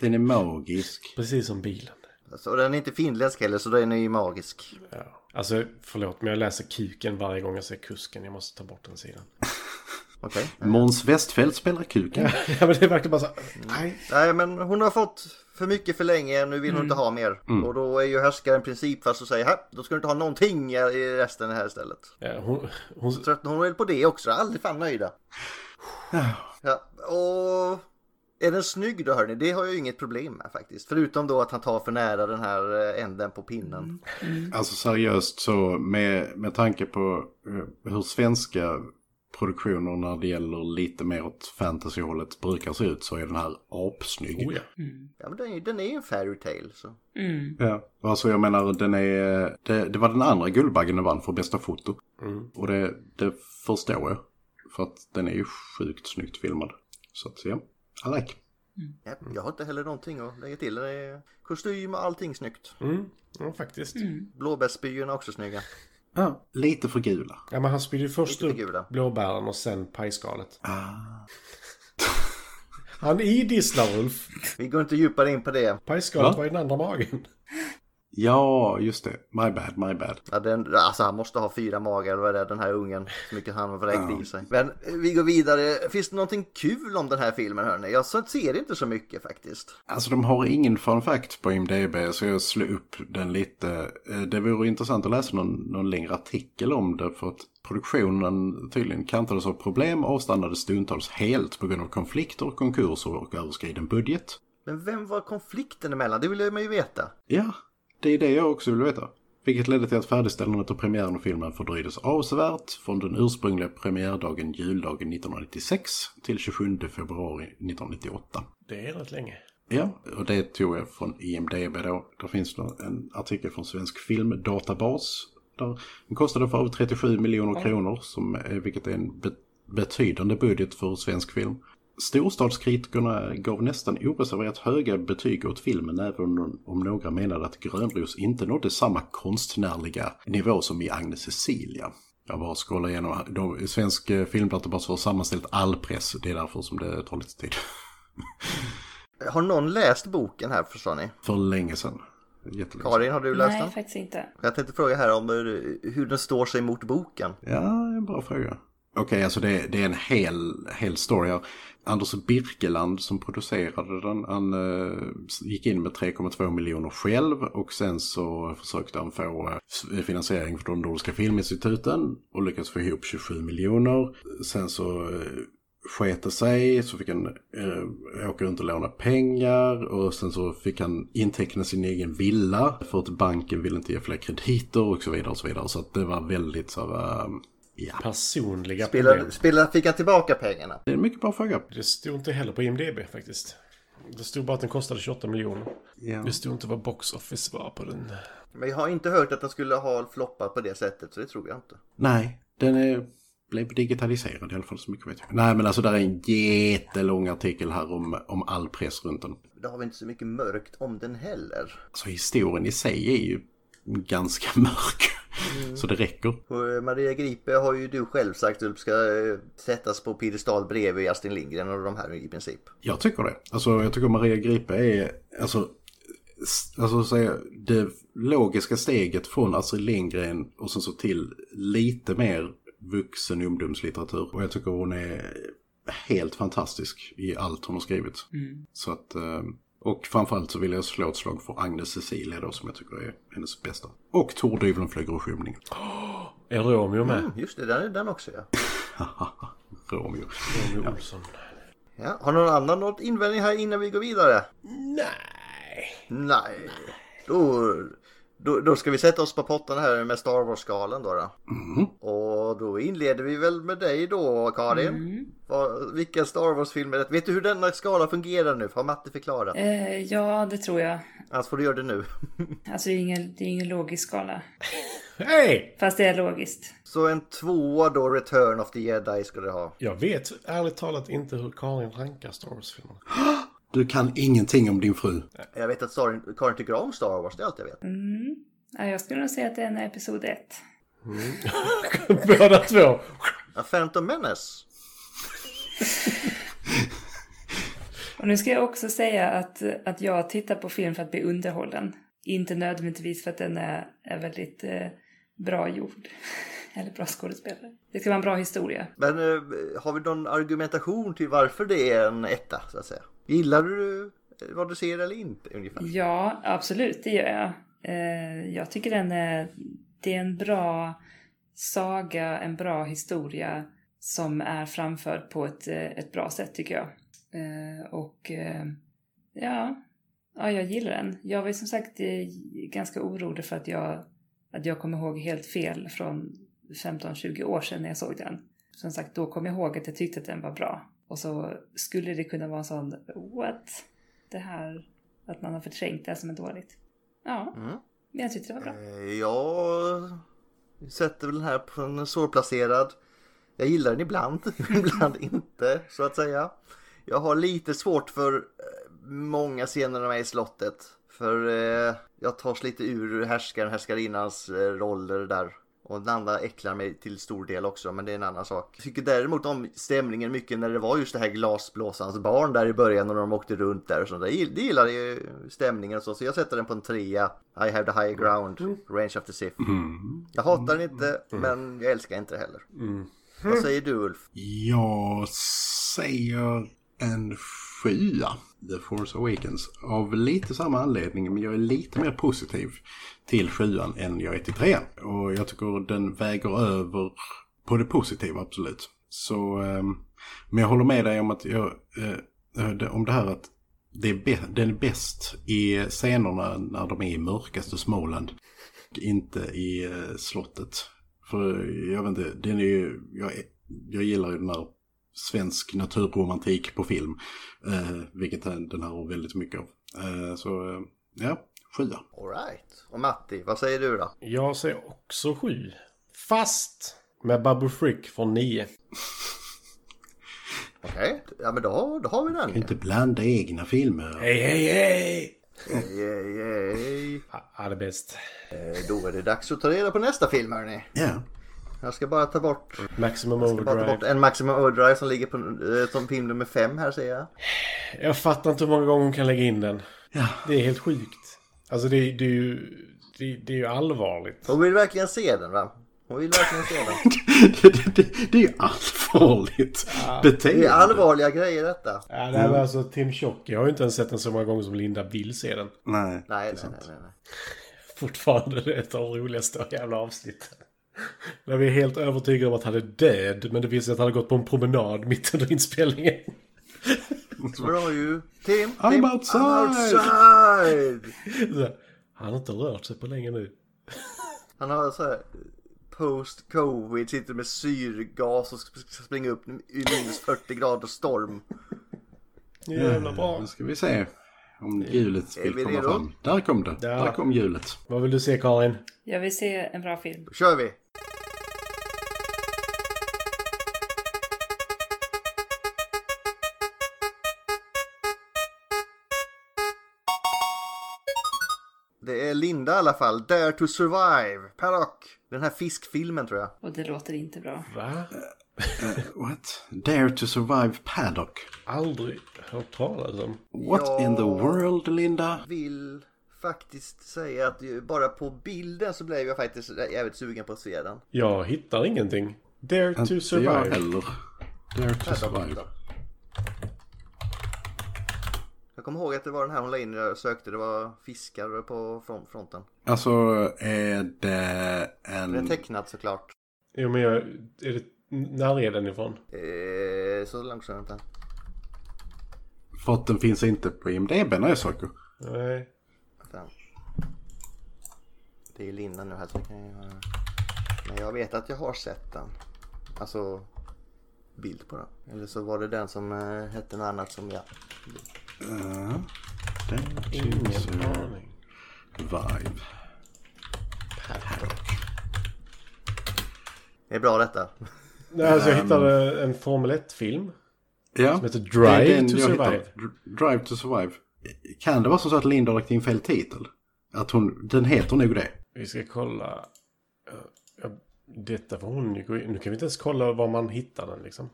Speaker 4: den är magisk.
Speaker 5: Precis som bilen.
Speaker 1: Alltså, och den är inte finländsk heller så den är ju magisk.
Speaker 5: Alltså förlåt, men jag läser kuken varje gång jag ser kusken. Jag måste ta bort den sidan. [laughs]
Speaker 1: Okej.
Speaker 4: Måns Westfeldt spelar kuken.
Speaker 5: ja men det verkar bara så... Nej.
Speaker 1: Nej men hon har fått för mycket för länge. Nu vill hon inte ha mer.
Speaker 4: Mm.
Speaker 1: Och då är ju härskaren princip fast och säger här, då ska du inte ha någonting i resten här istället.
Speaker 5: Ja, Eh, hon, hon...
Speaker 1: Så tröttnar hon väl på det också. Aldrig fan
Speaker 4: [sighs]
Speaker 1: nöjda. Ja, och är den snygg då hörni? Det har jag ju inget problem med faktiskt. Förutom då att han tar för nära den här eh, änden på pinnen.
Speaker 4: [laughs] Alltså seriöst så med, med tanke på eh, hur svenska produktioner när det gäller lite mer åt fantasyhållet brukar se ut så är den här apsnygg.
Speaker 5: Oh, ja.
Speaker 1: Ja, men den, är- den är ju en fairy tale så.
Speaker 2: Mm.
Speaker 4: Ja, alltså jag menar den är... Det, det var den andra Guldbaggen den vann för bästa foto.
Speaker 5: Mm.
Speaker 4: Och det, det förstår jag. För att den är ju sjukt snyggt filmad. Så att ja, I like.
Speaker 1: Ja, jag har inte heller någonting att lägga till. Den är kostym och allting snyggt.
Speaker 5: Mm. Ja, faktiskt.
Speaker 1: Blåbärsspyorna är också snygga.
Speaker 4: Ja, lite för gula.
Speaker 5: Ja, men han spydde ju först
Speaker 1: Lite
Speaker 5: upp
Speaker 1: gula.
Speaker 5: blåbären och sen pajskalet.
Speaker 4: Ah.
Speaker 5: [laughs] Han idisslar Ulf.
Speaker 1: Vi går inte djupare in på det.
Speaker 5: Pajskalet
Speaker 4: Va?
Speaker 5: var i den andra magen.
Speaker 4: Ja, just det. My bad, my bad.
Speaker 1: Ja, den, alltså han måste ha fyra magar, vad är det, den här ungen. Så mycket han har vräkt i sig. Men eh, vi går vidare. Finns det någonting kul om den här filmen hörni? Jag så- ser inte så mycket faktiskt.
Speaker 4: Alltså de har ingen fun fact på IMDB så jag slår upp den lite. Eh, Det vore intressant att läsa någon, någon längre artikel om det för att produktionen tydligen kantades av problem och avstannade stundtals helt på grund av konflikter, konkurser och överskriden budget.
Speaker 1: Men vem var konflikten emellan? Det vill man ju veta.
Speaker 4: Ja, det är det jag också vill veta. Vilket ledde till att färdigställandet och premiären av filmen fördröjdes avsevärt från den ursprungliga premiärdagen juldagen 1996 till 27 februari 1998.
Speaker 5: Det är rätt länge.
Speaker 4: Ja, och det tog jag från IMDB då. Där finns det en artikel från Svensk Filmdatabas. Där den kostade för över 37 miljoner kronor, som, är- vilket är en be- betydande budget för svensk film. Storstadskritikerna gav nästan oreserverat höga betyg åt filmen även om- om några menade att Grönros inte nådde samma konstnärliga nivå som i Agnes Cecilia. Jag bara scrollar igenom. här. De, svensk eh, Filmdatabas har sammanställt all press. Det är därför som det tar lite tid.
Speaker 1: Har någon läst boken här förstår ni?
Speaker 4: För länge sedan. Jättelänge sedan.
Speaker 1: Karin, har du läst
Speaker 2: Nej,
Speaker 1: den?
Speaker 2: faktiskt inte.
Speaker 1: Jag tänkte fråga här om hur, hur den står sig mot boken.
Speaker 4: Ja, en bra fråga. Okej, alltså det, det är en hel, hel story. här. Anders Birkeland som producerade den, han eh, gick in med 3,2 miljoner själv och sen så försökte han få eh, finansiering från de nordiska filminstituten och lyckades få ihop 27 miljoner. Sen så eh, skete sig så fick han eh, åka runt och låna pengar och sen så fick han inteckna sin egen villa för att banken ville inte ge fler krediter och så vidare och så vidare. Så att det var väldigt så här, eh, ja.
Speaker 5: Personliga
Speaker 1: Spelar,
Speaker 5: problem.
Speaker 1: spelar, fick han tillbaka pengarna?
Speaker 4: Det är en mycket bra fråga.
Speaker 5: Det stod inte heller på IMDB faktiskt. Det stod bara att den kostade 28 miljoner.
Speaker 4: Ja.
Speaker 5: Det stod inte vad box office var på den.
Speaker 1: Men jag har inte hört att den skulle ha floppat på det sättet, så det tror jag inte.
Speaker 4: Nej, den är, blev digitaliserad i alla fall så mycket vet jag. Nej men alltså där är en jättelång artikel här om, om all press runt den.
Speaker 1: Det har vi inte så mycket mörkt om den heller.
Speaker 4: Alltså historien i sig är ju ganska [laughs] mörk. Så det räcker.
Speaker 1: Och, eh, Maria Gripe har ju du själv sagt Ulf ska eh, sättas på piedestal bredvid Astrid Lindgren och de här i princip.
Speaker 4: Jag tycker det. Alltså, jag tycker Maria Gripe är... Alltså, s- alltså så säga, det logiska steget från Astrid Lindgren och sen så till lite mer vuxen ungdomslitteratur. Och jag tycker hon är helt fantastisk i allt hon har skrivit.
Speaker 2: Mm.
Speaker 4: Så att, eh, och framförallt så vill jag slå ett slag för Agnes Cecilia då som jag tycker är hennes bästa. Och Tordyveln flyger och skymning. [laughs]
Speaker 5: Är Romeo med?
Speaker 1: Mm, just det, den är den också ja.
Speaker 4: Romeo.
Speaker 5: Romeo
Speaker 4: Ja.
Speaker 5: Olsson.
Speaker 1: ja. Har någon annan något invändning här innan vi går vidare?
Speaker 5: Nej.
Speaker 1: Nej. Då, då, då ska vi sätta oss på pottan här med Star Wars-skalan då. då. Och då inleder vi väl med dig då Karin.
Speaker 2: Mm.
Speaker 1: Vad- vilka Star Wars-filmer är det? Vet du hur denna skala fungerar nu? Har Matti förklarat?
Speaker 2: Eh, ja, det tror jag.
Speaker 1: Annars får du göra det nu.
Speaker 2: Alltså det är ingen, det är ingen logisk skala.
Speaker 5: Hej!
Speaker 2: Fast det är logiskt.
Speaker 1: Så en tvåa då, Return of the Jedi ska du ha.
Speaker 5: Jag vet ärligt talat inte hur Karin rankar Star Wars-filmerna. [laughs]
Speaker 4: Du kan ingenting om din fru.
Speaker 1: Jag vet att Star- Karin tycker om Star Wars, det är allt jag vet.
Speaker 2: Mm. Ja, jag skulle nog säga att det är en episod 1.
Speaker 5: Båda två.
Speaker 1: Ja, Phantom Menace.
Speaker 2: Och nu ska jag också säga att, att jag tittar på film för att bli underhållen. Inte nödvändigtvis för att den är, är väldigt eh, bra gjord. [laughs] Eller bra skådespelare. Det ska vara en bra historia.
Speaker 1: Men eh, har vi någon argumentation till varför det är en etta så att säga? Gillar du eh, vad du ser eller inte ungefär?
Speaker 2: Ja, absolut, det gör jag. Eh, jag tycker den är, det är en bra saga, en bra historia som är framförd på ett, eh, ett bra sätt tycker jag. Eh, och eh, ja, ja, jag gillar den. Jag var ju som sagt eh, ganska orolig för att jag, att jag kom ihåg helt fel från 15-20 år sedan när jag såg den. Som sagt, då kom jag ihåg att jag tyckte att den var bra. Och så skulle det kunna vara en sån what? Det här att man har förträngt det som är dåligt. Ja,
Speaker 1: Mm.
Speaker 2: men jag tyckte det var bra.
Speaker 1: Eh, Jag sätter väl den här på en svårplacerad. Jag gillar den ibland, [laughs] ibland inte så att säga. Jag har lite svårt för eh, många scener med i slottet. För eh, jag tas lite ur härskaren, härskarinnans eh, roller där. Och den andra äcklar mig till stor del också, men det är en annan sak. Jag tycker däremot om stämningen mycket när det var just det här glasblåsarens barn där i början och de åkte runt där och sånt. där. Det gillade ju stämningen och så, så jag sätter den på en trea. I have the high ground, range of the Sith. Jag hatar den inte, men jag älskar inte det heller. Vad säger du Ulf?
Speaker 4: Jag säger en sjua. The Force Awakens. Av lite samma anledning, men jag är lite mer positiv till sjuan än jag är till trean. Och jag tycker den väger över på det positiva, absolut. Så, ehm, men jag håller med dig om att jag, eh, eh, det- om det här att det är bä- den är bäst i scenerna när de är i mörkaste Småland. Inte i eh, slottet. För eh, jag vet inte, den är ju, jag, jag gillar ju den här svensk naturromantik på film. Eh, vilket den den här har väldigt mycket av. Eh, så eh, ja, sjua.
Speaker 1: Alright. Och Matti, vad säger du då?
Speaker 5: Jag säger också sju. Fast med Babu Frick från nio.
Speaker 1: Okej, ja men då, då har vi den.
Speaker 4: Inte blanda egna filmer.
Speaker 5: Hej, hej, hej!
Speaker 1: Yay, yay.
Speaker 5: Ja, det är bäst.
Speaker 1: Eh, Då är det dags att ta reda på nästa film hörni.
Speaker 4: Ja.
Speaker 1: Jag ska bara ta bort,
Speaker 5: Maximum
Speaker 1: jag ska bara ta bort
Speaker 5: Overdrive.
Speaker 1: en Maximum Overdrive som ligger på, eh, som film nummer fem här ser jag.
Speaker 5: Jag fattar inte hur många gånger hon kan lägga in den.
Speaker 4: Ja. [laughs]
Speaker 5: Det är helt sjukt. Alltså det, är- det är ju... Det, det är ju allvarligt.
Speaker 1: Hon vill verkligen se den va? Hon vill verkligen se den.
Speaker 4: det, det, det, det är ju allvarligt beteende.
Speaker 1: Det är allvarliga grejer detta.
Speaker 5: Ja, det här var alltså Tim Tjock. Jag har ju inte ens sett den så många gånger som Linda vill se den.
Speaker 4: Nej.
Speaker 1: Nej, nej, nej, nej. nej.
Speaker 5: Fortfarande det är ett av de roligaste jävla avsnitten. När vi är helt övertygade om att han är död, men det visar sig att han har gått på en promenad mitt under inspelningen.
Speaker 1: Så då har ju Tim, Tim,
Speaker 4: I'm outside.
Speaker 1: I'm outside.
Speaker 5: Så här, Han har inte rört sig på länge nu.
Speaker 1: Han har så här post covid, sitter med syrgas och ska ska springa upp i minus 40 grader storm.
Speaker 5: Jävla bra.
Speaker 4: Nu ska vi se om hjulet
Speaker 1: Är vi
Speaker 4: vill komma
Speaker 1: redo?
Speaker 4: fram. Där kom det.
Speaker 5: Ja.
Speaker 4: Där kom hjulet.
Speaker 5: Vad vill du se Karin?
Speaker 2: Jag vill se en bra film.
Speaker 1: Då kör vi! Det är Linda i alla fall, Dare to survive, Paddock. Den här fiskfilmen tror jag.
Speaker 2: Och det låter inte bra.
Speaker 5: Va?
Speaker 4: What? Dare to survive paddock.
Speaker 5: Aldrig hört talas om.
Speaker 4: What
Speaker 1: Ja.
Speaker 4: in the world, Linda?
Speaker 1: Vill faktiskt säga att ju- bara på bilden så blev jag faktiskt jävligt sugen på att se den.
Speaker 5: Jag hittar ingenting. Dare
Speaker 4: Inte
Speaker 5: to
Speaker 4: jag
Speaker 5: survive.
Speaker 4: heller.
Speaker 5: Dare to
Speaker 1: Nej, de
Speaker 5: survive.
Speaker 1: hittar. Jag kommer ihåg att det var den här hon la in när jag sökte. Det var fiskar på fron- fronten.
Speaker 4: Alltså är det en...
Speaker 1: Det är tecknat såklart.
Speaker 5: Jo, men jag... Är det, när är den ifrån?
Speaker 1: Eh, så långt sedan inte.
Speaker 4: För att den finns inte på IMDB när jag söker.
Speaker 5: Nej.
Speaker 1: Vänta. Det är Linda nu här så kan jag göra. Men jag vet att jag har sett den. Alltså bild på den. Eller så var det den som eh, hette något annat som jag...
Speaker 4: Uh, dare to
Speaker 5: Ingen
Speaker 4: survive.
Speaker 5: aning.
Speaker 1: Det är bra detta. [laughs]
Speaker 5: Nej, alltså jag
Speaker 4: Ehm.
Speaker 5: hittade en Formel 1-film.
Speaker 4: Ja.
Speaker 5: Som heter
Speaker 4: det är
Speaker 5: Drive
Speaker 4: den
Speaker 5: to
Speaker 4: jag
Speaker 5: Survive.
Speaker 4: hittar. Dr- Drive to survive. Kan det vara så att Linda har lagt in fel titel? Att hon, den heter nog det.
Speaker 5: Vi ska kolla. eh, Ja, Detta var hon ju gå in. Nu kan vi inte ens kolla var man hittar den liksom.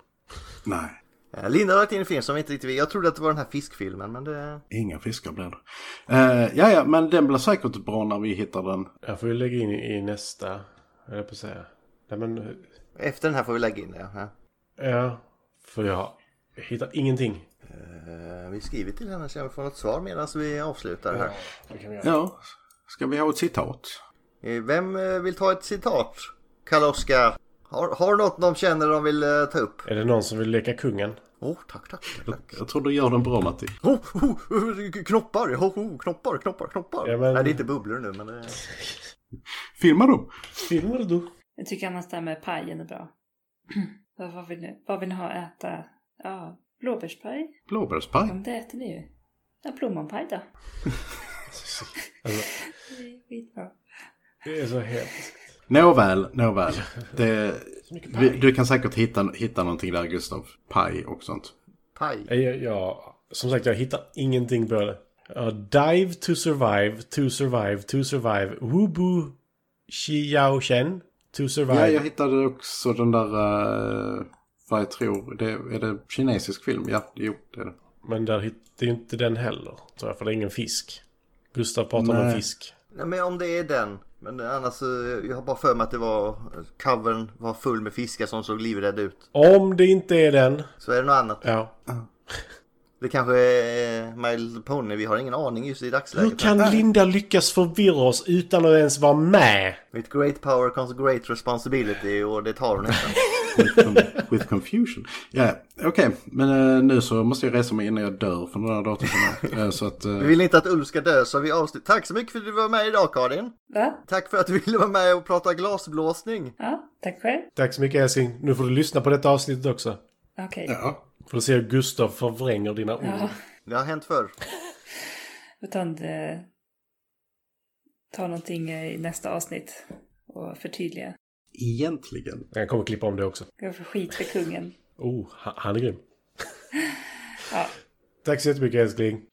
Speaker 4: Nej.
Speaker 1: Eh, Linda har lagt in en film som inte riktigt... Jag trodde att det var den här fiskfilmen men det...
Speaker 4: Inga fiskar blir det. Eh, ja, ja, men den blir säkert bra när vi hittar den.
Speaker 5: Jag får ju lägga in i nästa. höll Jag på att säga. Nej men. eh,
Speaker 1: Efter den här får vi lägga in det. Ja.
Speaker 5: Ja. För jag hittar ingenting.
Speaker 1: Eh, vi skriver till henne så jag får något svar medan vi avslutar här.
Speaker 5: Det kan vi göra.
Speaker 4: Ja. Ska vi ha ett citat?
Speaker 1: Eh, Vem eh, vill ta ett citat? Karl-Oskar, har, har något de känner de vill eh, ta upp?
Speaker 5: Är det någon som vill leka kungen?
Speaker 1: Åh, oh, tack, tack.
Speaker 4: Jag, jag tror du gör den bra Matti.
Speaker 1: Oh, oh, oh, knoppar, oh, oh, knoppar, knoppar, knoppar.
Speaker 5: Ja, men-
Speaker 1: Nej, det är inte bubblor nu, men eh, det...
Speaker 4: Filmar du?
Speaker 5: Filmar du?
Speaker 2: Jag tycker annars det här med pajen är bra. [clears throat] vad, vad, vill ni, vad vill ni ha att äta? Ja, blåbärspaj?
Speaker 4: Blåbärspaj?
Speaker 2: Ja, det äter vi ju. Ja, plommonpaj då. [laughs]
Speaker 5: Alltså,
Speaker 2: Det är skitbra.
Speaker 5: det är så hemskt.
Speaker 4: Nåväl, nåväl. Det,
Speaker 5: mycket
Speaker 4: vi, du kan säkert hitta, hitta någonting där Gustav. Paj och sånt.
Speaker 1: Paj.
Speaker 5: Nej, Jag, jag, som sagt, jag hittar ingenting på det. Ja, dive to survive, to survive, to survive. Wubu Xiao Shen. To
Speaker 4: Ja,
Speaker 5: survive.
Speaker 4: jag hittade också den där, eh, vad jag tror, det, är det kinesisk film? Ja, jo det är det.
Speaker 5: Men där hit- det är ju inte den heller, tror jag, för det är ingen fisk. Gustav pratar om
Speaker 4: Nej.
Speaker 5: en fisk.
Speaker 1: Nej, men om det är den. Men annars, eh, jag har bara för mig att det var... eh, Covern var full med fiskar som såg livrädda ut.
Speaker 5: Om det inte är den,
Speaker 1: Så är det något annat.
Speaker 5: ja.
Speaker 1: Det kanske är eh, My Little Pony. Vi har ingen aning just i dagsläget.
Speaker 5: Hur kan Linda lyckas förvirra oss utan att ens vara med?
Speaker 1: With great power comes great responsibility och det tar hon nästan.
Speaker 4: With, with confusion. Ja, okej. Men eh, nu så måste jag resa mig innan jag dör från den här datorn. som är- eh, så att... eh,
Speaker 1: Vi vill inte att Ulf ska dö så vi avslutar. Tack så mycket för att du var med idag Karin.
Speaker 2: Va?
Speaker 1: Tack för att du ville vara med och prata glasblåsning.
Speaker 2: Ja, tack själv.
Speaker 5: Tack så mycket älskling. Nu får du lyssna på detta avsnittet också.
Speaker 2: Okej.
Speaker 4: ja.
Speaker 5: Får du se hur Gustav förvränger dina ord.
Speaker 2: Ja.
Speaker 1: Det har hänt förr.
Speaker 2: Utan eh, ta någonting eh, i nästa avsnitt och förtydliga.
Speaker 4: Egentligen.
Speaker 5: Jag kommer klippa om det också.
Speaker 2: Gå för skit för kungen.
Speaker 5: Oh, ha- han är grym.
Speaker 2: Ja.
Speaker 5: [laughs] Tack så jättemycket älskling.